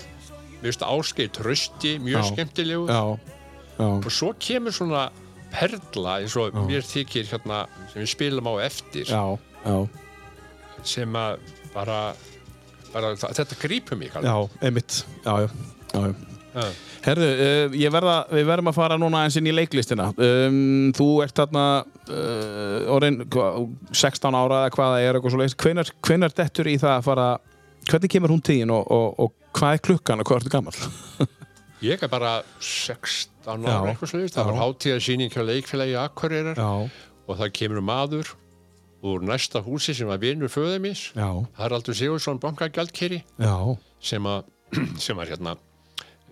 mér finnst áskeið trösti, mjög
Já.
skemmtilegur
Já, já.
og svo kemur svona perla eins og mér þykir hérna sem við spilum á eftir
Já, já,
sem að bara, bara þa- þetta grípum mig
já, einmitt, já, já, já, já.
Já.
Herðu, uh, ég verða, við verðum að fara núna eins inn í leiklistina. Um, þú ert þarna uh, orðin hva- 16 ára eða hvað það er eitthvað svo leiðist. Hvenar, hvenar dettur í það að fara, hvernig kemur hún tíðin og, og, og hvað er klukkan og hvað ertu gammal?
Ég er bara
Já.
16 ára eitthvað sliðist,
Já.
það var hátíðarsýning hjá leikfélagi Akureyrar og það kemur um maður úr næsta húsi sem var vinur föðu mis
já,
Haraldur Sigursson bankagjaldkeri
já,
sem að sem var hérna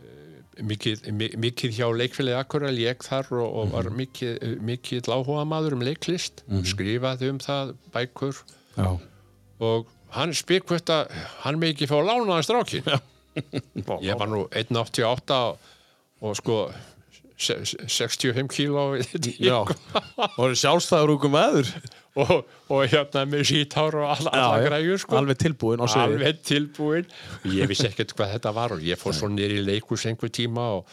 eh, mikið, mi- mikið hjá leikfélagi Akureyrar ég þar og, og var
Mhm.
mikið, mikið láhuga maður um leiklist skrifaði um það bækur
já,
og hann spikvötta hann með ekki fá lánaðan strákin ég var nú 1,88 og- og sko se- se- 65 kíló
já. Og eru sjálfstæður úr maður.
og, og hérna með sítár og all, alla græjur sko
Alveg tilbúin á sviði.
alveg tilbúin ég vissi ekkert hvað þetta var og ég fór svo nýr í leikus einhver tíma og,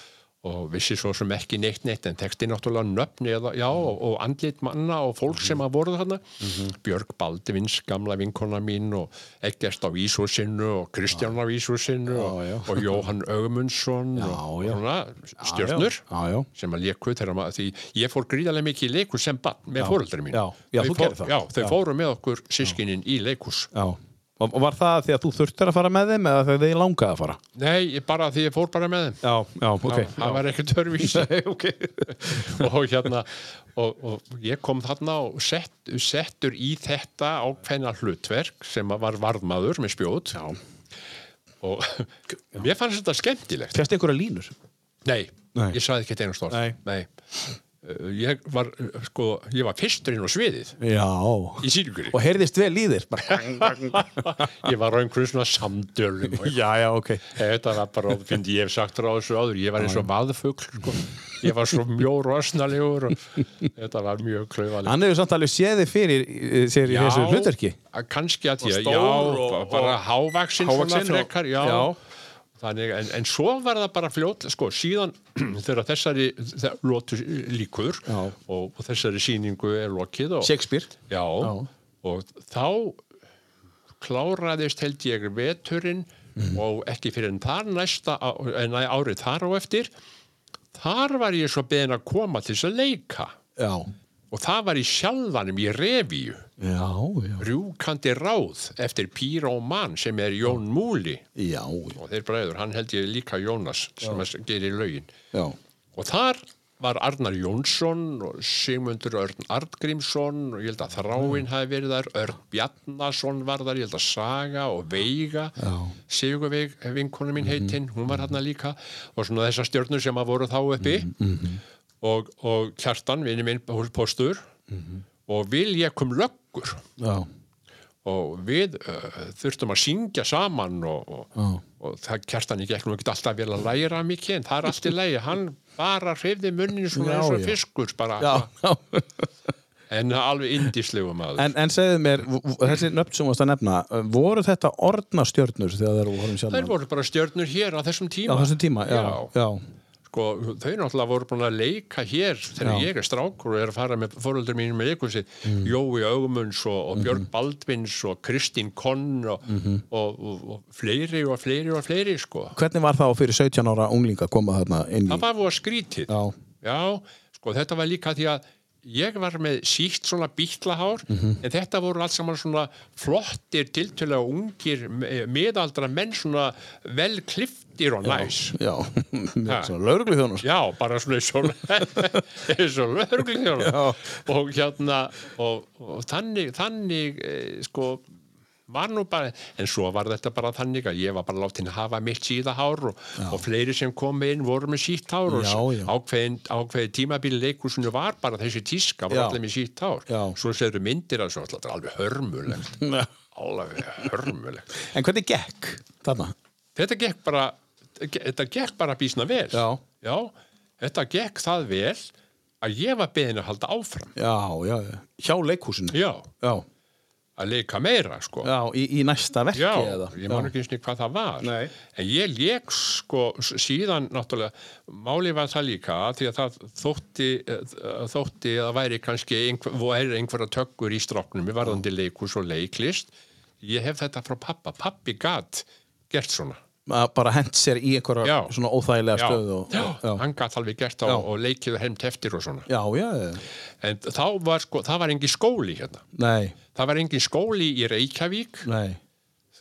og vissi svo sem ekki neitt neitt en teksti náttúrulega nöfni eða, já,
Mm.
og, og andlit manna og fólk sem að voru þarna
Mhm.
Björg Baldvins, gamla vinkona mín og Eggert á Ísúsinu og Kristján á Ísúsinu og,
Já, já.
og Jóhann Ögmundsson og
Já, já.
svona stjörnur
Já, já. Já, já.
sem að leku þegar maður, því ég fór gríðarlega mikið í leikus sem bann með fóreldri mín
já. Já, þú gerðir það.
Já, þau
Já.
fóru með okkur sískinin í leikus
Já. Og og var það því að þú þurftir að fara með þeim eða þegar þið langaði að fara?
Nei, ég bara því ég fór bara með þeim
Já, já, ok.
Já, það var ekkert törvísi
okay.
og hérna og, og ég kom þarna og sett, settur í þetta ákveðna hlutverk sem að var varðmaður með spjót Já. og mér fannst þetta skemmtilegt
Fjast einhverja línur?
Nei,
Nei.
ég sagði ekki einu stór
Nei.
Uh, Ég var, uh, sko, ég var fyrstur inn á sviðið
Já.
í sílgri
Og heyrðist vel í þér? Bara-
ég var á einhverjum svona samdölum og
já, já, ok.
Eh, Þetta var bara, finnst ég hef sagt frá þessu áður, ég var eins og vaðfugl, sko. Ég var svo mjór og asnalegur og þetta var mjög klaufalega.
Hann hefur samt alveg séð þig fyrir eh, sér í þessu hlutverki.
Kannski að ég,
stór
já,
og-
bara- bara hávaxinn svona
Hávaxinn og-
frekar, já.
já.
Þannig, en, en svo var það bara fljót, sko, síðan þegar þessari þe- lotu líkur
Já.
og, og þessari síningu er lokið og,
Shakespeare.
já, og þá kláraðist held ég veturinn
Mhm.
og ekki fyrir en þar næsta á- en næ- árið þar á eftir þar var ég svo beðin að koma til þess að leika
Já.
og það var í sjálfanum í revíu
Já, já.
rjúkandi ráð eftir Píra og mann sem er Jón Múli
Já,
og þeir bræður, hann held ég líka Jónas sem að gerir lögin
já.
og þar var Arnar Jónsson og Sigmundur Örn Arngrímsson og ég held að Þráin hafi verið þar Örn Bjarnason var þar, ég held að Saga og Veiga Sigurveig, vinkonu
Mhm.
mín heitinn hún var hérna líka og svona þessar stjörnur sem að voru þá uppi
Mhm,
og, og Kjartan, vinni minn postur og Vilja kom löggur
Já.
og við uh, þurftum að syngja saman og, og, og það kjartan ekki ekki ekkert alltaf vel að læra mikið en það er allt í lægi, hann bara hreyfði munnin svona
Já,
eins og
já.
fiskur bara,
Já, já.
en alveg indislegu maður
En, en segðu mér, v- v- þessi nöfn sem þú varst að nefna, eh, voru þetta orðnastjörnur þegar þeir voru horfum sjálf?
þær voru bara stjörnur hér á þessum
Já,
tíma
á þessum tíma, já. Já,
Já. sko, þau náttúrulega voru búin að leika hér þegar
Já. Mm.
ég er strákur og er að fara með fóröldur mínum með ykkur sér Jói Ögumunds og, og Björn
Mhm.
Baldvins og Kristín Konn og, og, og, og fleiri og fleiri og fleiri sko.
Hvernig var það fyrir 17 ára unglinga að koma þarna inn í?
það var voða skrítið
Já,
Já, sko þetta var líka því að ég var með síkt svona bítlahár
Mhm.
en þetta voru allt saman svona flottir, tiltölega ungir me- miðaldra menn svona vel kliftir og næs
já,
Ha.
svona lauruglu þjónur.
Já, bara svona eins og eins og lögreglustjórar. og hérna og, og þannig, þannig eh, sko var nú bara, en svo var þetta bara þannig að ég var bara látin að hafa mitt síðahár og, og fleiri sem komu inn voru með sítt hár og
Já,
s-
já.
ákveðin, ákveðin tímabili leikusinu var bara þessi tíska var
Já.
allir með sítt hár
Já.
svo segðu myndir að svo alltaf alveg hörmulegt
Já.
alveg hörmulegt
En hvernig gekk þarna?
þetta gekk bara þetta gekk bara býsna vel
Já.
þetta gekk það vel að ég var beðin að halda áfram
Já, já, já. hjá leikhúsinu.
já,
já,
að leika meira sko
já í, í næsta verki
Já,
eða?
ég man ekki eins og hvað það var
Nei.
en ég leik sko s- síðan náttúrulega, máli var það líka því að það þótti eh, þótti að væri kannski einhver, væri einhverja tökkur í stráknum í varðandi leikus og leiklist ég hef þetta frá pappa, pappi gat gert svona
Að bara hent sér í einhverja
Já.
svona óþægilega
já,
stöðu og,
já,
já.
hann gæti alveg gert það og leikið heimt eftir og svona
já, já, já.
en þá var sko, það var engin skóli hérna
nei,
það var engin skóli í Reykjavík
nei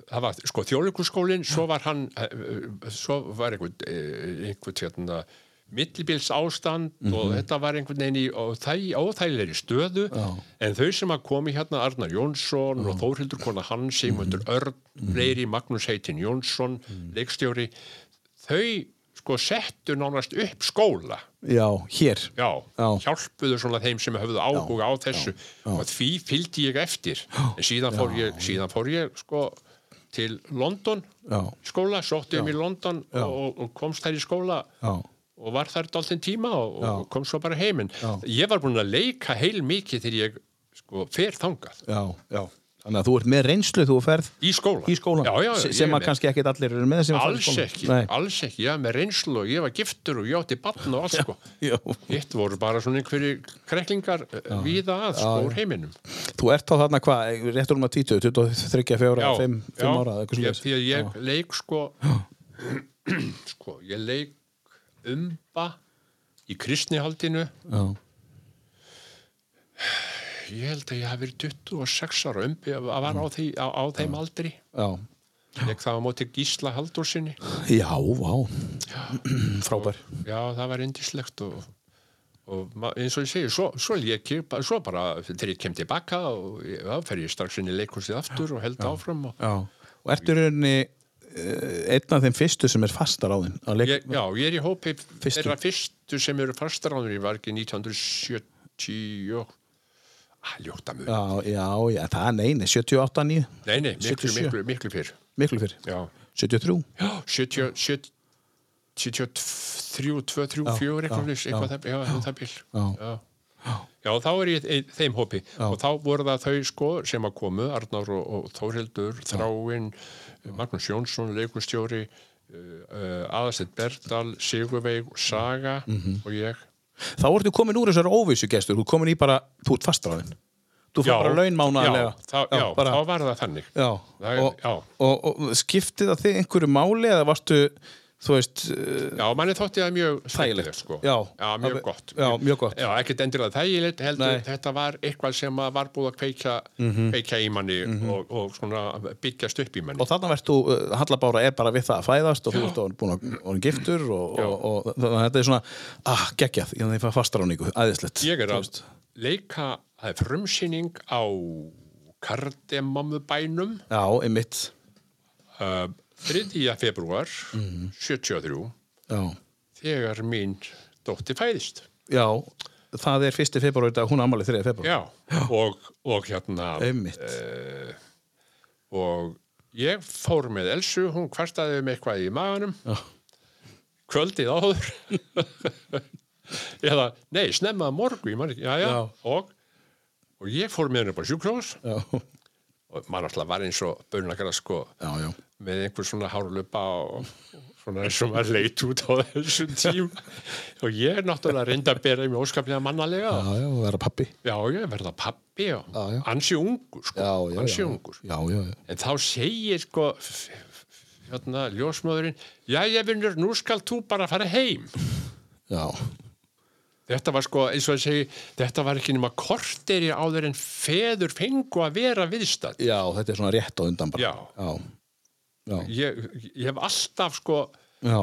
það var sko þjóðleikusskólin svo var hann eh, eh, svo var einhvern, eh, einhvern hérna, millibils ástand
Mhm.
og þetta var einhvern veginn í ó- þæ- óþægilegri stöðu en þau sem að komi hérna Arnar Jónsson og Þórhildur Kona Hans
Mhm.
Sigmundur Örn, fleiri Magnús Heitin Jónsson, leikstjóri þau sko settu nánast upp skóla
já, hér
já,
Já.
hjálpuðu svona þeim sem höfðu áhuga á þessu og því fylgdi ég eftir en síðan fór ég, síðan fór ég sko, til London
Já.
í skóla, sótti um í London og, og komst þær í skóla
Já.
og var þær dálfinn tíma og, og kom svo bara heiminn ég var búin að leika heil mikið þegar ég sko, fer þangað
já, já Þannig að þú ert með reynslu, þú ferð
í skóla,
í skólan
já, já,
Se-
ég
sem
er
að
með.
kannski ekkit allir eru með sem að fara í
alls
skólan.
ekki,
Nei.
alls ekki, já, með reynslu og ég var giftur og ég átti bann og allt sko
Já.
hitt voru bara svona einhverju kreklingar já. víða að sko úr heiminum
Þú ert þá þarna hvað, réttur um að 20, 23, 4, 5, 5 ára eða eitthvað
ég,
svoleiðis?
því að ég leik sko sko, ég leik umba í kristnihaldinu
Já.
ég held að ég hafi verið 26 ára umbi að var á, því, á, á þeim aldri
Mm. Já,
leik það á móti Gísla Haldursinni
já, vá Frábær
já, það var indislegt og og ma- eins og ég segi, svo, svo lék ég bara- svo bara, þegar ég kem tilbaka og ég- þá fer ég strax inn í leikursið aftur og held áfram og,
Já, og ertu í rauninni eh, einn af þeim fyrstu sem er fastar á þinn að leik,
ég, já, ég er í hópi
Fyrstu.
þeirra fyrstu sem eru fastaráður í vargi 1970 og ah, ljóta mjög,
já, já, já, það er neini 78, 9,
nei, nei, miklu,
77.
miklu, miklu fyrr
miklu fyrr
já,
73,
já 70, 70 73, 2, 3, 4 eitthvað
já,
fyrst, eitthvað það, já, um það bíl
Já.
já. Já, þá er ég í þeim hópi og þá voru það þau sko sem að komu Arnar og, og Þórhildur, Þráin Magnús Jónsson, leikustjóri uh, uh, Aðastett Berdal Sigurveig, Saga
Mhm.
og ég
þá ertu komin úr þessari óvissu gestur, þú ert komin í bara þú ert fastar á þinn, þú fær bara laun mánaðarlega
já, þá, já,
bara,
þá var það þannig
já,
Það er-
og,
já.
Og, og, skipti það þig einhverju máli eða varstu, þú veist eh,
já, manni þótti það mjög
Þægilegt.
skemmtilegt, sko.
Já.
mjög
Alveg-
gott Eh.
já, mjög gott.
já, ekkert endilega þægilegt, heldur
Nei. Mhm.
þetta var eitthvað sem að var búið að kveikja, kveikja í manni og, og svona byggjast upp í manni
og þarna verðst þú, eh, Halla Bára er bara við það að fæðast og þú ert orðin- búin að orðin giftur og, og, og, og þannig að þetta er svona ah, geggjað, ég þannig að fastar á nýgu, æðislegt
ég er
Þú
að
veist.
leika það er frumsýning á kardemamubænum
Já, einmitt
uh, 3. februar
Mhm.
73
Já,
þegar mín dótti fæðist
já það er fyrsti februar í dag, hún ámalið 3. februar
já, og, og hérna
sko.
eh,
Einmitt,
og ég fór með Elsu, hún kvartaði um eitthvað í maganum
Já.
kvöldið áður eða, nei, snemma að morgu já, já, já.
Já.
Og, og ég fór með henni upp á sjúkrós
já,
og maður alltaf var eins og bönlakara sko
já, já
með einhver svona hárlupa og, og svona eins og maður leit út á þessum tíma og ég er náttúrulega reyndi að bera mjög óskaplega mannalega
Já, já, það er að pappi.
já, ég verða pappi og
Já, já.
ansi ungur sko,
Já, já,
ansi
já.
ungur
Já, já, já.
en þá segir sko f- f- hérna, ljósmöðurinn já, ég vinnur, nú skal þú bara fara heim
Já,
þetta var sko, eins og ég segi þetta var ekki nema korteri áður en feður fengu að vera viðstætt
já, þetta er svona rétt á undan bara.
Já.
Já, já,
ég, ég hef alltaf sko
já.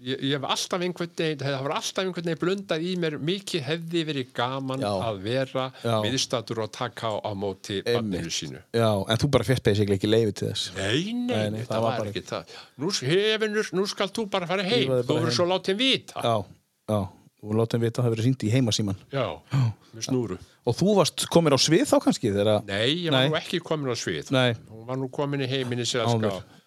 ég, ég hef alltaf einhvern veginn það hefur alltaf einhvern veginn blundað í mér mikið hefði verið gaman
Já.
að vera
Já.
viðstættur og taka á, á móti barninu sínu
Já, en þú bara fyrst basically ekki leiði til þess.
Nei, nei,
Nei, nei,
þetta var,
bara-
ekki það Nú, hefinur, nú skal þú bara fara heim
Drífaðu
Þú
bara
verður
heim.
svo látið vita
Já, já, og látum við þetta hafa verið sínt í heimasíman.
Já, með snúru
Og þú varst komin á svið þá kannski þegar að...
Nei, ég var
Nei.
nú ekki komin á svið
Nei.
Hún var nú komin í heiminni sér að
Áður.
ská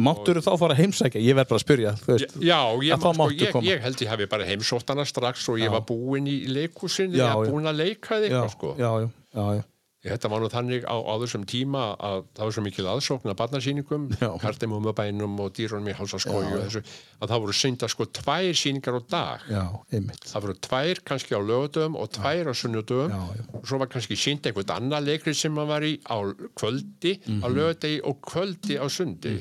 Máttur þá fara að heimsækja? Ég verð bara að spyrja, þú veist.
Já, ég,
Að þá
man- sko,
máttu
ég,
koma.
ég held ég hafi bara heimsótt hana strax og ég var búinn í leikúsinni
Já,
ég var
já.
búinn að leika þig
já,
sko.
já, já, já, já.
Þetta var nú þannig á, á þessum tíma að það var svo mikil aðsókn að barnasýningum
Já.
kartemumabænum og dýrunum í hálsaskói og þessu, að það voru synda sko tvær sýningar á dag
Já, einmitt.
það voru tvær kannski á lögutum og tvær á sunnudum
Já, já.
og svo var kannski sínt einhvern annað leikri sem maður var í á kvöldi á
Mhm.
lögudegi og kvöldi á sundi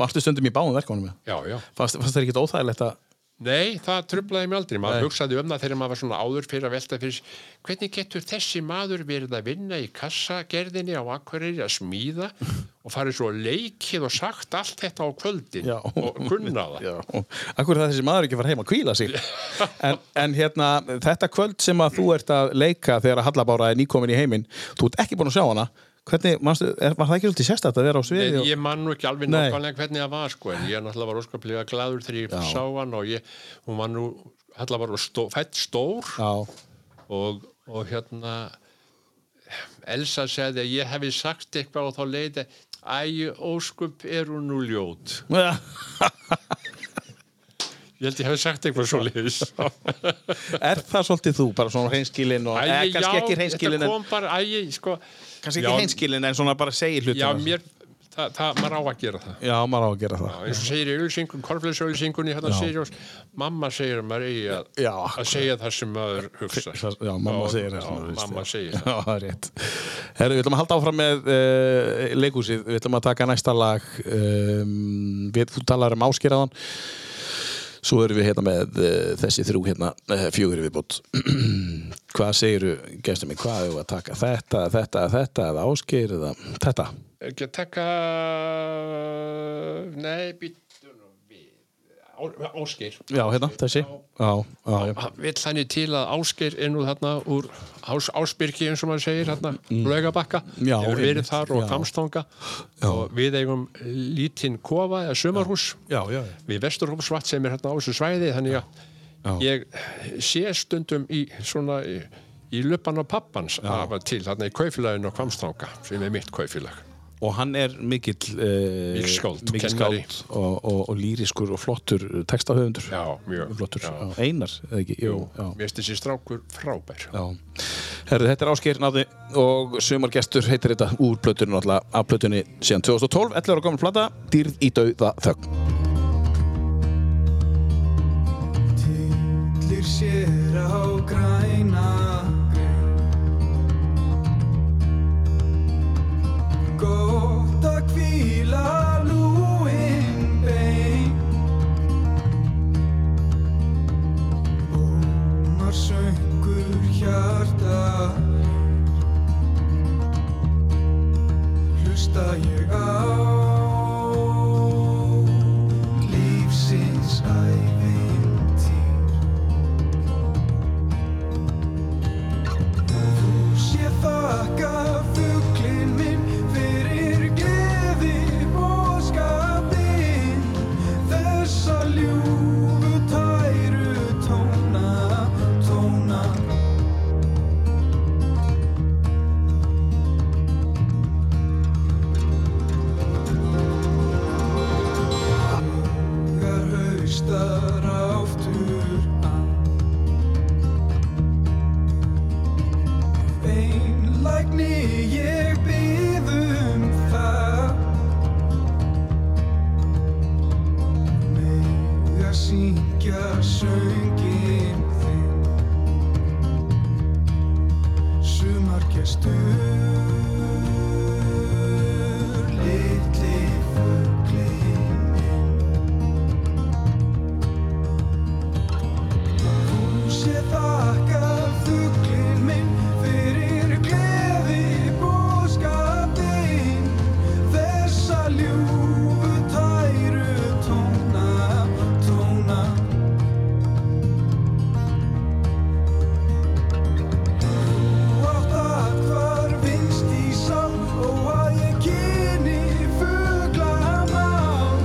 Varstu stundum í báðum verkefnum með?
já, já,
Fannst, fannst það ekki óþægilegt að...
nei, það trublaði mig aldrei maður
Nei.
hugsaði um það þegar maður var svona áður fyrir að velta fyrir sér, hvernig getur þessi maður verið að vinna í kassagerðinni á akkurýri að smíða og farið svo leikið og sagt allt þetta á kvöldin
Já.
og kunna það
Já, akkur er það þessi maður ekki að fara heim að kvíla sig en, en hérna, þetta kvöld sem að þú ert að leika þegar að Hallabára er nýkomin í heiminn þú ert ekki búin að sjá hana hvernig, manstu, er, var það ekki svolítið sérstætt að vera á sviði
Nei,
og-
ég man nú ekki alveg
Nei.
nákvæmlega hvernig það var sko, en ég náttúrulega var óskaplega gladur þegar ég sá hann og ég, hún var nú allavega var stó, fætt stór
Já,
og, og hérna Elsa segði að ég hefði sagt eitthvað og þá leiði æ, óskup er hún nú ljót
já.
ég held ég hefði sagt eitthvað svo leiðis
er það svolítið þú, bara svona hreinskilin og, eh, kannski ekki hreinskilin
þetta
en,
kom bara, æ, sko
kannski
Já,
ekki hreinskilin en svona bara segir hlutina
já, mér, það, það, maður á að gera það
já, maður á að gera það
Já, eins og segir í auðlýsingun, korfleysauðlýsingunni hérna Sirius, mamma segir að maður eigi að,
Já,
að segja það sem maður hugsa
Það- Já, mamma segir það
já,
svona, veist,
mamma
já.
segir það
Já, það er rétt Herru, við ætlum að halda áfram með uh, leikúsið Við ætlum að taka næsta lag um, við, Þú talar um áskeraðan Svo erum við hérna með uh, þessi þrjú hérna, uh, fjögur viðbútt Hvað segiru, gestur mig, hvað hefur að taka? Þetta, þetta, þetta, eða ásker eða þetta?
ekki að taka nei, býttu nú við Á- Ásgeir
Já, hérna, þessi Já, já, já,
Hann vill þannig til að Ásgeir er nú þarna úr ás, Ásbyrgi eins og maður segir hérna, Laugabakka,
Mm. Já,
hefur verið
einmitt,
þar og
já.
Kamstanga og við eigum lítinn kofa eða sömarhús
já, já,
við Vesturhómsvatt sem er hérna á þessu svæði þannig að ég sé stundum í svona í, í löpan á pappans af að til þarna í kaufélaginu á Kvamstanga sem er mitt kaufélag
Og hann er mikill uh,
Mikill skáld,
mikill
kennari.
skáld og, og, og lýriskur og flottur textahöfundur
já, mjög
flottur,
já.
já. Einar, eða ekki? Jú, já.
mér finnst þessi strákur frábær
já. Herðu, þetta er Ásgeir Náði og sumargestur heitir þetta úr plötunum alltaf, af plötunni síðan 2012, 11 ára gamla plata, dýrð í dauða þögn.
Tyllir sér á græna Gott að hvíla lúin bein Bómar söngur hjarta Hlusta ég á Lífsins ævintýr Ég þakka fuglinn minn fyrir gleði boðskapinn Þessa ljúfu tæru tóna, tóna um aftur litli fuglinn Þú sé þakka fuglinn minn fyrir gleði bóskapinn Þessa ljúfu tæru tóna, tóna Þú átt að hvar vinst í sál og að ég kyni fuglamál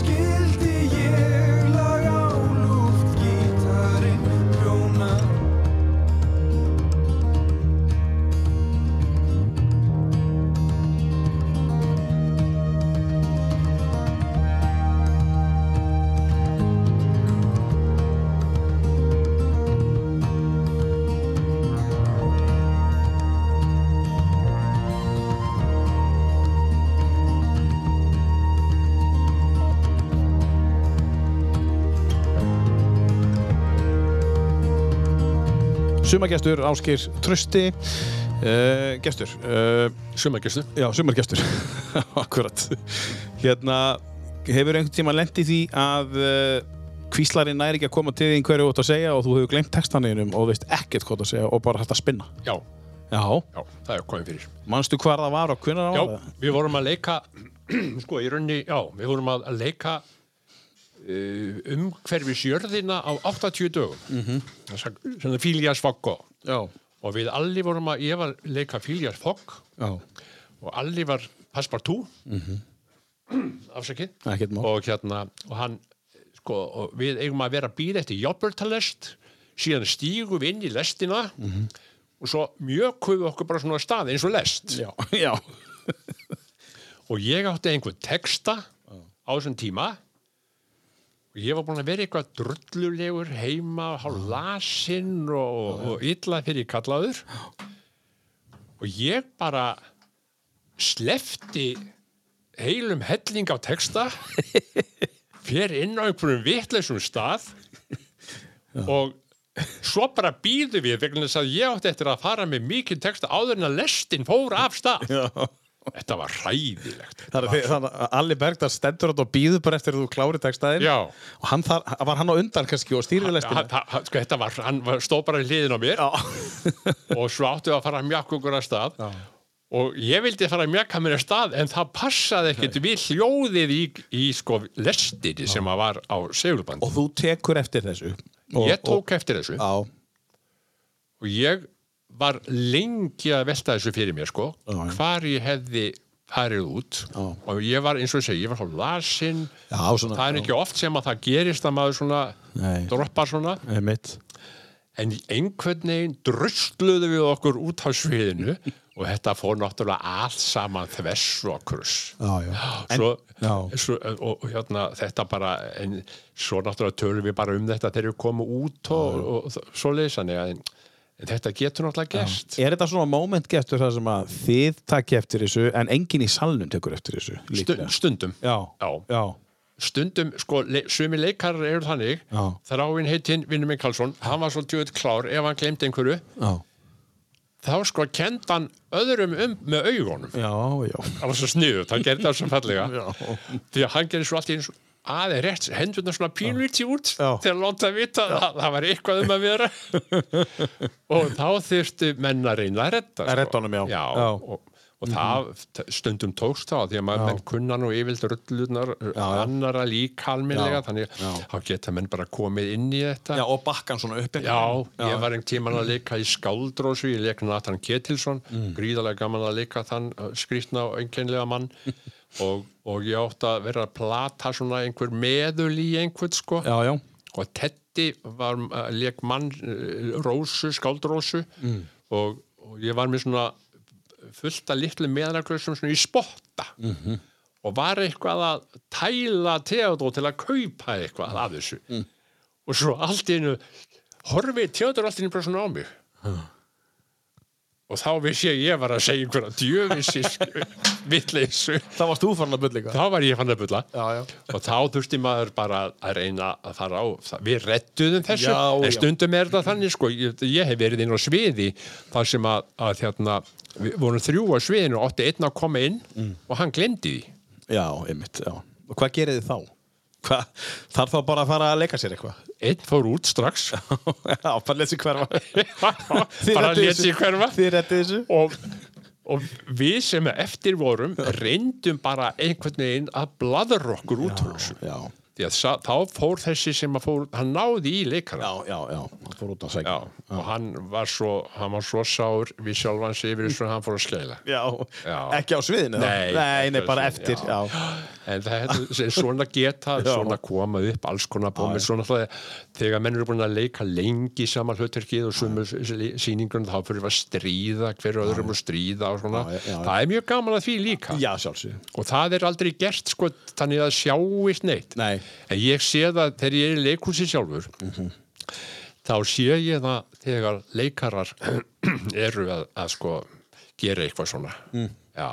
Skildi ég lag á lúft gítarinn hljóna
Sumagestur, Áskir Trösti uh, Gestur uh,
Sumagistu.
Já, sumargestur Akkurat Hérna, hefur einhvern tíma lent í því að uh, kvíslarinn næri ekki að koma til þín hverju þú ert að segja og þú hefur glemt textaninum og þú veist ekkert hvað þú ert að segja og bara hægt að spinna
Já,
Já,
já, það er komið fyrir.
manstu hvar það var og hvenær það
Já,
var það?
við vorum að leika, sko, í raunni, já, við vorum að að leika uh, umhverfis jörðina á 80 dögum. Mm
Mhm.
-hmm. Svona Fílias Fokko.
Já,
Og við allir vorum að, ég var að leika Fílias Fokk
já,
og allir var Passepartout. Afsakið.
Mhm. ekkert mál
og hérna og hann, sko, og við eigum að vera að býða eftir jobbertalest síðan stígum við inn í lestina
Mhm.
og svo mjökum við okkur bara svona af stað eins og lest
Já, já,
og ég átti einhvern texta á þessum tíma og ég var búin að vera eitthvað drullulegur heima hálf lasinn og, og illa fyrir kallaður og ég bara slefti heilum helling á texta fer inn á einhverjum vitleysum stað og svo bara býðu við vegna þess að ég átti eftir að fara með mikið texta áður en að lestin fór af stað
já.
Þetta var hræðilegt.
Það er því- þannig að Alli Bergdar stendur átt og býður bara eftir að þú klári textaðin
Já.
Og hann þar, var hann á undan kannski og stýrði lestina
Hann- hann- Sko, þetta var, hann var- stóð bara í hliðin á mér og svo áttu að fara að mjaka okkur að stað og ég vildi fara að mjaka mér að stað en það passaði ekkert við hljóðið í, í sko lestinni sem að var á segulbandi.
Og þú tekur eftir þessu og,
Ég tók eftir þessu
Já,
og ég var lengi að velta þessu fyrir mér sko,
já.
hvar ég hefði farið út
Já.
og ég var eins og ég segi, ég var hálf lasinn
já, svona
það er ekki oft sem að það gerist að maður svona
Nei.
droppar svona
Einmitt.
en einhvern veginn drusluðu við okkur út á sviðinu og þetta fór náttúrulega allt saman þvers og kruss
Já, já. En-
svo,
já.
svo, og, og hérna þetta bara en svo náttúrulega tölum við bara um þetta þegar við komum út og, og, og svo leysan en, en þetta getur náttúrulega gerst
Er þetta svona moment gestur það sem að þið takki eftir þessu en enginn í salnum tekur eftir þessu?
Stund,
líklega?
stundum
Já,
Já.
já,
stundum, sko, le sumi leikarar eru þannig,
Já.
þráinn heitinn Vinnuminn Karlsson, hann var svo tjóðið klár ef hann glemdi einhverju,
já,
þá sko kendi hann öðrum um með augunum
já, já.
það var svo sniðut, hann gerði það svo fallega
Já.
því að hann gerði svo allt í eins aðeins rétt, hendurna svona pínvíti út
Já.
til að láta vita að að það var eitthvað um að vera og þá þurftu menn að reyna að redda sko.
Að redda honum, já.
já,
Já.
og, og það stundum tókst þá því að maður menn kunna nú yfirlt rullunar
já.
annara líka
Já.
almennilega þannig
Já.
þá geta menn bara komið inn í þetta
Já, og bakkan svona uppi.
Já, ég var einn tíman að leika í Skáldrósu, ég leik Nathan Ketilsson, gríðarlega gaman að leika þann uh, skrýtna og einkennlega mann og, og ég átti að vera að plata svona einhver meðul í einhvern sko
Já, já,
og Teddy var, uh, leik mann uh, Rósu, Skáldrósu og, og ég var með svona fullt af litlu meðanaklausum svona í spotta og var eitthvað að tæla Theodó til að kaupa eitthvað af þessu og svo allt í einu horfið Theodór allt í einu bara svona á mig og þá vissi ég að ég var að segja einhverja djöfisins vittleysu
Þá varst þú farin að bulla eitthvað.
þá var ég fann að bulla
Já, já.
og þá þurfti maður bara að reyna að fara á það- við rettuðum þessu
Já,
en
já.
stundum er þetta þannig sko ég, ég hef verið inn á sviði þar sem að, að hérna, við vorum þrjú á sviðinu og átti einn að koma inn
Mm.
og hann glemdi því
Já, einmitt, já. Og hvað gerir þið þá? Hva? Þarf þá bara að fara að leika sér eitthvað?
einn fór út strax
já, bara lesi hverfa. Þið
bara
reddið
lét
þessu.
sér hverfa
Þið rettið þessu?
og, og við sem eftir vorum reyndum bara einhvern veginn að bladra okkur út úr þessu
Já,
því að sa- þá fór þessi sem að fór hann náði í leikana
já, já, já. Það fór út að
Já,
segja.
og hann var svo hann var svo sár við sjálfan sig yfir þessu að hann fór að skæla
Já.
Já.
Ekki á sviðinu? þá?
Nei,
Nei, nei,
ekki á
bara
sviðinu,
eftir, já.
en það er svona geta
Já.
svona koma upp alls konar bómið svona alltaf þegar menn eru búin að leika lengi saman hlutverkið og sumu sýningunum þá fyrir við að stríða hver öðrum og stríða og svona
Já, já, já.
það er mjög gaman að því líka
Já, sjálfsög.
og það er aldrei gert sko þannig að sjáist neitt
Nei.
en ég sé það þegar ég er í leikhúsi sjálfur þá sé ég það þegar leikarar eru að, að sko gera eitthvað svona já,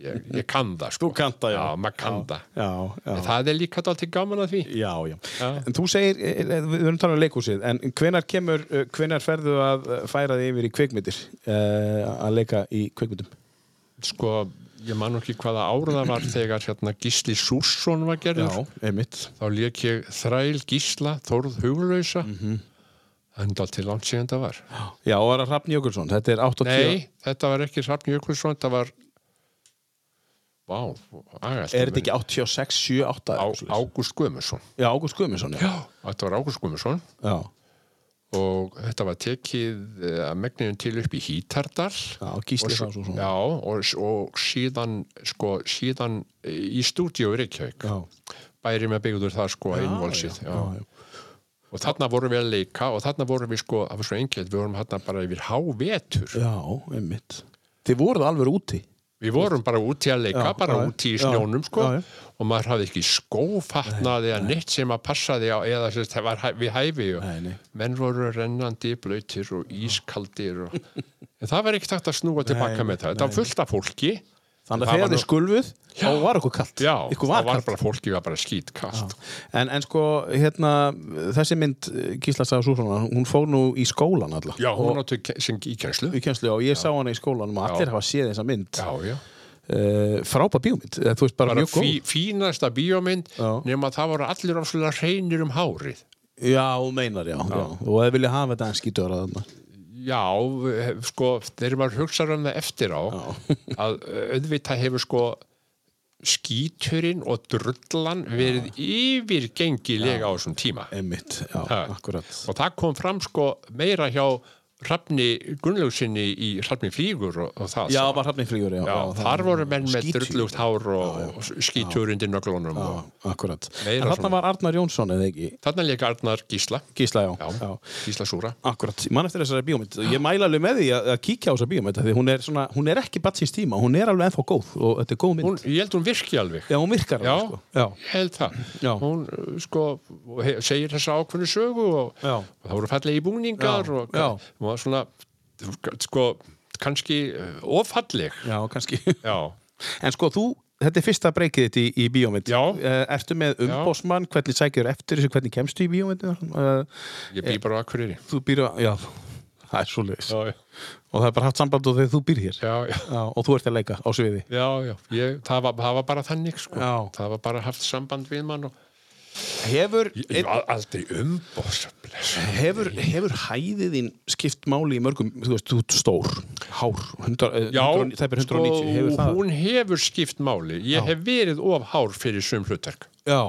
ég, ég kann það sko
Þú kannt það, já.
maður kann það
Já, já.
en það er líka alltaf gaman að því
Já, já.
Já.
En þú segir, eh, eh, við erum talað um leikhúsið, en hvenar kemur, eh, hvenar ferðu að eh, færa þig yfir í kvikmyndir, eh, að leika í kvikmyndum?
sko, ég man nú ekki hvaða ára það var þegar hérna Gísli Súrsson var gerður
einmitt.
þá lék ég Þræl Gísla Þórð Hugulösa mm
Mhm.
-hmm. en það til langt síðan það var
Já, og það er Hrafn Jökulsson, þetta er 8 og 10.
Nei, þetta var ekki Hrafn Jökulsson, þetta var Vá, agalt
Er þetta ekki 86, 7, 8?
Ágúst Guðmundsson
Já, Ágúst Guðmundsson, já.
Þetta var Ágúst Guðmundsson
Já,
og þetta var tekið eh, að megninu til upp í Hítardal
já Gísli
og,
Hrafnsson.
já, og, og síðan sko, síðan í stúdíu í Reykjavík
Já.
bæri með byggður það sko að innvolsið já, og þarna vorum við að leika og þarna vorum við sko, það var svo engjöld við vorum þarna bara yfir hávetur
Já, einmitt. Þið voruð alveg úti.
Við vorum bara úti að leika,
Já,
bara
já,
úti í
já,
snjónum sko
já, já.
og maður hafði ekki skófatnaði eða neitt sem að passaði á eða sem það var hæ- við hæfi og
Nei, nei.
menn voru rennandi blöytir og ískaldir og en það var ekkert hægt að snúa tilbaka með það þetta var fullt af fólki
Þannig
Það
að
var
þegar þið
nú-
skulfuð, þá var okkur kallt.
Já,
Ykkur
það
var
var
kallt.
bara fólki var bara skítkast
En, en sko, hérna, þessi mynd eh, Gísla Saga Sússonar, hún fór nú í skólan alla.
Já, hún áttu ke- sem í kjenslu
í kjenslu og ég sá hana í skólanum og allir
Já.
hafa séð þessa mynd
Já, já
uh, frápa bíómynd, eh, þú veist bara,
bara
mjög góð
fí, fínasta bíómynd
Já.
nema það voru allir ofslega hreinir um hárið
já, þú meinar, já, já. og þið vilja hafa þetta en skítur að þarna
Já, eh, sko, þegar maður hugsar um það eftir á að eh, auðvitað hefur sko skíturinn og drullan verið yfirgengilega á þessum tíma
einmitt, já,
Ha.
akkurat
og það kom fram sko meira hjá Hrafni Gunnlausinni í Hrafni Flígur og, og það
já,
sko.
bara hrafningflýgur, já,
Já,
já,
þar voru menn með
Skítur.
drullugt hár og, og skíturinn í nöglunum
já,
og
akkurat, en
Meira svona.
þarna var Arnar Jónsson eða ekki,
þarna leika Arnar Gísla
Gísla, já,
Já, Gísla Súra
Akkurat, ég man eftir þessari bíómynd Ég mæla alveg með því að að kíkja á þessa bíómynd af Því hún er, svona, hún er ekki batsins tíma Hún er alveg ennþá góð og þetta er góð mynd
hún, Ég held hún virki alveg
Já, hún virkar
Já,
alveg, sko Já,
ég held það
Já.
hún uh, sko he- segir þessa ákvöndu sögu og,
Já.
og það voru fallegi búningar
Já,
og
já.
hún var svona sko kannski uh, ofalleg
já kannski
já,
En sko, þú, þetta er fyrsta breykið þitt í, í bíómynd
Já.
Eh, Ertu með umbósmann, hvernig sækir eftir þessu Hvernig kemstu í bíómynd Eh,
ég bý bara á Akureyri
Þú býr að, já, það er svoleiðis
já,
Og það er bara haft samband og þegar þú býr hér
já, já,
Já, og þú ert að leika á sviði
já, já. Ég, það, var, það var bara þannig sko.
Já.
það var bara haft samband við mann og
Hefur,
ég, ég var aldrei umbóðs bless.
hefur, hefur hæðið þín skipt máli í mörgum, þú veist, þú ert stór hár, eh, 100,
Já, sko,
100, það er 190 hefur það?
hún hefur skipt máli ég hef verið of hár fyrir sum hlutverk
Já,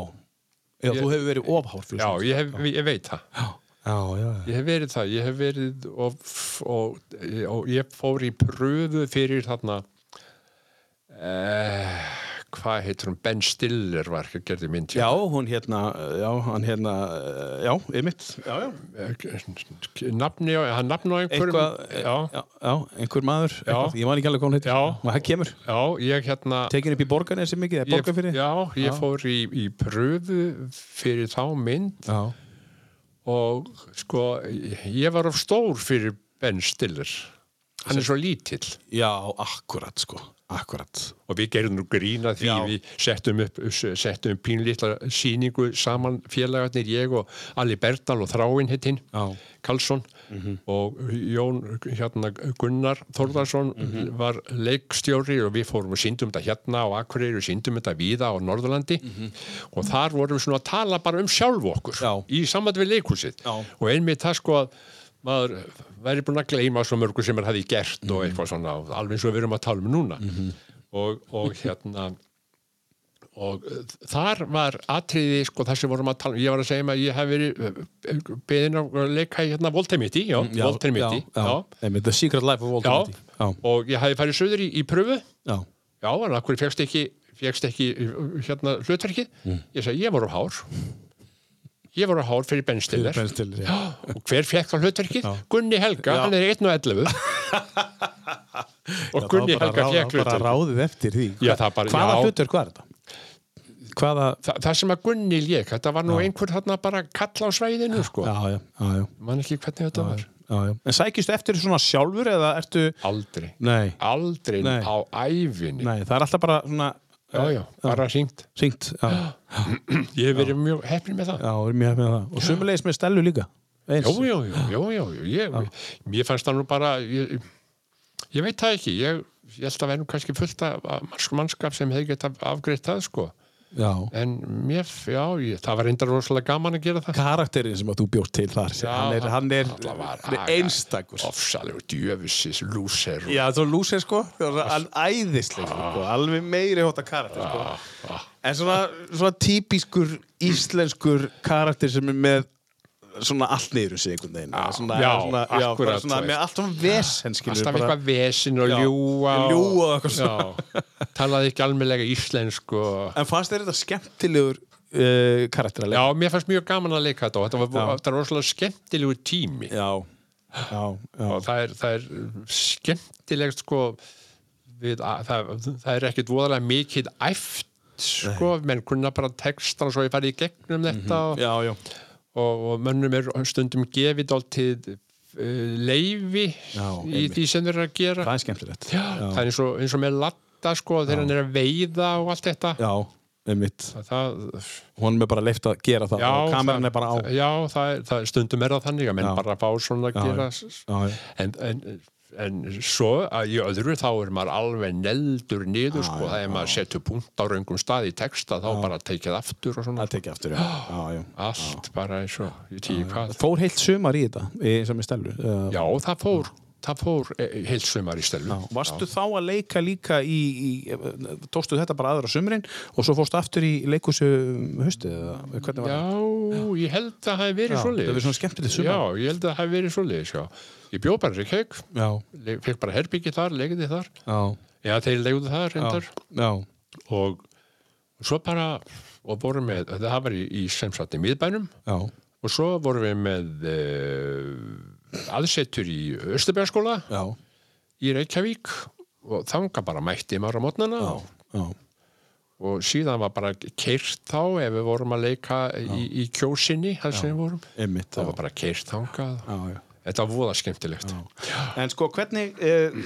já þú hefur verið ofhár fyrir
já,
svona.
ég, hef, ég veit það
já, já, já.
Ég hef verið það, ég hef verið og, og, og ég fór í pröfu fyrir þarna eh, hvað heitir hún, Ben Stiller var ekki að gerði mynd
Já, hún hérna, já, hann hérna, já, ymmit, já, já,
eh, nafni, á- hann nafni á einhverjum
eitthvað, eh,
já,
já, já, einhver maður,
Já.
eitthvað, ég man ekki alveg hvað hún heitir,
Já.
og það kemur,
já, ég hérna
tekin upp í borgan eða sem mikið, eða
ég,
borgan fyrir,
já, ég fór í, í pröfu fyrir þá mynd
já,
og sko, ég var of stór fyrir Ben Stiller hann er svo lítill
Já, akkurat sko, akkurat.
og við gerðum nú grína því
Já.
við settum upp, settum upp pínlítla síningu saman félagarnir ég og Ali Berdal og Þráin hittinn
Já. Mhm.
Karlsson og Jón hérna, Gunnar Þórðarsson
Mhm.
var leikstjóri og við fórum og síndum þetta hérna á Akureyri og síndum þetta víða á Norðurlandi og þar vorum við svona að tala bara um sjálf okkur
Mhm. Já.
í samband við leikhúsið
Já.
og einmitt það sko að maður væri búin að gleyma svo mörgu sem maður hafi gert
Mhm.
og eitthvað svona, alveg eins og við erum að tala um núna og, og hérna og eh, þar var atriði sko þar sem vorum að tala um, ég var að segja um að ég hef verið beðin að leika í hérna Voltemiti, já,
Mm, Já,
Voltemiti
já, já. Einmitt, The Secret Life of Walter
já,
Mitty. Já,
og ég hafi farið söður í, í pröfu
já.
já, en af hverju fegst ekki, fegst ekki uh, hérna hlutverkið,
Mm.
ég sagði ég var á hár ég var á hár fyrir Ben Stiller
Ben Stiller, já.
og hver fekk á hlutverkið? Gunni Helga,
Já.
hann er 1 og 11 og
Já,
Gunni
það var bara ráð-
Helga fekk
Bara
hlutverkið
ráðið eftir því.
Já, það bara-
Hvaða
já.
hlutur, hvað er þetta? Hvaða...
Þa, það sem að Gunni lék, þetta var nú einhver þarna bara kall á svæðinu sko
Já, já, já, já.
man ekki hvernig þetta var
Já, já. En sækistu eftir svona sjálfur eða ertu...
aldrei,
Nei,
aldrei
Nei.
á æfinni
nei, það er alltaf bara svona
já, já, bara hringt
syngt. Já,
ég hef verið mjög heppin með það
já, er mjög hefðið með það. Og sumulegis með Stellu líka. Eins.
já, já, já, já, já, já. Ég, mér fannst það nú bara ég, ég veit það ekki ég, ég held að vera nú kannski fullt af af manns- mannskap sem hefði gett afgreitt það sko
já.
en mér, já, ég, það var reyndar rosalega gaman að gera það
Karakterinn sem að þú bjóst til þar, hann er, hann er,
náttúrulega var-
hann er einstakur.
ofsalegu djöfisis, lúser og
Já, svo lúsir sko, það var al- æðisleg
Ah.
sko, alveg meiri hóta karakter sko. En svona, svona típiskur íslenskur karakter sem er með svona allt niður um sig einhvern veginn.
Já,
svona,
já,
svona, já, bara
akkurat,
svona,
þú veist. Ah.
með allt um vesen, skilur
alltaf eitthvað vesin og
Já,
ljúa
ljúga og eitthvað
já, talaði ekki almennlega íslensk og
En fannst þér þetta skemmtilegur uh, karakter að leika?
Já, mér fannst mjög gaman að leika þetta og þetta var, þetta var rosalega skemmtilegu tími
Já, já, já,
og það er, það er skemmtilegt sko við, að, það, það er ekkit voðalega mikið æft sko, menn kunna bara textan og svo ég farið í gegnum þetta
Mhm, já, já,
og, og, og mönnum er stundum gefið áltið uh, leifi
Já,
í
einmitt.
því sem þeir eru að gera
það er skemmtilegt.
Já, það er eins og, eins og með latta sko, þegar hann er að veiða og allt þetta
Já, einmitt.
það,
Honum er bara leift að gera það
já,
og kameran
það-
er bara á.
já, það, er- það, er- stundum er það þannig að menn
Já.
bara fá svona að
Já,
gera
já, já.
En, en, en svo að í öðru þá er maður alveg neldur niður sko, það er maður setur punkt á raungum stað í texta þá bara tekið aftur og svona
Það tekja aftur, já, já, já.
allt bara eins og ég tíu hvað
Fór heilt sumar í þetta, í, sem er stelur. Uh,
já, það fór, það fór e, heilsumar í stelum
Varstu þá að leika líka í, í tóstu þetta bara aðra sumrin og svo fórstu aftur í leikhúsu um haustið eða hvernig var
Já,
það?
ég held að það hef verið
Já,
svoleiðis.
það hefur svona skemmtilegt sumar.
Já, ég held að það hef verið svoleiðis, já. Ég bjó bara í Reykjavík,
Já,
le- fekk bara herbyggi þar, legði þar.
já,
Já, þeir legðu það reyndar.
já,
Og svo bara, og vorum með, það var í, í sem sagt í miðbænum.
já,
Og svo vorum við með uh, aðsetur í Östubæðaskóla
já,
í Reykjavík og þanga bara mætti maður á mótnana
já, já,
og síðan var bara keirt þá ef við vorum að leika í, í kjósinni þar sem við vorum
einmitt.
það
Já,
var bara keirt þangað
já, já.
þetta var voða skemmtilegt
En sko, hvernig, eh,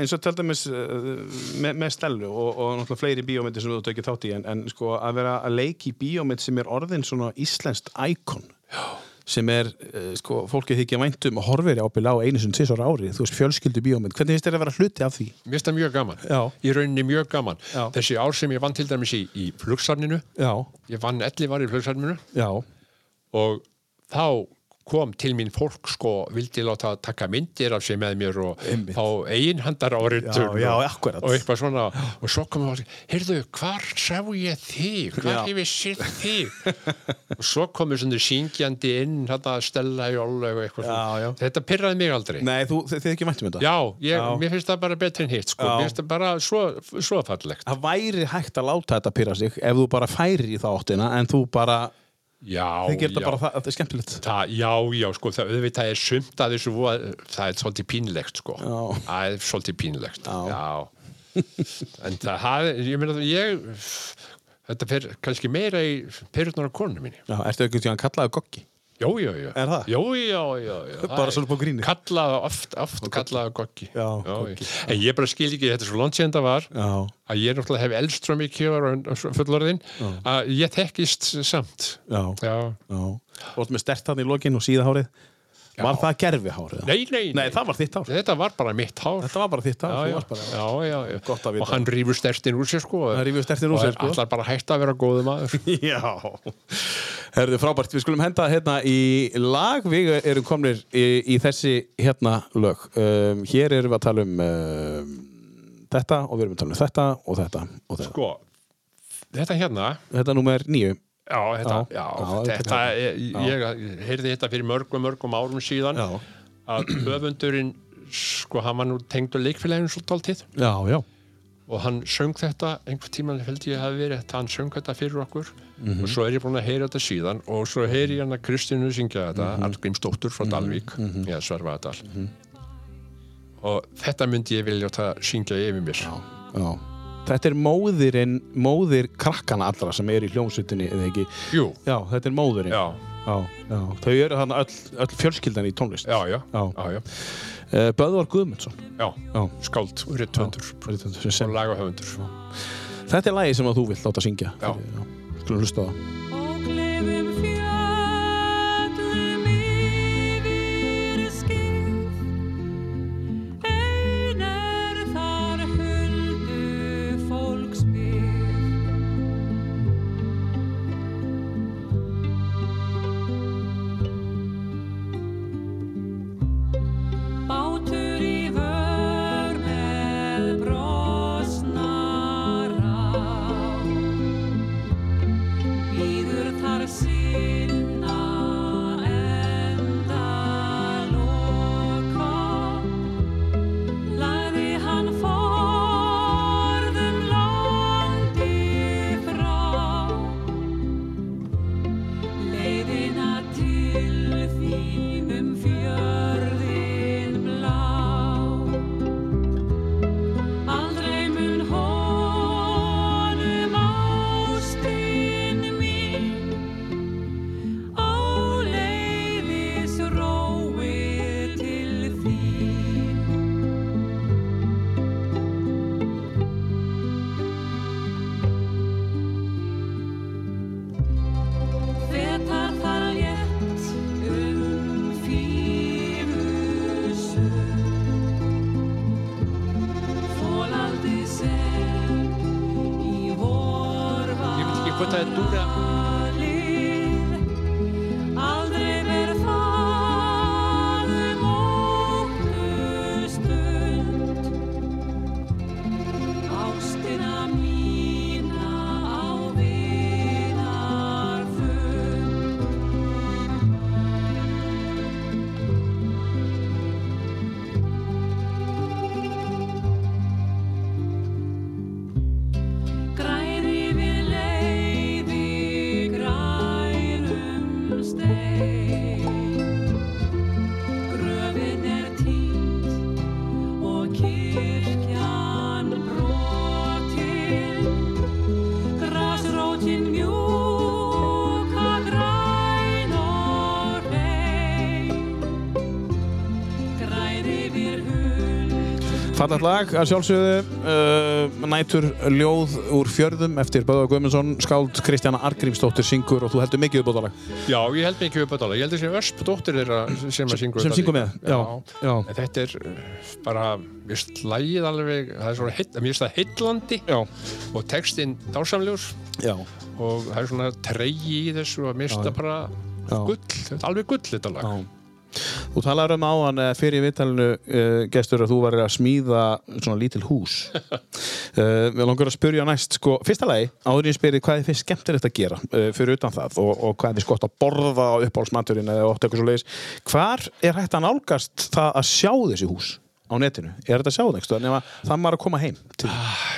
eins og til dæmis eh, með, með Stellu og, og náttúrulega fleiri bíómyndir sem þú tekið þátt í, en, en sko að vera að leiki bíómynd sem er orðin svona íslenskt íkon sem er, eh, sko, fólkið þykja væntum og horfir ábyrla á einu sinni tvisar ári þú veist, fjölskyldu bíómynd, hvernig finnst þér að vera hluti af því?
mér finnst það mjög gaman,
Já.
í rauninni mjög gaman
Já.
þessi ár sem ég vann til dæmis í, í flugsarninu
Já,
ég vann 11 var í flugsarninu
já,
og þá kom til mín fólk sko, vildi láta taka myndir af sér með mér og
Einmitt.
þá einhandar áritur
Já, já,
og,
akkúrat.
og eitthvað svona og svo kom það, heyrðu, hvar sá ég þig, hvar
Já.
hef ég sér þig og svo komur svona syngjandi inn, þetta stella í ólega og eitthvað svona,
Já, já.
þetta pyrraði mig aldrei
nei, þú, þið, þið ekki væntum þetta?
já, ég,
Já.
mér finnst það bara betri en hitt sko,
Já.
mér finnst það bara svo, svo fallegt
Það væri hægt að láta þetta pyrra sig ef þú bara færir í þá áttina, en þú bara,
já,
þið gerða
já.
bara það, þetta er skemmtilegt.
Það, já, já, sko, það, auðvitað er sumt að þessu voða, það er svolítið pínlegt, sko.
Já.
Það er svolítið pínlegt, já. en það, það, ég meina, ég, þetta fer kannski meira í perutnar á konu minni.
Já, ertu ekki tíðan kallaðu goggi?
Jó, já, já, já.
Er það?
Já, já, já, já.
Bara svona på gríni.
Kallaða oft, oft kallaða goggi.
Já, goggi.
En ég bara skil ekki, þetta er svo langt sér en það var,
Já.
að ég náttúrulega hef eldst svo mikið ára fullorðin, að ég þekkist samt.
Já.
Já.
Já. Þú varst með stert hann í lokin og síðahárið. Var það gerfihárið?
Nei, nei,
Nei, það var þitt hár.
Þetta var bara mitt hár.
Þetta var bara þitt hár.
Já,
þú
já,
varst bara-
já, já, já.
Gott að vita.
og hann rýfur stertin úr sér sko
Hann rífur stertinn úr sér, sko.
og allar bara að hætta að vera góðu maður
Já, herðu frábært, við skulum henda hérna í lag, við erum komnir í, í þessi hérna lög. Um, hér erum við að tala um um, þetta og við erum að tala um þetta og þetta og þetta.
sko, þetta hérna
Þetta er númer nýju.
já, þetta,
Já,
já,
já,
þetta hérna.
þetta-
ég, ég heyrði þetta fyrir mörgum, mörgum árum síðan
Já.
að höfundurinn sko, hann var nú tengd á leikfélaginu svo tóltið
Já, já.
og hann söng þetta, einhvern tímann held ég hafi verið þetta, hann söng þetta fyrir okkur
Mhm.
og svo er ég búin að heyra þetta síðan og svo heyri ég hann að Kristínu syngja þetta
Mhm.
mm -hmm. Arngrímsdóttur frá Dalvík mm -hmm. Sverfaðadal og þetta myndi ég vilja að syngja yfir mér
já. Þetta er móðirinn, móðir krakkana allra sem er í hljómsutinni, eða ekki?
Jú,
Já, þetta er móðurinn.
já,
Já, já. Þau eru hann öll, öll fjölskyldan í tónlist.
já, já,
Já.
já, já,
Eh, Böðvar Guðmundsson.
já.
Já.
skáld, rittvöndur
Sem,
og
sem,
lagahöfundur
þetta er lagi sem að þú vilt láta syngja.
Já.
Skulum hlusta á það.
Og glefum fjöllum yfir skýr Einar þar huldu fólksbyr Bátur í vör með brosnara Býður þar sinna enda loka Lagði hann forðum langt í frá Leiðina til þín um fjörðin blá Aldrei mun honum ástin mín Áleiðis róið til þín Fetar þar létt um fífusund Fólandi sem í vorvalið
Ég veit ekki hvað það er dúra
Aldrei verð það um óttu stund Ástina mína á vinarfund Græri við leiði grærum stein Gröfin er týnd og kirkjan brotin Grasrótin mjúka græn og reyn Græri við hund
Fallat lag að sjálfsögðu uh, Nætur ljóð úr fjörðum eftir Böðvar Guðmundsson, skáld Kristjana Argrímsdóttir syngur og þú heldur mikið uppbótalag
Já, ég held mig ekki upp að tala, ég held þessi ösp dóttir þeirra sem að syngur
sem
þetta
syngur
líka.
með, já, já.
En þetta er eh, bara, mér finnst lagið alveg, það er svona, heill- mér finnst það heillandi
Já,
og textinn dásamljós
já,
og það er svona tregi í þessu og mér finnst það bara
Já.
gull, þetta er alveg gull þetta lag.
já Þú talaður um áðan eh, fyrir viðtalinu uh, gestur að þú varir að smíða svona lítil hús uh, Við langar að spyrja næst sko, fyrsta lagi, áður en ég spyrir hvað þið finnst skemmtilegt að gera uh, fyrir utan það og, og hvað þið skott að borða á uppáhalsmaturinn eða ótt eitthvað svo leiðis Hvar er hægt að nálgast það að sjá þessi hús á netinu? Er þetta að sjá það? einhvers staðar? Nema það maður að koma heim til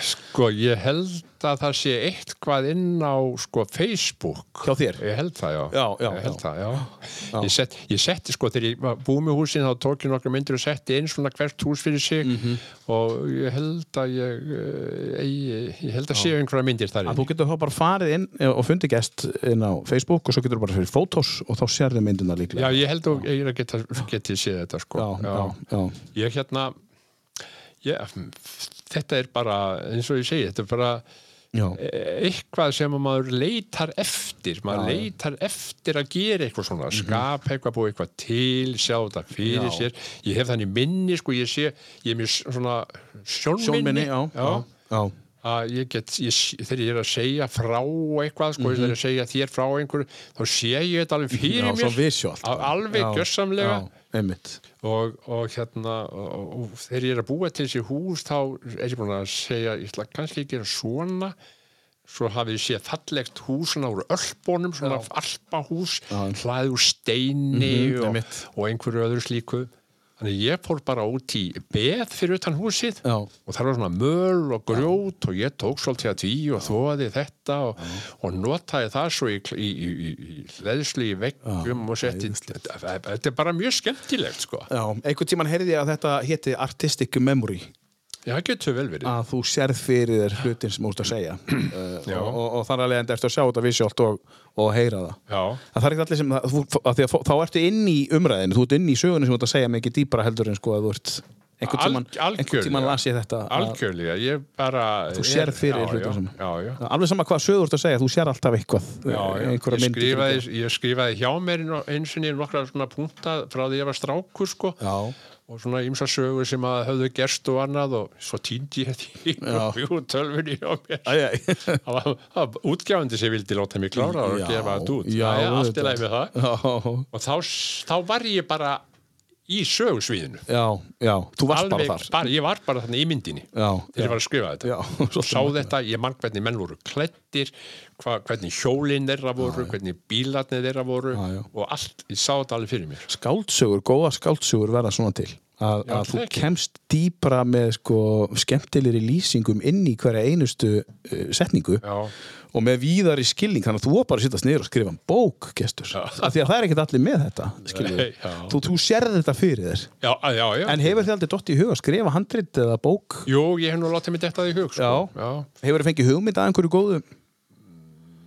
Sko, ég held að það sé eitthvað inn á sko, Facebook.
Hjá þér?
Ég held það, já.
Já, já,
Ég held
já.
það, já. Ég, sett, ég setti, sko, þegar ég var búið með húsin, þá tók ég nokkra myndir og setti einn svona hvert hús fyrir sig
Mhm.
og ég held að ég, eh, ég, ég held að séu einhverja myndir þar
Að
inn.
þú getur þá bara farið inn eh, og fundið gest inn á Facebook og svo getur þú bara fyrir fótós og þá sérðu myndina
Já,
líklega.
ég held að ég er að geta, geti séð þetta, sko.
já, já, já.
Ég hérna, ég, þetta er bara, eins og ég segi, þetta er bara,
já. Eh,
eitthvað sem að maður leitar eftir maður leitar eftir að gera eitthvað svona
Mhm.
skapa eitthvað, búið eitthvað til sjá þetta fyrir sér ég hef þannig minni, sko, ég sé ég er mjög s- svona sjónminni,
Sjónminni, já. Já. já.
að ég get, ég, s- þegar ég er að segja frá eitthvað, sko, þegar ég er að segja þér frá einhverju, þá sé ég þetta alveg fyrir
Mhm. Já,
mér
svo visuált.
Al- alveg
Já,
gjörsamlega
Já, einmitt.
og, og hérna og, og, og þegar ég er að búa til þessi hús þá er ég búin að segja ég ætla kannski að gera svona svo hafið ég séð fallegt hús svona úr ölpunum, svona alpahús hlaðið úr steini og,
Mhm, einmitt.
og einhverju öðru slíku þannig ég fór bara út í beð fyrir utan húsið
Já.
og það var svona möl og grjót og ég tók svolítið að því og þóði þetta og, og notaði það svo í, í, í, í, í leðslu í veggjum og setti þetta er bara mjög skemmtilegt sko
Já, einhvern tíman heyrði ég að þetta hétti Artistic Memory
Já, það getur vel verið.
að þú sérð fyrir þér hlutin sem þú ert að segja uh,
Já.
og, og, og þannig að leiðandi ertu að sjá þetta visuált og, og heyra það
Já.
að það er ekki allir sem það, þú, að að, fó- þá ertu inn í umræðinu, þú ert inn í sögunum sem þú ert að segja mikið dýpra heldur en sko að þú ert einhvern
Al-
tíman, einhvern
algjörlega.
tíman las ég þetta að,
Algjörlega, ég bara...
þú sérð fyrir
Já,
hlutin sem
Já, já. já.
alveg sama hvað sögur þú ert að segja, þú sér alltaf eitthvað
Já, já.
einhverja
Ég,
myndir
skrifaði, ég skrifaði hjá mér inn á- einu sinni nokkra svona punkta frá því ég var strákur sko
Já.
og svona ymsa sögur sem að höfðu gerst og annað og svo týndi ég því og jú, tölfunni hjá mér
Æ, æ.
Það var, það var útgjáandi sem vildi láta mig klára og
Já,
gefa þetta út
já,
Það er allt í
auðvitað.
lagi með það
já,
og þá, s- þá var ég bara í sögursviðinu
já, já, þú varst bara þar
ég var bara þannig í myndinni
Já,
þegar
já.
ég var að skrifa þetta
Já, svolítið
sá þetta, ég mann hvernig menn voru klettir hva, hvernig hjólinn þeirra voru hvernig bílarnir þeirra voru
Já, já.
og allt, ég sá þetta alveg fyrir mér
skáldsögur, góða skáldsögur verða svona til að,
Já,
að þú
það ekki.
kemst dýpra með sko, skemmtilegri lýsingum inn í hverja einustu uh, setningu
Já.
og með víðari skilning þannig að þú var bara að sittast niður og skrifa um bók gestur, af því að það er ekkert allir með þetta skilur
Nei,
við.
já.
þú, þú sérð þetta fyrir þér
já, já, já,
en hefur þið aldrei dott í huga að skrifa handrit eða bók
jú, ég hef nú látið mig þetta í hug sko. já.
hefur þið fengið hugmynd að einhverju góðu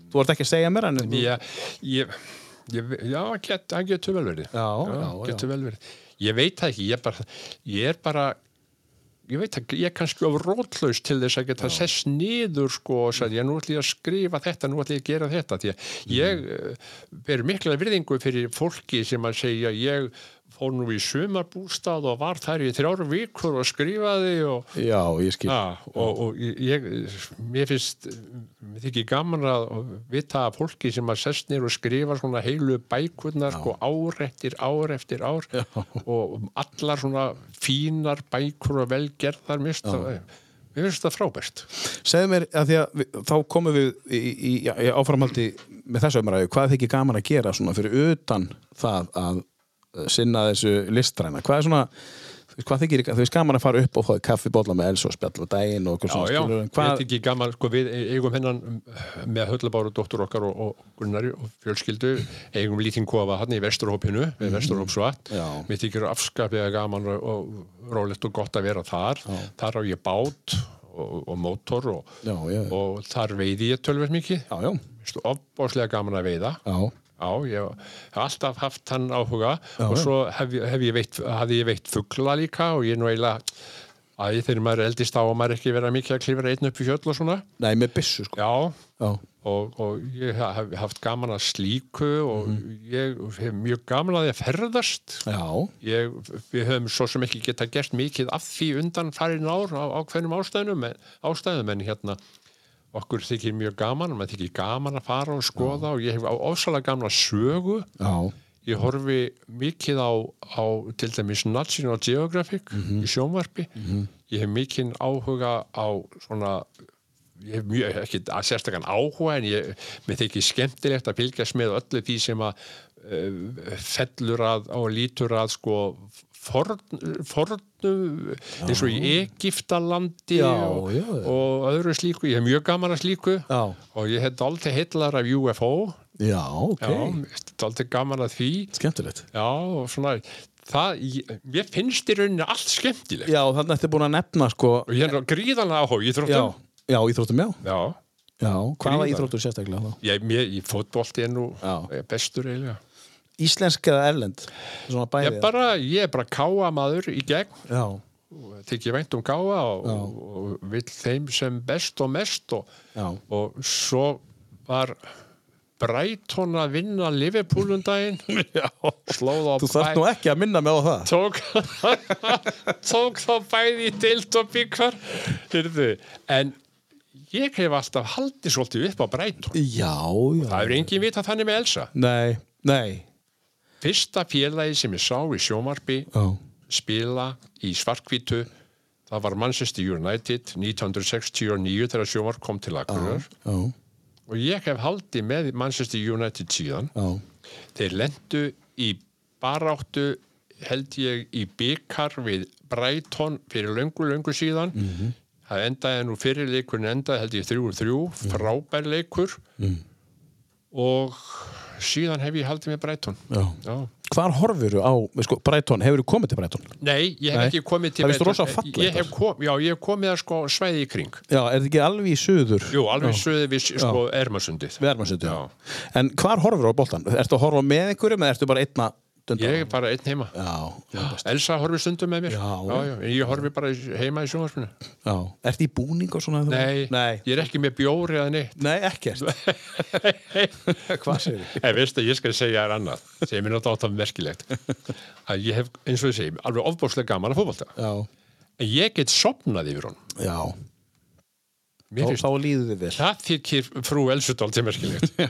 þú vart ekki að segja mér hann en-
Ég, ég, ég, já, get, það getur vel verið
Já, já, já.
getur vel verið ég veit það ekki, ég, bara, ég er bara ég veit það, ég er kannski of rótlaus til þess að geta sess niður sko og sagði, ég nú ætlum ég að skrifa þetta nú ætlum ég að gera þetta, því að
Mhm.
ég uh, ber mikla virðingu fyrir fólki sem að segja, ég fór nú í sumarbústað og var þær í þrjár vikur og skrifaði og
já, ég skil
Já, og, og ég, mér finnst mér þykir gaman að vita að fólki sem að sest nýr og skrifa svona heilu bækurnar sko ár eftir ár eftir ár Já. og um allar svona fínar bækur og velgerðar mér finnst það- mér finnst það frábært
Segðu mér að því að við, þá komum við í, í, í, í áframhaldi með þessu umræðu, hvað þykir gaman að gera svona fyrir utan það að eh, sinna þessu listræna hvað er svona, þú veist, hvað þykir þú veist gaman að fara upp og fá kaffibólla með Elsa og spjalla á daginn og okkur
Já,
svona
já,
skilur,
þetta er
hvað,
ekki gaman, sko, við eigum hennan mm, með höllabáru dóttur okkar og, og Gunnari og fjölskyldu, eigum lítinn kofa hann í vesturhópinu, við vesturhópsvatt
Mhm. Já.
mér þykir afskaplega gaman og, og rólegt og gott að vera þar þar á ég bát og, og mótor og,
Já, já.
og þar veiði ég tölvöld mikið
já, já,
Veistu, ofbáslega gaman að veiða
já
Já, ég hef alltaf haft hann áhuga og svo hef, ég- hef ég veitt, hafði ég veitt fugla líka og ég er nú eiginlega að ég þegar maður er eldist á að maður ekki vera mikið að klifra einn upp í hjöll og svona.
nei, með byssu sko
Já,
já,
og, og ég hef haft gaman að slíku og ég hef mjög gaman að ég ferðast.
já,
Ég, við höfum svo sem ekki geta gert mikið af því undan farin ár á, á hverjum ástæðunum en, ástæðum en hérna okkur þykir mjög gaman, maður þykir gaman að fara og skoða og ég hef á ofsalega gamla sögu
já,
ég horfi mikið á, á til dæmis National Geographic í sjónvarpi ég hef mikið áhuga á svona ég hef mjög, ekki að sérstakann áhuga en ég, mér þykir skemmtilegt að eh, fylgjast með öllu því sem að uh, fellur að og lítur að sko forn, fornu eins og í Egiptalandi
Já,
og,
já.
og öðru slíku, ég hef mjög gaman að slíku
Já.
og ég hef dálítið heillar af UFO
Já, ok.
já, dálítið gaman að því
Skemmtilegt.
já, og svona það, ég, mér finnst í rauninni allt skemmtilegt
Já, þannig að þetta er búin að nefna, sko,
og ég er gríðanlega áhuga í
já,
þróttum
já, íþróttum, já.
já,
Já, hvaða
Gríðar.
íþróttur sérstaklega þá?
ég, mér, ég fótbolti er nú
Já.
bestur eiginlega
Íslensk eða erlend? Svona bæði?
ég er bara, ég er bara káa maður í gegn
Já,
þykir vænt um káa og, og vill þeim sem best og mest og,
já,
og svo var Brighton að vinna Liverpool um daginn
já.
slóð á
Þú þarf nú ekki að minna mig á það.
tók, tók þá bæði í deild og byggar Hyrðu, en ég hef alltaf haldið svolítið upp á Brighton
Já, já.
það er engin vita þannig með Elsa
Nei, nei.
fyrsta félagi sem ég sá í sjómarpi
Já,
spila í svarkvítu það var Manchester United 1969 þegar sjómar kom til Akureyrar
já,
og ég hef haldið með Manchester United síðan
já.
þeir lendu í baráttu held ég í byggar við Brighton fyrir löngu löngu síðan
Mhm.
það endaði nú fyrir leikurinn endaði held ég 3-3
Mhm.
frábær leikur og síðan hef ég haldið með Brighton
Já.
Já.
Hvar horfur á, sko, Breitón, hefur þú komið til Breitón?
Nei, ég hef
Nei.
ekki komið til
Það finnst þú rosa
Brighton.
fallegt
Ég hef kom, Já, ég hef komið að sko svæði í kring
Já, er þetta ekki alveg í suður?
Jú, alveg söðu við sko Ermasundið
Við erum að setja,
Já.
já. En hvar horfur á boltan? Ertu að horfa með einhverjum eða ertu bara einna? dunda?
Ég er bara einn heima
Já, já.
Elsa horfi stundum með mér
Já,
já, já. en Ég horfi bara í- heima í sjónvarpinu
já. Ertu í búning og svona?
Nei,
Nei,
ég er ekki með bjóri eða neitt
Nei ekkert. Hvað segir þið?
En veistu, ég skal segja þér annað sem er náttúrulega alltaf merkilegt að ég hef, eins og ég segi, alveg ofbáslega gaman að fótbolta
Já,
en ég get sopnað yfir honum
já.
Mér
Þá,
finnst
þá líður þið vel.
það þykir frú Elsudal til merkilegt
Já.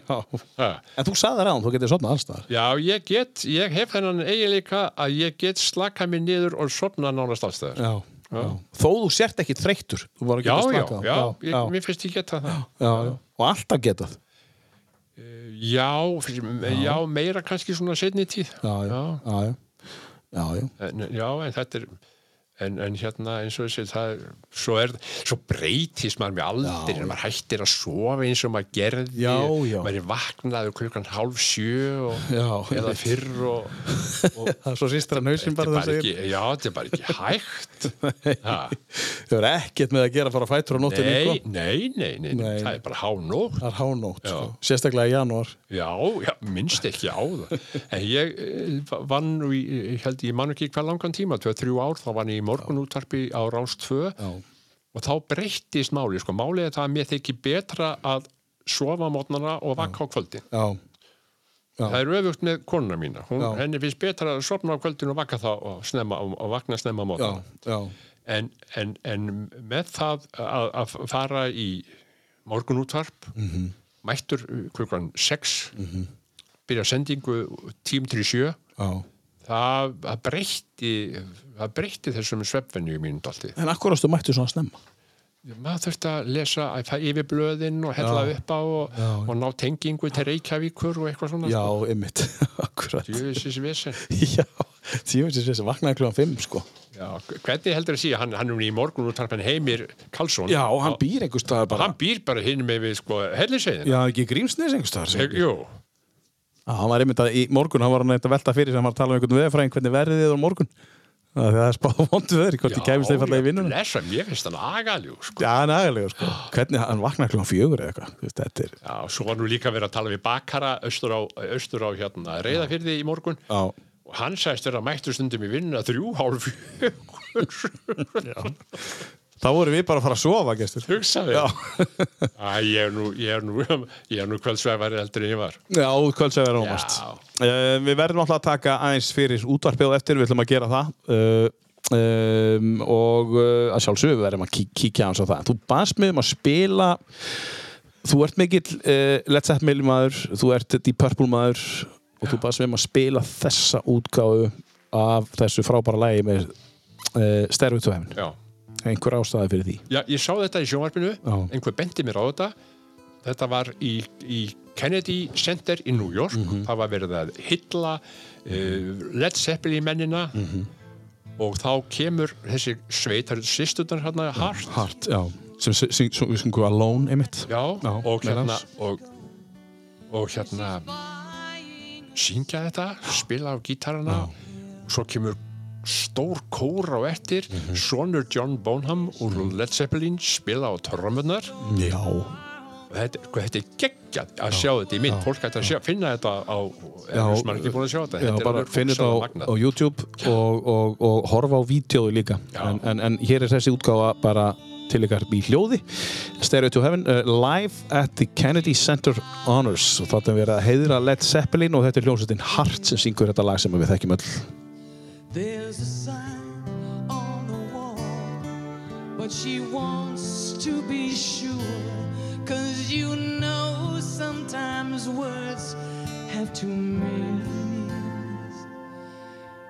Ha.
En þú sagði ráðan, þú getur sopnað alls þar.
Já, ég get, ég hef þennan eiginleika að ég get slaka mig niður og sopna nánast allstæðar.
Já. já. Þó þú sért ekki þreyttur. Þú var
Já,
ekki að
já,
slaka á.
já, ég,
já.
mér finnst ég geta það.
já, já. Og alltaf getað.
Já, fyrir, já. meira kannski svona setni tíð.
Já, já, já, já. Já, já.
En, já, en þetta er, en, en hérna eins og þessi, það er, svo er, svo breytist maður með aldrei, en maður hættir að sofa eins og maður gerði.
Já, já.
Maður er vaknaður klukkan hálf sjö og,
Já,
eða
einmitt.
fyrr og,
Það er svo sýstra nöysinn
þetta er bara ekki, já, þetta er bara ekki hægt. Ha.
Þau eru ekkert með að gera að fara á fætur á nóttunni. sko.
Nei, nei, nei, nei,
Nei.
það er bara hánótt.
Það er hánótt,
Já.
sko. sérstaklega í janúar.
Já, já, minnst ekki á það. En ég eh, vann, nú í, ég held ég man ekki hvað langan tíma, tveið, þrjú ár, þá vann ég í morgunúttarpi á Rás 2
Já.
og þá breyttist máli, sko, málið er það að mér þykir betra að sofa á mótnana og vakka á kvöldin.
Já, Já.
Það er öfugt með konuna mína. Hún,
Já.
henni finnst betra að sofna á kvöldin og vakka þá og, snemma, og, og vakna snemma á
já,
mótnana.
já,
en, en, en með það að, að fara í morgunútvarp
Mhm.
mættur uh, klukkan 6 byrja sendingu tím til 7
já.
það, það breytti það breytti þessum sveppvenju mínu dalti
En akkur ástu mættu svona snemma?
maður þurfti að lesa að það yfir blöðin og hella
Já.
upp á og,
Já.
og ná tengingu til Reykjavíkur og eitthvað svona
Já, ymmit, akkurat.
Jöfisins vesen.
Já, tímins er þessi vaknaði kljóðan 5 sko.
Já, hvernig heldur að sé hann, hann er nú í morgunútvarpin heimir Karlsson
Já, og hann býr einhvers staðar bara.
hann býr bara hinn með við sko helliseiðina
Já, ekki grímsnes einhvers staðar.
Jú,
Já, hann var einmitt að í morgun, hann var hann eitthvað velta fyrir sem hann var að tala um einhvern veðurfræðing, hvernig verðið þið á morgun. Það er spáð vondu veður, hvort þið kæmist þeir falla í vinnuna.
Lesa, mér finnst hann agaljú sko.
Já, nægilega, sko. Hvernig hann vaknaði kljóðan 4 eða eitthvað. þú veist, Þetta er,
Já, svo var nú líka verið að tala við bakara austur á, austur á hérna, reyðafyrði í morgun
já,
og hann sagðist vera mættur stundum í vinnuna þrjú hálf fjögur
þá vorum við bara að fara að sofa, gestur.
hugsaði
Já.
Æ, ég er nú, ég er nú, ég er nú kvöldsvæfari heldur en ég var
Já, kvöldsæðar ómast.
Já.
Uh, við verðum alltaf að taka aðeins fyrir útvarpið og eftir, við ætlum að gera það uh, um, og uh, að sjálfsögum við verðum að kí kíkja aðeins á það. Þú baðst mig um að spila þú ert mikill uh, Let's Up Mill maður, þú ert Deep Purple maður og þú baðst mig um að spila þessa útgáfu af þessu frábæra lægi með uh, Stairway to Heaven.
Já,
Einhver ástæði fyrir því.
Já ég sá þetta í sjónvarpinu
Já.
einhver bendi mér á þetta þetta var í, í Kennedy Center
Mhm. Mhm.
í New York það var verið að hylla uh, Led Zeppelin eh, mennina og þá kemur þessi sveitar sýsturnar hérna hart
Hart, já sem sy- syng- svo- við sungu Alone einmitt
já,
Já,
og
meðal
hérna
annars.
og, og hérna syngja þetta, spila á gítarana svo kemur stór kór á eftir
Mhm.
sonur John Bonham úr Led Zeppelin spila á torramunnar
já,
þetta, hvað þetta er geggjað að sjá þetta í mynd, fólk ætti að sjá, finna þetta á,
Já,
ef sem er ekki búin að sjá þetta
já
þetta er
bara
alveg
finn þetta
hugsanlega
á,
magnað.
á YouTube og, og, og horfa á vídjóðu líka
Já.
en, en, en hér er þessi útgáfa bara til ykkar í hljóði Stereo to Heaven, uh, live at the Kennedy Center Honors og þetta er verið að heiðra Led Zeppelin og þetta er hljómsveitin Hart sem syngur þetta lag sem við þekkjum öll
There's a sign on the wall, but she wants to be sure. Cause you know sometimes words have two meanings.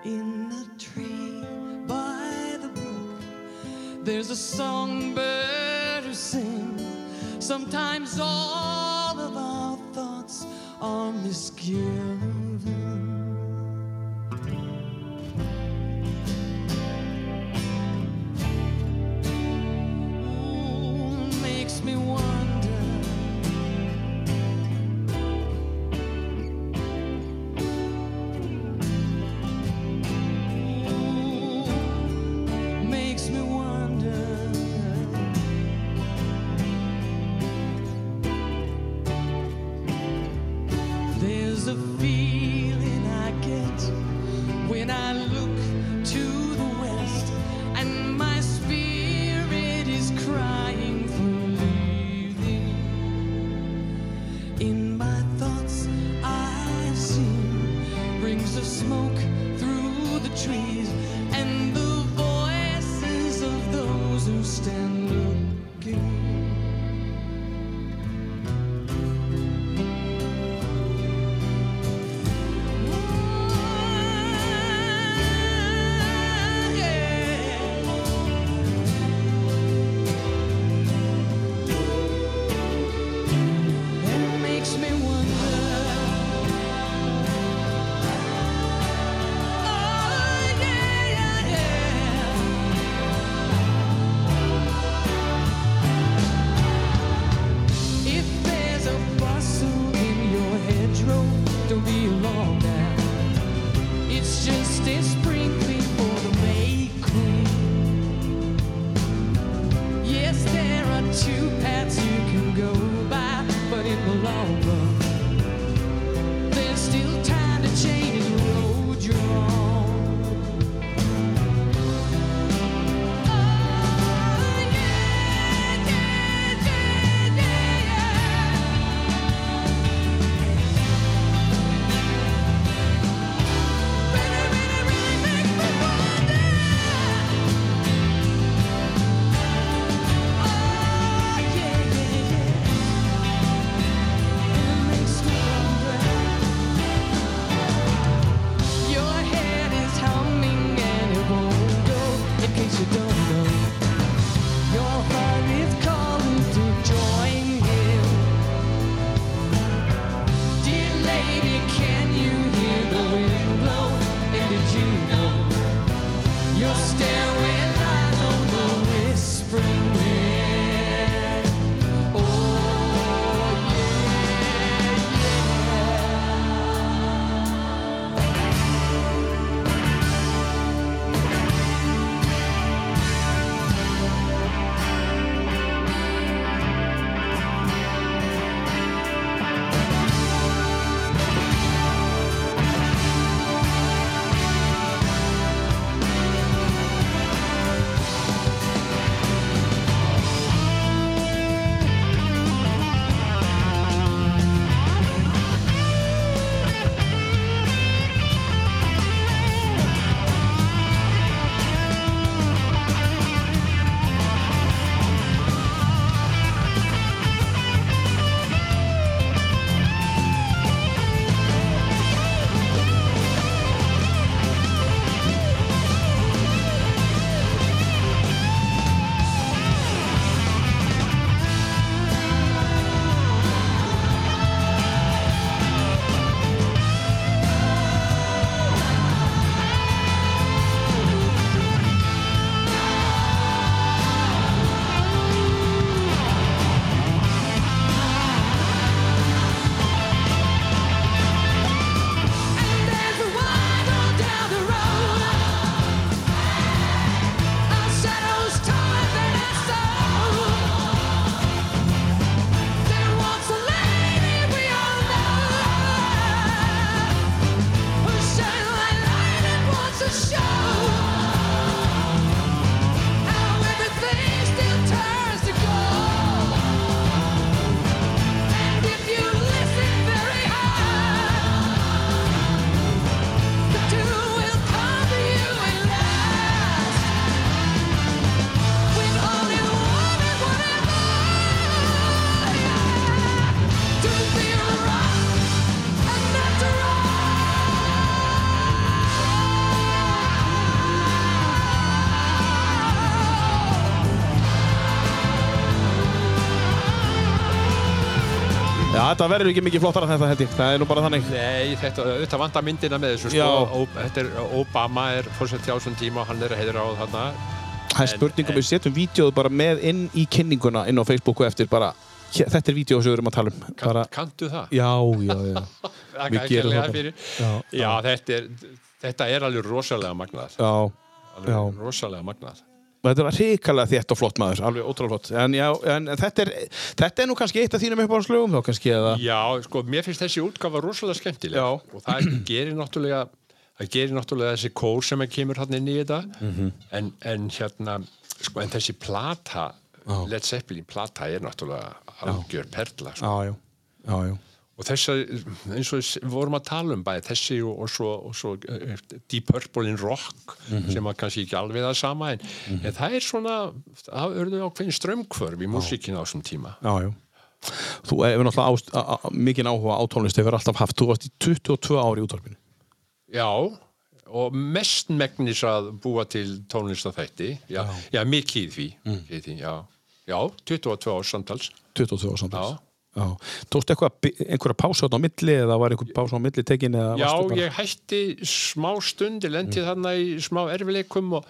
In a tree by the brook, there's a songbird who sings. Sometimes all of our thoughts are misgiven. makes me wonder Ooh, makes me wonder there's a feeling I Oh, Oh, Oh,
þetta verður ekki mikið flottara en þetta held ég. Það er nú bara þannig.
Nei, þetta, þetta vantar myndina með þessu
Já.
sko. Ó, þetta er, Obama er fórsett á þessum tíma og hann er að heiðra á þarna.
Það er
En-
spurning
en-
um við setjum vídeoðu bara með inn í kynninguna inn á Facebooku eftir bara hér- Þetta er vídeoðu sem við erum að tala um.
Kan,
Bara,
Kanntu það?
já, já, já.
það
við
er
gerum
kærlega
það bara.
fyrir.
Já,
Já, þetta er, þetta er alveg rosalega magnað.
Já.
Alveg
já.
rosalega magnað.
Þetta var hrikalega þétt og flott maður, alveg ótrúlega flott. En já, en þetta er, þetta er nú kannski eitt af þínum uppáhanslögum þá kannski eða...
Já, sko, mér finnst þessi útgafa rosalega skemmtileg.
Já.
Og það gerir náttúrulega, það gerir náttúrulega þessi kór sem er kemur hann inn í þetta.
Mhm.
en, en hérna, sko, en þessi plata, Led Zeppelin plata er náttúrulega algjör perla, sko.
Já, já, já, já.
og þess að eins og við vorum að tala um bæði þessi og, og svo, og svo eh, Deep Purple in Rock
Mhm.
sem að kannski ekki alveg það sama en, en það er svona það urðu ákveðin strömmkvörf í músíkinu á þessum tíma
Já, já. Þú eh, hefur náttúrulega ást, a, a, mikinn áhuga á tónlist, hefur alltaf haft, þú varst í 22 ári í útvarpinu.
já, og mest megnis að búa til tónlistafætti já, já. mikið í því, mikið í því já. já, 22 árs samtals
22 ári samtals.
Já.
Já. Tókstu eitthvað, að bi- einhverja pásu þarna á milli eða var einhver pásu á milli tekin eða
Já,
varstu bara...
ég hætti smá stund, ég lendi þarna í smá erfileikum og,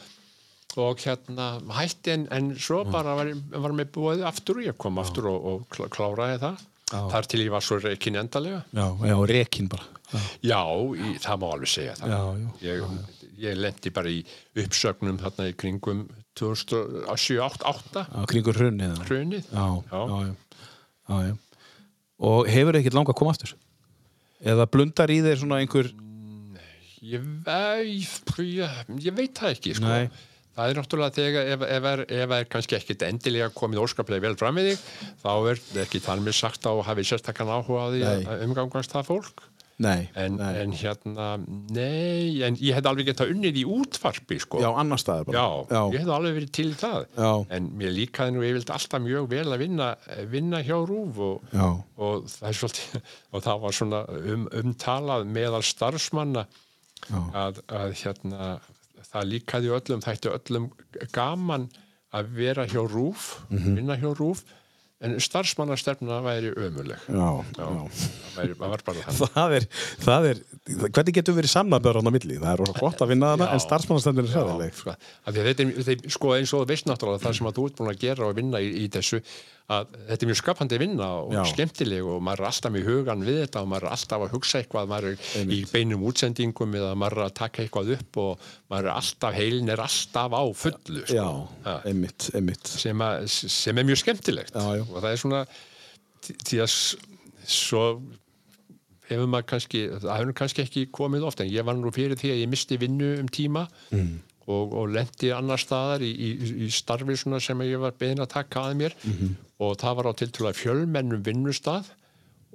og hérna hætti en, en svo bara var, ég- var mér búið aftur og ég kom aftur og, og klá- kláraði það. Þar til ég var svo reikin endalega.
Já, já, rekin bara. Já,
Já, í, það má alveg segja það.
Já, já.
Ég, ég lendi bara í uppsögnum þarna í kringum 2007-2008
já kringur hrunni eða.
hrunið.
Já, já,
Já.
já. já, já. Og hefur ekkert langa að koma aftur? Eða blundar í þeir svona einhver...
Ég, ég, ég, ég veit það ekki sko.
Nei.
það er náttúrulega þegar ef, ef, er, ef er kannski ekkit endilega komið óskaplega vel fram við þig þá er ekki þar með sagt að hafi sérstakann áhuga á því
Nei.
að umgangast það fólk
Nei.
en, en hérna, nei en ég hef alveg getað unnið í útvarpi sko.
Já, annar staðar bara.
Já, ég
já.
hef alveg verið til í það
Já.
en mér líkaði nú yfirlt alltaf mjög vel að vinna, eh, vinna hjá Rúf og,
Já.
og, það er svolítið, og það var svona um, umtalað meðal starfsmanna að, að hérna, það líkaði öllum, þætti öllum gaman að vera hjá Rúf
Mhm.
vinna hjá Rúf en starfsmannastefna væri ömuleg
Já, já.
það, væri, það var bara þannig
það er, það er, hvernig getum við verið samnaböður á milli? Það er rosa gott að vinna þarna
Já.
en starfsmannastendin er
Já,
sæðileg.
sko, af því að þetta er, þetta er sko, eins og þú veist náttúrulega það sem að þú ert búin að gera og vinna í, í þessu að þetta er mjög skapandi vinna og
Já.
skemmtileg og maður er alltaf með hugan við þetta og maður er alltaf að hugsa eitthvað maður er í beinum útsendingum eða maður er að taka eitthvað upp og maður er alltaf, heilin er alltaf á fullu sko,
Já,
Ha,
einmitt, einmitt.
sem, að, sem er mjög skemmtilegt
Já, já.
og það er svona því- því að s- svo hefur maður kannski, það hefur nú kannski ekki komið ofta en ég var nú fyrir því að ég misti vinnu um tíma og, og lendi annar staðar í, í, í starfi svona sem ég var beðin að taka að mér og það var á tiltúrulega fjölmennum vinnustað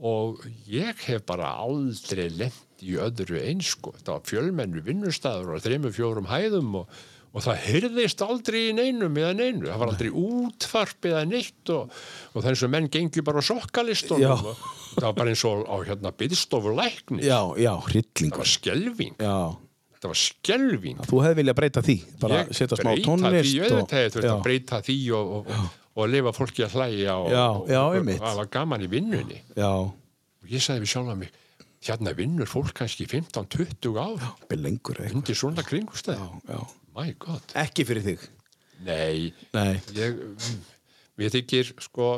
og ég hef bara aldrei lent í öðru eins sko. það var fjölmennu vinnustaður og þreymur fjórum hæðum og, og það hyrðist aldrei í neinum eða neinu það var aldrei útvarp eða neitt og, og þessu menn gengjur bara á
Já.
sokkalistunum og, það var bara eins og á hérna byggstofu lækni
Já, já,
það
hryllingur.
var skelving
Já,
það var skelving
þú hefði viljað breyta því, bara
Ég
setja smá
breyta
tónlist.
því, auðvitað hefði þurft
Já.
að breyta því og, og, og, og lifa fólki að hlæja og,
Já,
og,
já,
og,
einmitt.
og það var gaman í vinnunni
Já,
og ég sagði við sjálfa mig hérna vinnur fólk kannski 15-20 ár
byrð lengur eitthvað.
undir svona kringustæð
Já.
my god
Ekki fyrir þig.
nei,
Nei.
ég, mm, mér þykir sko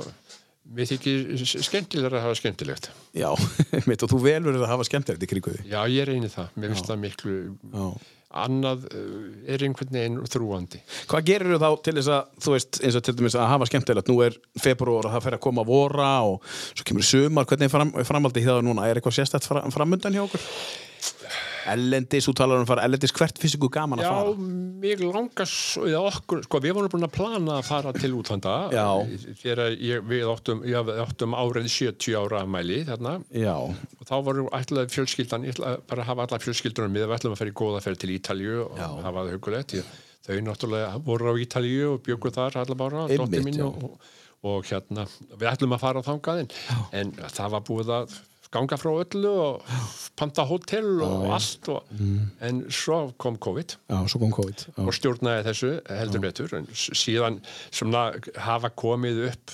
mér þykir s- skemmtilegra að hafa skemmtilegt
Já, mitt og þú velur að hafa skemmtilegt í kringu því.
já ég reyni það, mér finnst það miklu
Já.
annað eh, er einhvern veginn þrúandi
Hvað gerir þú þá til þess að, þú veist, eins og til dæmis að hafa skemmtilegt, nú er februar og það fer að koma vora og svo kemur sumar, hvernig er fram, framaldið hér núna, er eitthvað sérstætt fram, framundan hjá okkur? Ellendis, þú talar um að fara ellendis, hvert finnst ykkur gaman að
Já,
fara?
mig langar s- eða okkur, sko, við vorum búin að plana að fara til útlanda
Já.
þegar ég, við áttum, já, við áttum árið 70 ára afmæli þarna
Já,
og þá voru ætlaði fjölskyldan ég ætla bara að hafa alla fjölskyldunum við við ætlum að fara í góða ferð til Ítalju og
Já.
hafa það hugulegt ég, þau náttúrulega voru á Ítalju og bjöggu þar allar bara,
Einmitt,
dóttir mín
já.
og, og, og hérna, við ætlum að fara á þangaðin en það var búið að ganga frá öllu og panta hótel og allt og,
Mm.
en svo kom COVID
Já, svo kom COVID. Já.
og stjórnaði þessu heldur betur en s- síðan svona hafa komið upp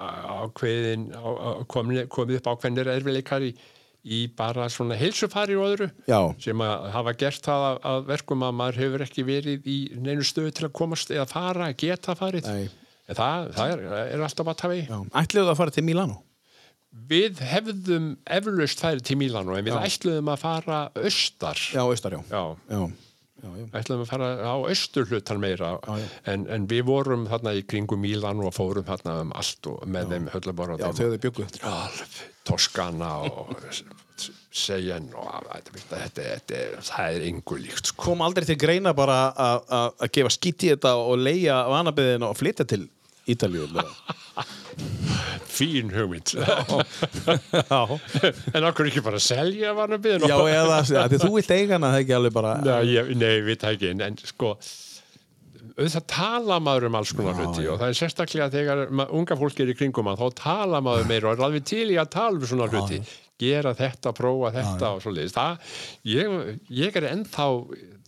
uh, ákveðin á- á- komni- komið upp ákveðnir erfileikar í, í bara svona heilsufari og öðru
Já.
sem að hafa gert það að, að verkum að maður hefur ekki verið í neinu stöðu til að komast eða fara, geta farið
Nei.
En það, það er, er alltaf að tafi
Já. Ætliðu það að fara til Milano?
við hefðum eflaust færið til Mílanó en við ætluðum að fara austar
Já, austar, já.
Já,
Já, já, já.
ætlaðum að fara á austurhlutan meira en, en við vorum þarna í kringum Mílan og fórum þarna um allt og með þeim höllabara
já þegar þau byggu.
Toskana og Seyen og þetta, þetta, þetta, þetta, það er engu líkt sko.
Kom aldrei til greina bara að- að að gefa skýtt í þetta og leia vanabiðin og flytja til Ítalíu. eða?
fín hugmynd
já.
en okkur ekki bara að selja vanabiðin
Já, eða já, því þú vilt eiga hana það er ekki alveg bara...
Nei, ég, nei við það ekki, en- en sko auðvitað tala maður um alls konar hluti og það er sérstaklega þegar ma- unga fólk er í kringum að þá tala maður meira og er alveg til í að tala um svona hluti gera þetta, prófa þetta og svoleiðis það, ég, ég er ennþá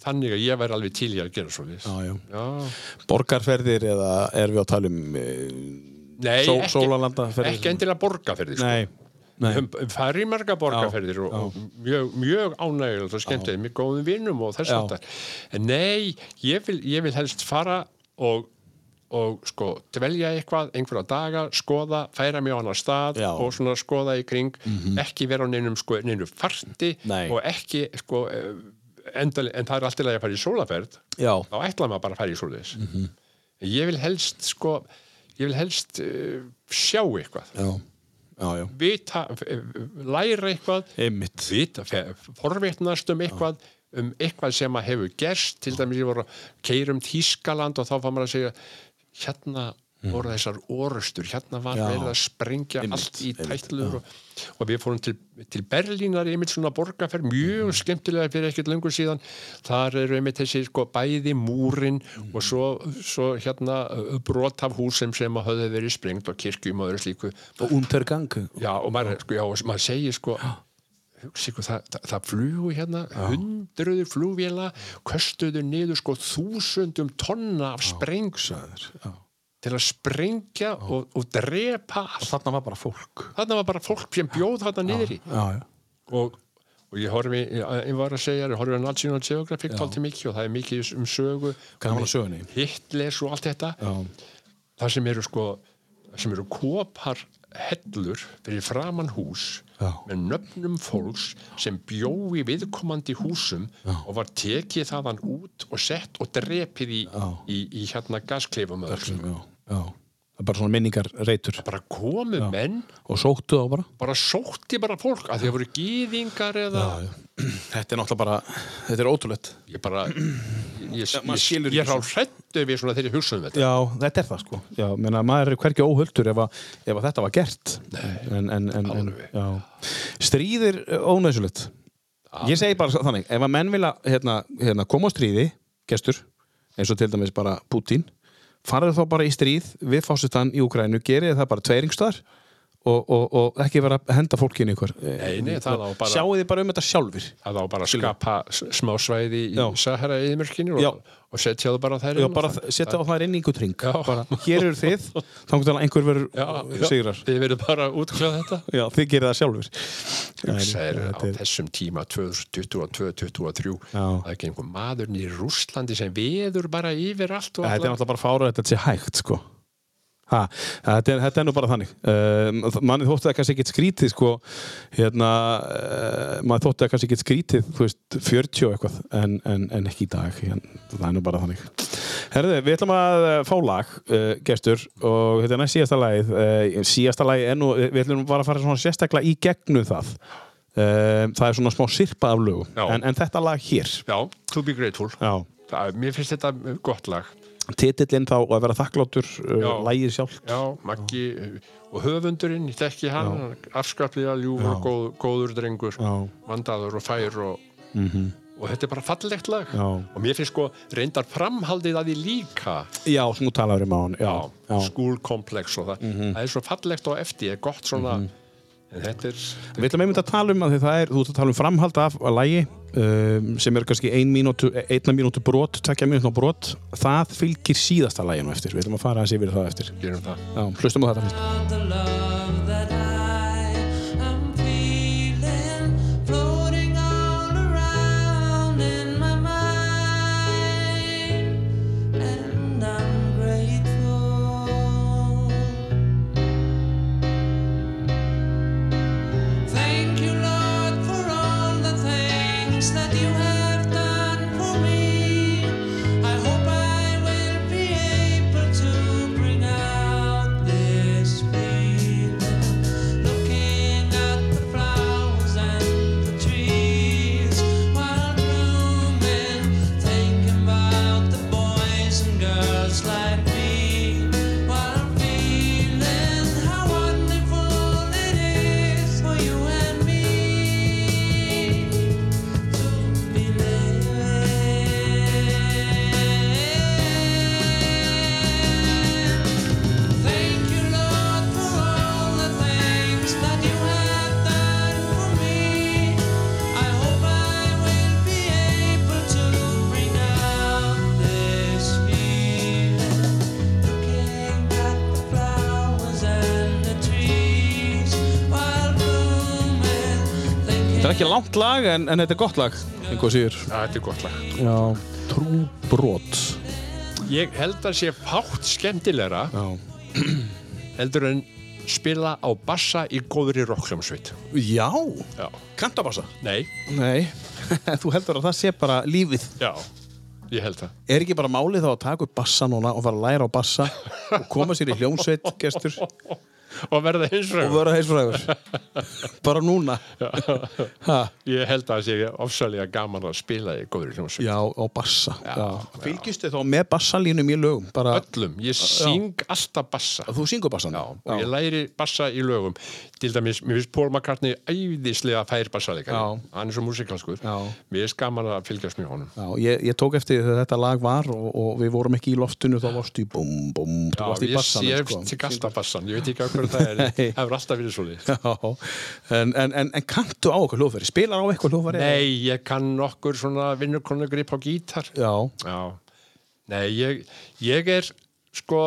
þannig að ég væri alveg til í að gera svoleiðis
Já, já.
Já.
Borgarferðir eða er við að tala um... e,
Nei,
Só-
ekki,
sólarlandaferðir.
ekki endilega borgarferðir sko.
Nei, nei.
um, um, það er í marga borgarferðir og, og mjög, mjög ánægilegt og skemmtilegt með góðum vinnum og þess
Já.
að en nei, ég vil, ég vil helst fara og, og sko dvelja eitthvað, einhverja daga skoða, færa mig á annar stað
Já. Mhm.
og svona skoða í kring ekki vera á neinum, sko, neinum farti
Nei.
og ekki sko eh, endaleg, en það er alltaf að fara í sólaferð
Já, Mhm.
þá ætla maður bara að fara í svoleiðis ég vil helst sko ég vil helst uh, sjá eitthvað
já, já, já.
vita, eh, læra eitthvað
Einmitt.
vita, fe- forvitnast um eitthvað um eitthvað sem að hefur gerst til dæmis ég voru að keyra um Þískaland og þá fann maður að segja hérna voru þessar orustur, hérna var
Mm. Já.
verið að sprengja
Einmitt,
allt í
einmitt,
tætlur og, og við fórum til, til Berlínar í einmitt svona borgarferð,
Mm.
mjög skemmtilega fyrir ekkert lengur síðan, þar eru einmitt þessi sko bæði múrin
Mm.
og svo, svo hérna eh, brot af húsum sem að höfðu verið sprengt og kirkjum og öðru slíku
Og untergang.
Já, og maður, sko, já, og maður segir sko hugsi ykkur, það, það, það flugu hérna hundruður flugvila köstuðu niður sko þúsundum tonna af spreng til að sprengja og, og drepa allt.
Þarna var bara fólk.
þarna var bara fólk sem bjóð þarna niður í
Já, já.
og, og ég horfi, ég, ég var að segja ég horfi á National Geographic tólti mikið og það er mikið um sögu
Gaman að sögunni.
Hitlers og allt þetta
Já.
það sem eru sko sem eru kopar hellur fyrir framann hús
Já.
með nöfnum fólks sem bjó í viðkomandi húsum og var tekið þaðan út og sett og drepið í, í, í hérna gaskleifum öll.
Já, já. Það er bara svona minningarreitur.
bara komu menn
Og sóttu þá bara.
bara sótti bara fólk að þeir voru gýðingar eða
Þetta er náttúrulega bara, þetta er ótrúlegt.
ég bara ég, ég,
maður skilur ekki
ég, ég er á hrættu við svona þegar ég hugsa um þetta
Já, þetta er það sko. Já, menna maður er hverki óhöldur ef, að, ef að þetta var gert. Nei, en, en, en, en,
alveg.
já. Stríðir ónæsulegt. Ég segi bara þannig, ef að menn vilja hérna, hérna, koma á stríði, gestur, eins og til dæmis bara Putin, farið þá bara í stríð við fásistann í Ukrænu, gerið það bara tveiringstaðar og, og, og ekki vera að henda fólkinu ykkur.
Nei, nei, það á bara-
Sjáið þið bara um þetta sjálfur.
að þá bara skapa s- smá svæði í
Já.
Sahara eðimörkinu
Já.
og, og setja það bara þær
Já,
inn og
bara
það-
setja á það reyningutring.
Já.
Bara, hér eru þið, þá getur einhver verður sigrar.
Þið verður bara að útkláða þetta
Já, þið gerir það sjálfur
Hugsaðir á
þetta er-
þessum tíma
Já.
2022-2023 það er ekki einhver maður í Rússlandi sem veður bara yfir allt og
Þetta er
alla
náttúrulega bara fára þetta sé hægt sko Ha, þetta, er, þetta er nú bara þannig um, manni þótti það kannski ekkert skrítið sko, hérna uh, manni þótti það kannski ekkert skrítið þú veist, 40 og eitthvað en, en, en ekki í dag, en, það er nú bara þannig Herðu, við ætlum að eh, fá lag uh, gestur og þetta er næst síðasta lagið uh, síðasta lagið er nú, við ætlum bara að fara svona sérstaklega í gegnum það um, það er svona smá sirpa af lögum
Já.
en, en þetta lag hér
Já, to be grateful
Já.
það, Mér finnst þetta gott lag
titillinn þá og að vera þakkláttur uh,
Já.
lægið sjálft
Já, Maggi og höfundurinn, ég þekki hann afskaplega ljúfur og góð, góður drengur
Já. Mhm.
vandaður og fær og, og þetta er bara fallegt lag
Já.
og mér finnst sko reyndar framhaldið að því líka
já, sem þú talaður um á hann já, Mhm.
já,
já. Mhm.
skúlkomplex og það það er svo fallegt og eftir, er gott svona en þetta er
Við ætlum einmitt að tala um að því það er, þú ert að tala um framhald af að lægi um, sem er kannski ein mínútu, einna mínútu brot, tvekja mínútu brot það fylgir síðasta læginu eftir við ætlum að fara að sé fyrir það eftir
gerum það
Já, hlustum á þetta fyrst
About the love that I am feeling floating all around in my mind, and I'm grateful. Thank you, Lord, for all the things that you have done for me. I hope I will be able to bring out this feeling. Looking at the flowers and the trees while blooming, thinking about the boys and girls like me. While I'm feeling how wonderful it is for you and me to be living. Thank you, Lord, for all the things that you have done for me. I hope I will be able to bring out this feeling. Looking at the flowers and the trees while blooming,
Þetta er
thinking
ekki langt lag en, en þetta er gott lag einhvað síður
Já, þetta er gott lag
Já, trú brot
ég held að sé fátt skemmtilegra
Já
heldur en spila á bassa í góðri rockljómsveit
Já,
já,
kantabassa
nei,
Nei, þú heldur að það sé bara lífið
já ég held það
Er ekki bara málið þá að taka upp bassa núna og fara að læra á bassa og koma sér í hljómsveit, gestur
og verða hins
og
rögum
vera heilsfræður bara núna ha,
ég held að það sé ofsalega gaman að spila í góðri hljómsveit
já, og bassa já, fylgistu þá með bassalínum í lögum bara,
öllum, ég syng alltaf bassa
þú syngur bassan já,
og ég læri bassa í lögum til dæmis, mér finnst Paul McCartney æðislega fær bassalegari,
Já.
hann er svo músikalskur
Já.
mér finnst gaman að fylgjast með honum
Já, ég, ég tók eftir þegar þetta lag var og, og við vorum ekki í loftinu, þá varstu í búm, búm, þú varst í
ég,
bassanum sko.
ég tek alltaf bassan, ég veit ekki að hverju það er en
Nei.
það hefur alltaf verið svo
Já, en, en, en, en kanntu á eitthvað hljóðfæri, spilar á eitthvað hljóðfæri
Nei, ég kann nokkur svona vinnukonu grip á gítar
Já,
Já, nei, ég, ég er sko,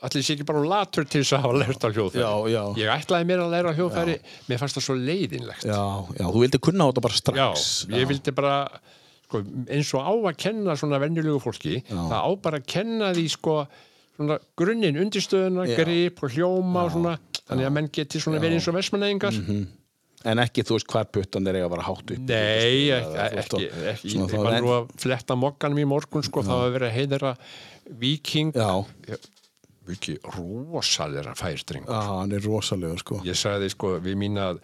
allir sé ekki bara latur til þess að hafa lært á hljóðfæri
Já, já.
Ég ætlaði mér að læra á hljóðfæri mér fannst það svo leiðinlegt
já, já, þú vildi kunna á þetta bara strax
ég vildi bara sko, eins og á að kenna svona venjulegu fólki það á bara að kenna því sko svona grunnin, undirstöðuna,
Já.
grip og hljóma og svona, þannig að menn geti svona verið eins og versmanæðingar
Mhm. En ekki, þú veist, hvar puttan þeir eiga að vera hátt upp
Nei, ekki,
þú ert
ekki,
að-
ekki.
svona
Ég
þá-
var
en-
nú að fletta mokkanum í morgun sko, það var verið að heiðra viking
Já.
mikið rosalera færdring
Já, hann er rosalegur, sko
ég sagði sko við mín að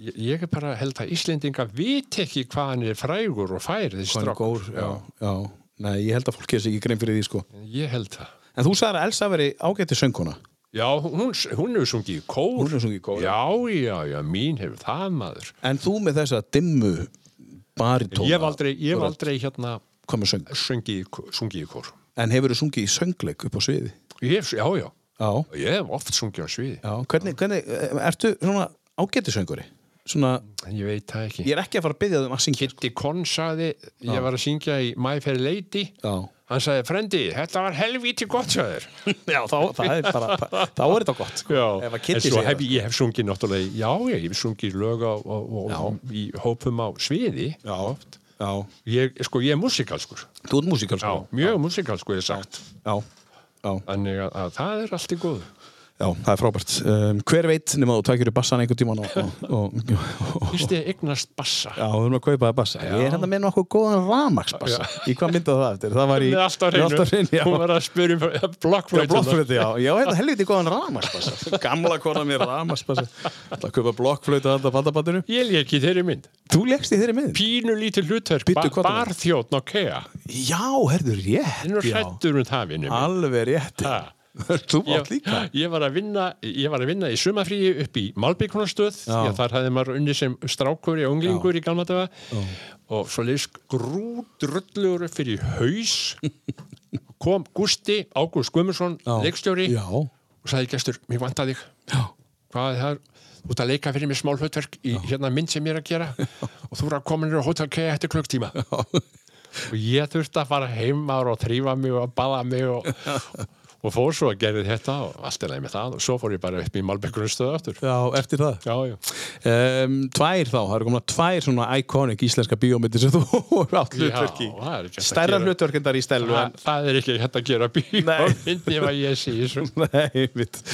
ég, ég er bara held að Íslendinga viti ekki hvað hann er frægur og fær þessi
Hann er
strák
góður, já, já Nei, ég held að fólk er sér ekki grein fyrir því, sko
ég held það
En þú sagði að Elsa veri ágætti sönguna
Já, hún, hún hefur sungið í kór.
Hún hefur sungið í kór, já.
Já, já, já, mín hefur það maður.
En þú með þessa dimmu baritóna
Ég hef aldrei, ég hef aldrei hérna
Hvað með söng?
sungið, í kó- sungið í kór.
En hefur þú sungið í söngleik upp á sviði?
Ég hef, já, já,
Já,
ég hef oft sungið á sviði.
já Hvernig, hvernig, ertu svona ágætti sönguri? Svona,
Ég veit það ekki.
ég er ekki að fara að byggja þeim að syngja
Kitty Conn sagði, ég var að syngja í My Fair Lady.
Já,
Hann sagði, frendi, þetta var helvíti gott sagður.
já þá, það er bara, þá er þetta gott sko. Ef að
en
Kitty
svo
segir
hef
það,
ég hef sungið náttúrulega, í- já, ég hef sungið lög á, á, á, í hópum á sviði.
Já, oft Já,
Ég, sko, ég er músikalskur.
þú ert músíkal,
Já,
sko
mjög músikalskur, ég hef sagt.
Já, já,
Þannig að, að það er allt í góðu.
já, það er frábært um, Hver veit nema þú tækir upp bassan einhvern tímann og, og, og, og
Fyrst ég eignast bassa.
Já, við erum að kaupa það bassa Ég er hann að minna okkur góðan ramaksbassa Í hvað myndað það eftir? Það var í
Með allt á
með allt á
hreinu.
já.
Hún var að spyrja um
Já,
blokkflöytuna.
blokkflötu, já. Já, þetta helviti góðan ramaksbassa Gamla konan mér ramaksbassa Það að kaupa blokkflötu að þetta fattabattinu
Ég leik í þeirri mynd.
Þú leggst í þeirri miðin?
Pínu lítið hlutverk,
Bíddu,
ba
hvað það var?
barþjóðn á kea.
Já, herðu
Þinn
rétt
er
já.
hrættur um það, vinnum.
Alveg rétt
Ha.
Þú átt
ég,
líka
ég, var að vinna, ég var að vinna í sumafríi upp í Malbyggunarstöð
Já.
því að þar hafði maður unni sem strákur og unglingur í Galmatöfa og svo leys grúdrullur fyrir haus kom Gusti, Ágúst Guðmundsson leikstjóri
Já,
og sagði gestur, mér vantar þig
já
hvað er það þú ert að leika fyrir mér smál hlutverk í hérna mynd sem ég er að gera og þú eru að koma nýra hótel kegja eftir klukktíma og ég þurfti að fara heimar og þrýfa mig og baða mig og, og fór svo að gera þetta og allt er leið með það og svo fór ég bara upp í Malbekkunarstöðu aftur
Já, eftir það
já, já.
um, Tvær þá, það eru komna tvær svona iconic íslenska bíómyndir sem þú hefur átt hlutverk í
Já, það er ekki hægt að
Stærra
gera.
hlutverk en þar í stelu en...
það, það er ekki hægt að gera bíl
Nei.
og myndi ég að ég sé þessu
Nei, mitt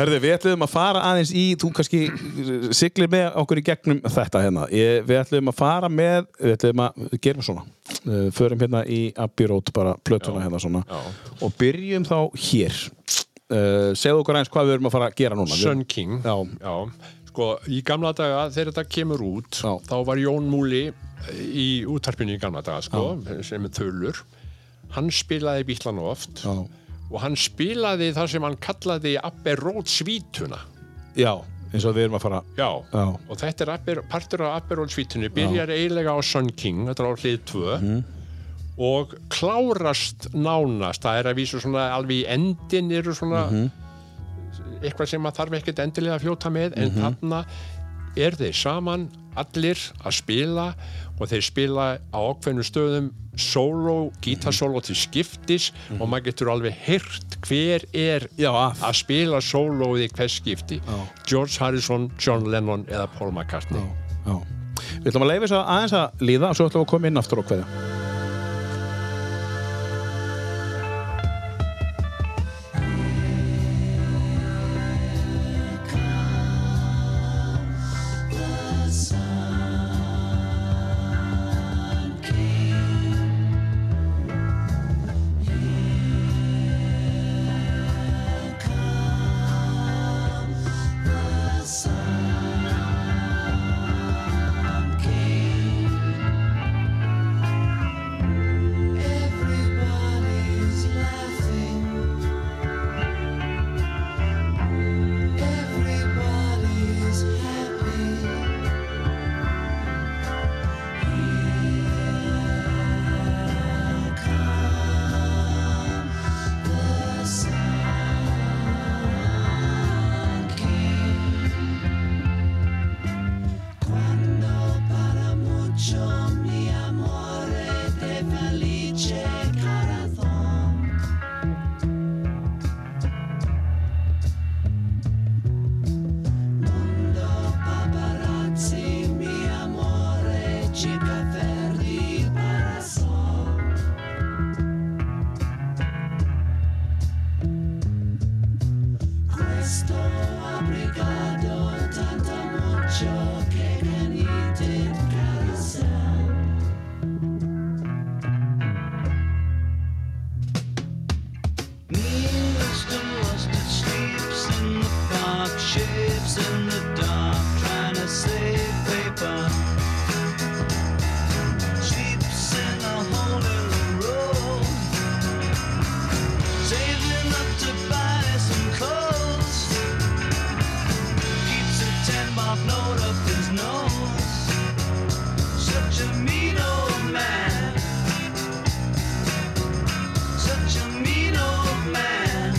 Herðu, við ætlum að fara aðeins í, þú kannski siglir með okkur í gegnum þetta hérna. Ég, við ætlum að fara með, við ætlum að gerum svona. Uh, förum hérna í Abbey Road bara plötuna hérna svona.
já.
Og byrjum þá hér. Uh, segðu okkur eins hvað við erum að fara að gera núna. Við-
Sun King
Já.
Sko, í gamla daga þegar þetta kemur út
Já.
þá var Jón Múli eh, í útarpinu í gamla daga sko, sem er þölur hann spilaði bílana oft
Já.
og hann spilaði það sem hann kallaði Abbey Road svítuna
Já, eins og við erum að fara.
Já.
Já.
og þetta er Abbey, partur af Abbey Road svítunni byrjar eiginlega á Sun King þetta er á hlið 2
Mhm.
og klárast nánast það er að vísu svona alveg í endin eru svona
Mhm.
eitthvað sem maður þarf ekkert endilega að fjóta
Mhm.
með en þarna er þeir saman allir að spila og þeir spila á ákveðnum stöðum solo,
Mhm.
gítasolo til skiptis og maður getur alveg heyrt hver er
Já, að.
að spila sólóið í hvers skipti George Harrison, John Lennon eða Paul McCartney
Já. Við ætlum að leifa þess að aðeins að líða og svo ætlum við að koma inn aftur og hverja.
Everybody's laughing. Everybody's happy. Quando para mucho mi amor te felice corazón. Mundo paparazzi, mi amore, chica ferri para sol. Questo abrigado tanto mucho che can eat it carousel. Neilston rusted sleeps in the park, shaves in the dark, trying to save paper. Sleeps in a hole in the road, saving up to buy some clothes. Keeps a ten bob note up his nose. Such a mean old man. Such a mean old man.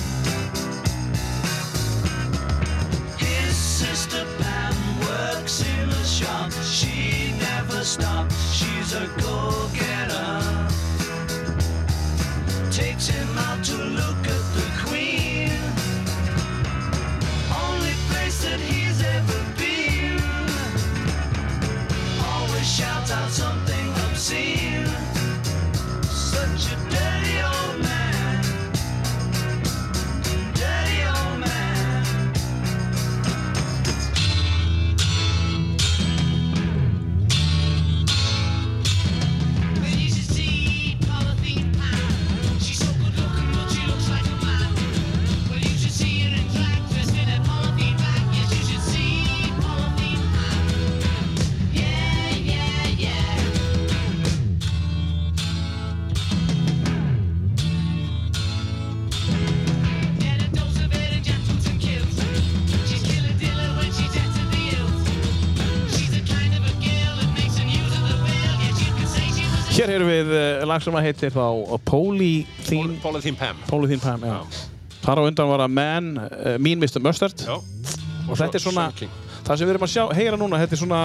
His sister Pam works in a shop. She never stops. She's a go-getter. Takes him out to look at the queen. Only place that he's ever been. Always shouts out something obscene. Such a dirty old man. Dirty old man.
Hér erum við uh, lag sem að heitir þá uh, Polythene
Paula Thím Pam
Polythene Pam, já. Þar á undan var að Man, uh, Mean Mr. eh, Mustard
Já. og
og þetta er svona,
Sönking.
það sem við erum að sjá, heyra núna, þetta er svona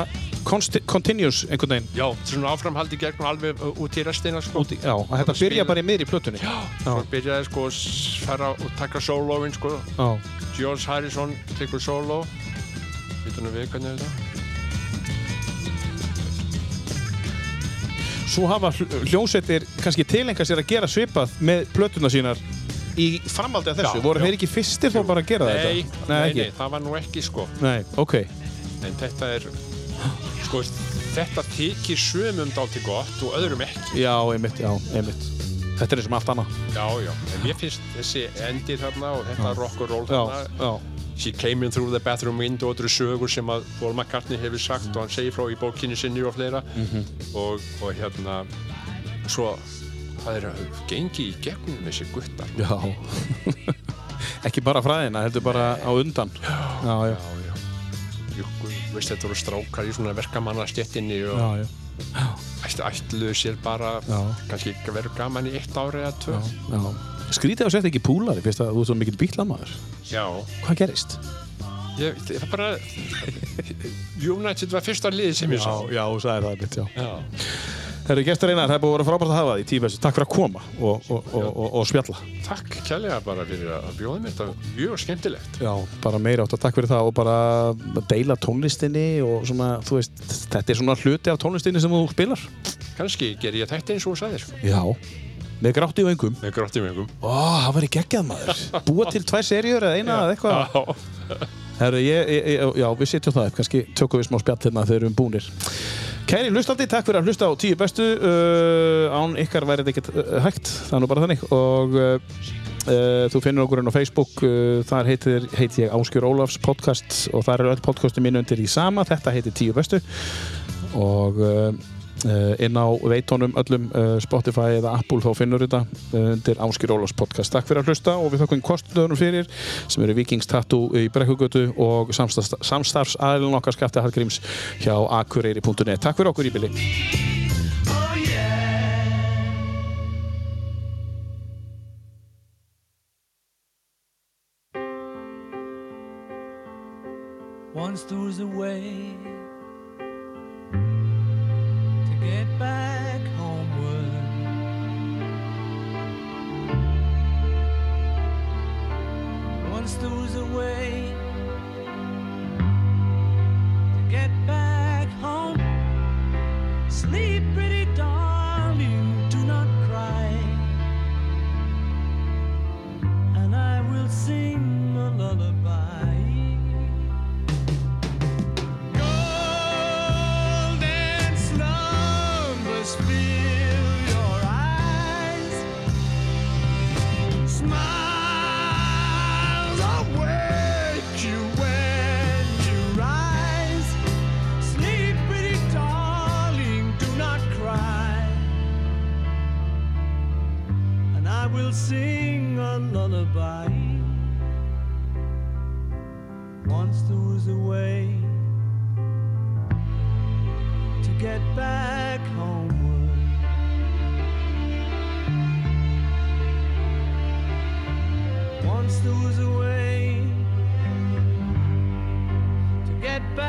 consti- continuous einhvern veginn
Já, svona áframhaldi gegn og alveg uh, út í restina sko.
út í, já, að þetta
Spilar-
byrja bara í miðri plötunni
Já, svo byrjaði sko að s- fara og taka sólóin sko.
já,
George Harrison tekur sóló. Vitum við hvernig er þetta?
svo hafa hl- hljómsveitir kannski tilenga sér að gera svipað með plötuna sínar í framhaldi af þessu,
Já,
voru
já.
þeir ekki fyrstir þá bara að gera
Nei,
þetta?
nei,
ekki.
nei, það var nú ekki sko.
Nei, ok.
En þetta er, sko, þetta tekir sömum dálti gott og öðrum ekki.
Já, einmitt, já, einmitt. Þetta er eins og með allt annað.
Já, já, en mér finnst þessi endi þarna og þetta rock and roll
Já,
þarna.
já,
She came in through the bathroom window og þetta eru sögur sem að Paul McCartney hefur sagt og hann segir frá í bókinni sinni og fleira
Mhm.
og, og hérna svo það er að gengi í gegnum þessi guttar
já. ekki bara fræðina, heldur bara á undan. Já, já,
já, já Jú, veist þetta voru strákar í svona verkamannastjettinni og
já, já,
ætl- ætluðu sér bara
Já.
kannski ekki að vera gaman í eitt ári eða tvö
já, já. Skrítið á sett ekki púlari, finnst það að þú ert svo mikill bílamaður.
já.
Hvað gerist?
Ég, það er bara United var fyrsta lið sem ég sá
já, þú sagði það einmitt, já.
já.
Herru, gestur Einar, það er búið að vera frábært að hafa það í tíu bestu. Takk fyrir að koma og, og, og, og, og spjalla.
Takk kærlega bara fyrir að bjóða mér þetta var mjög skemmtilegt
Já, bara meira átt að takk fyrir það og bara deila tónlistinni og svona, þú veist, þetta er svona hluti af tónlistinni sem þú spilar.
kannski ger ég þetta eins og þú sagðir sko.
Já. Með grátti og engum.
með gróttum engum
Ó, það var í geggjað maður. Búa til tvær seríur eða eina eða eitthvað. Herru, ég, ég, ég, já, við setjum það upp. Kannski tökum við smá spjall hérna þegar við erum búnir. Kæri hlustandi, takk fyrir að hlusta á tíu bestu. Uh, án ykkar væri þetta ekkert uh, hægt. Það er nú bara þannig. Og uh, uh, þú finnur okkur enn á Facebook. Uh, þar heitir, heit ég Áskjör Ólafs podcast og þar eru öll podcastin mín undir í sama. Þetta heitir tíu bestu. Og... Uh, uh, inn á veitónum öllum uh, Spotify eða Apple þá finnur þetta uh, undir Áskir Ólafs podcast. Takk fyrir að hlusta og við þakkum kostnöðunum fyrir sem eru Vikings Tattoo í Brekkugötu og samstarfs, samstarfs aðlun okkar skapti Hallgríms hjá akureyri.net. Takk fyrir okkur í bili.
Once there was a way to get back homeward. Once there was a way to get back home. Sleep, pretty darling, do not cry. And I will sing a lullaby. Golden slumbers fill your eyes. Smiles awake you when you rise. Sleep, pretty darling, do not cry. And I will sing a lullaby. Once there was a way to get back homeward. Once there was a way to get back.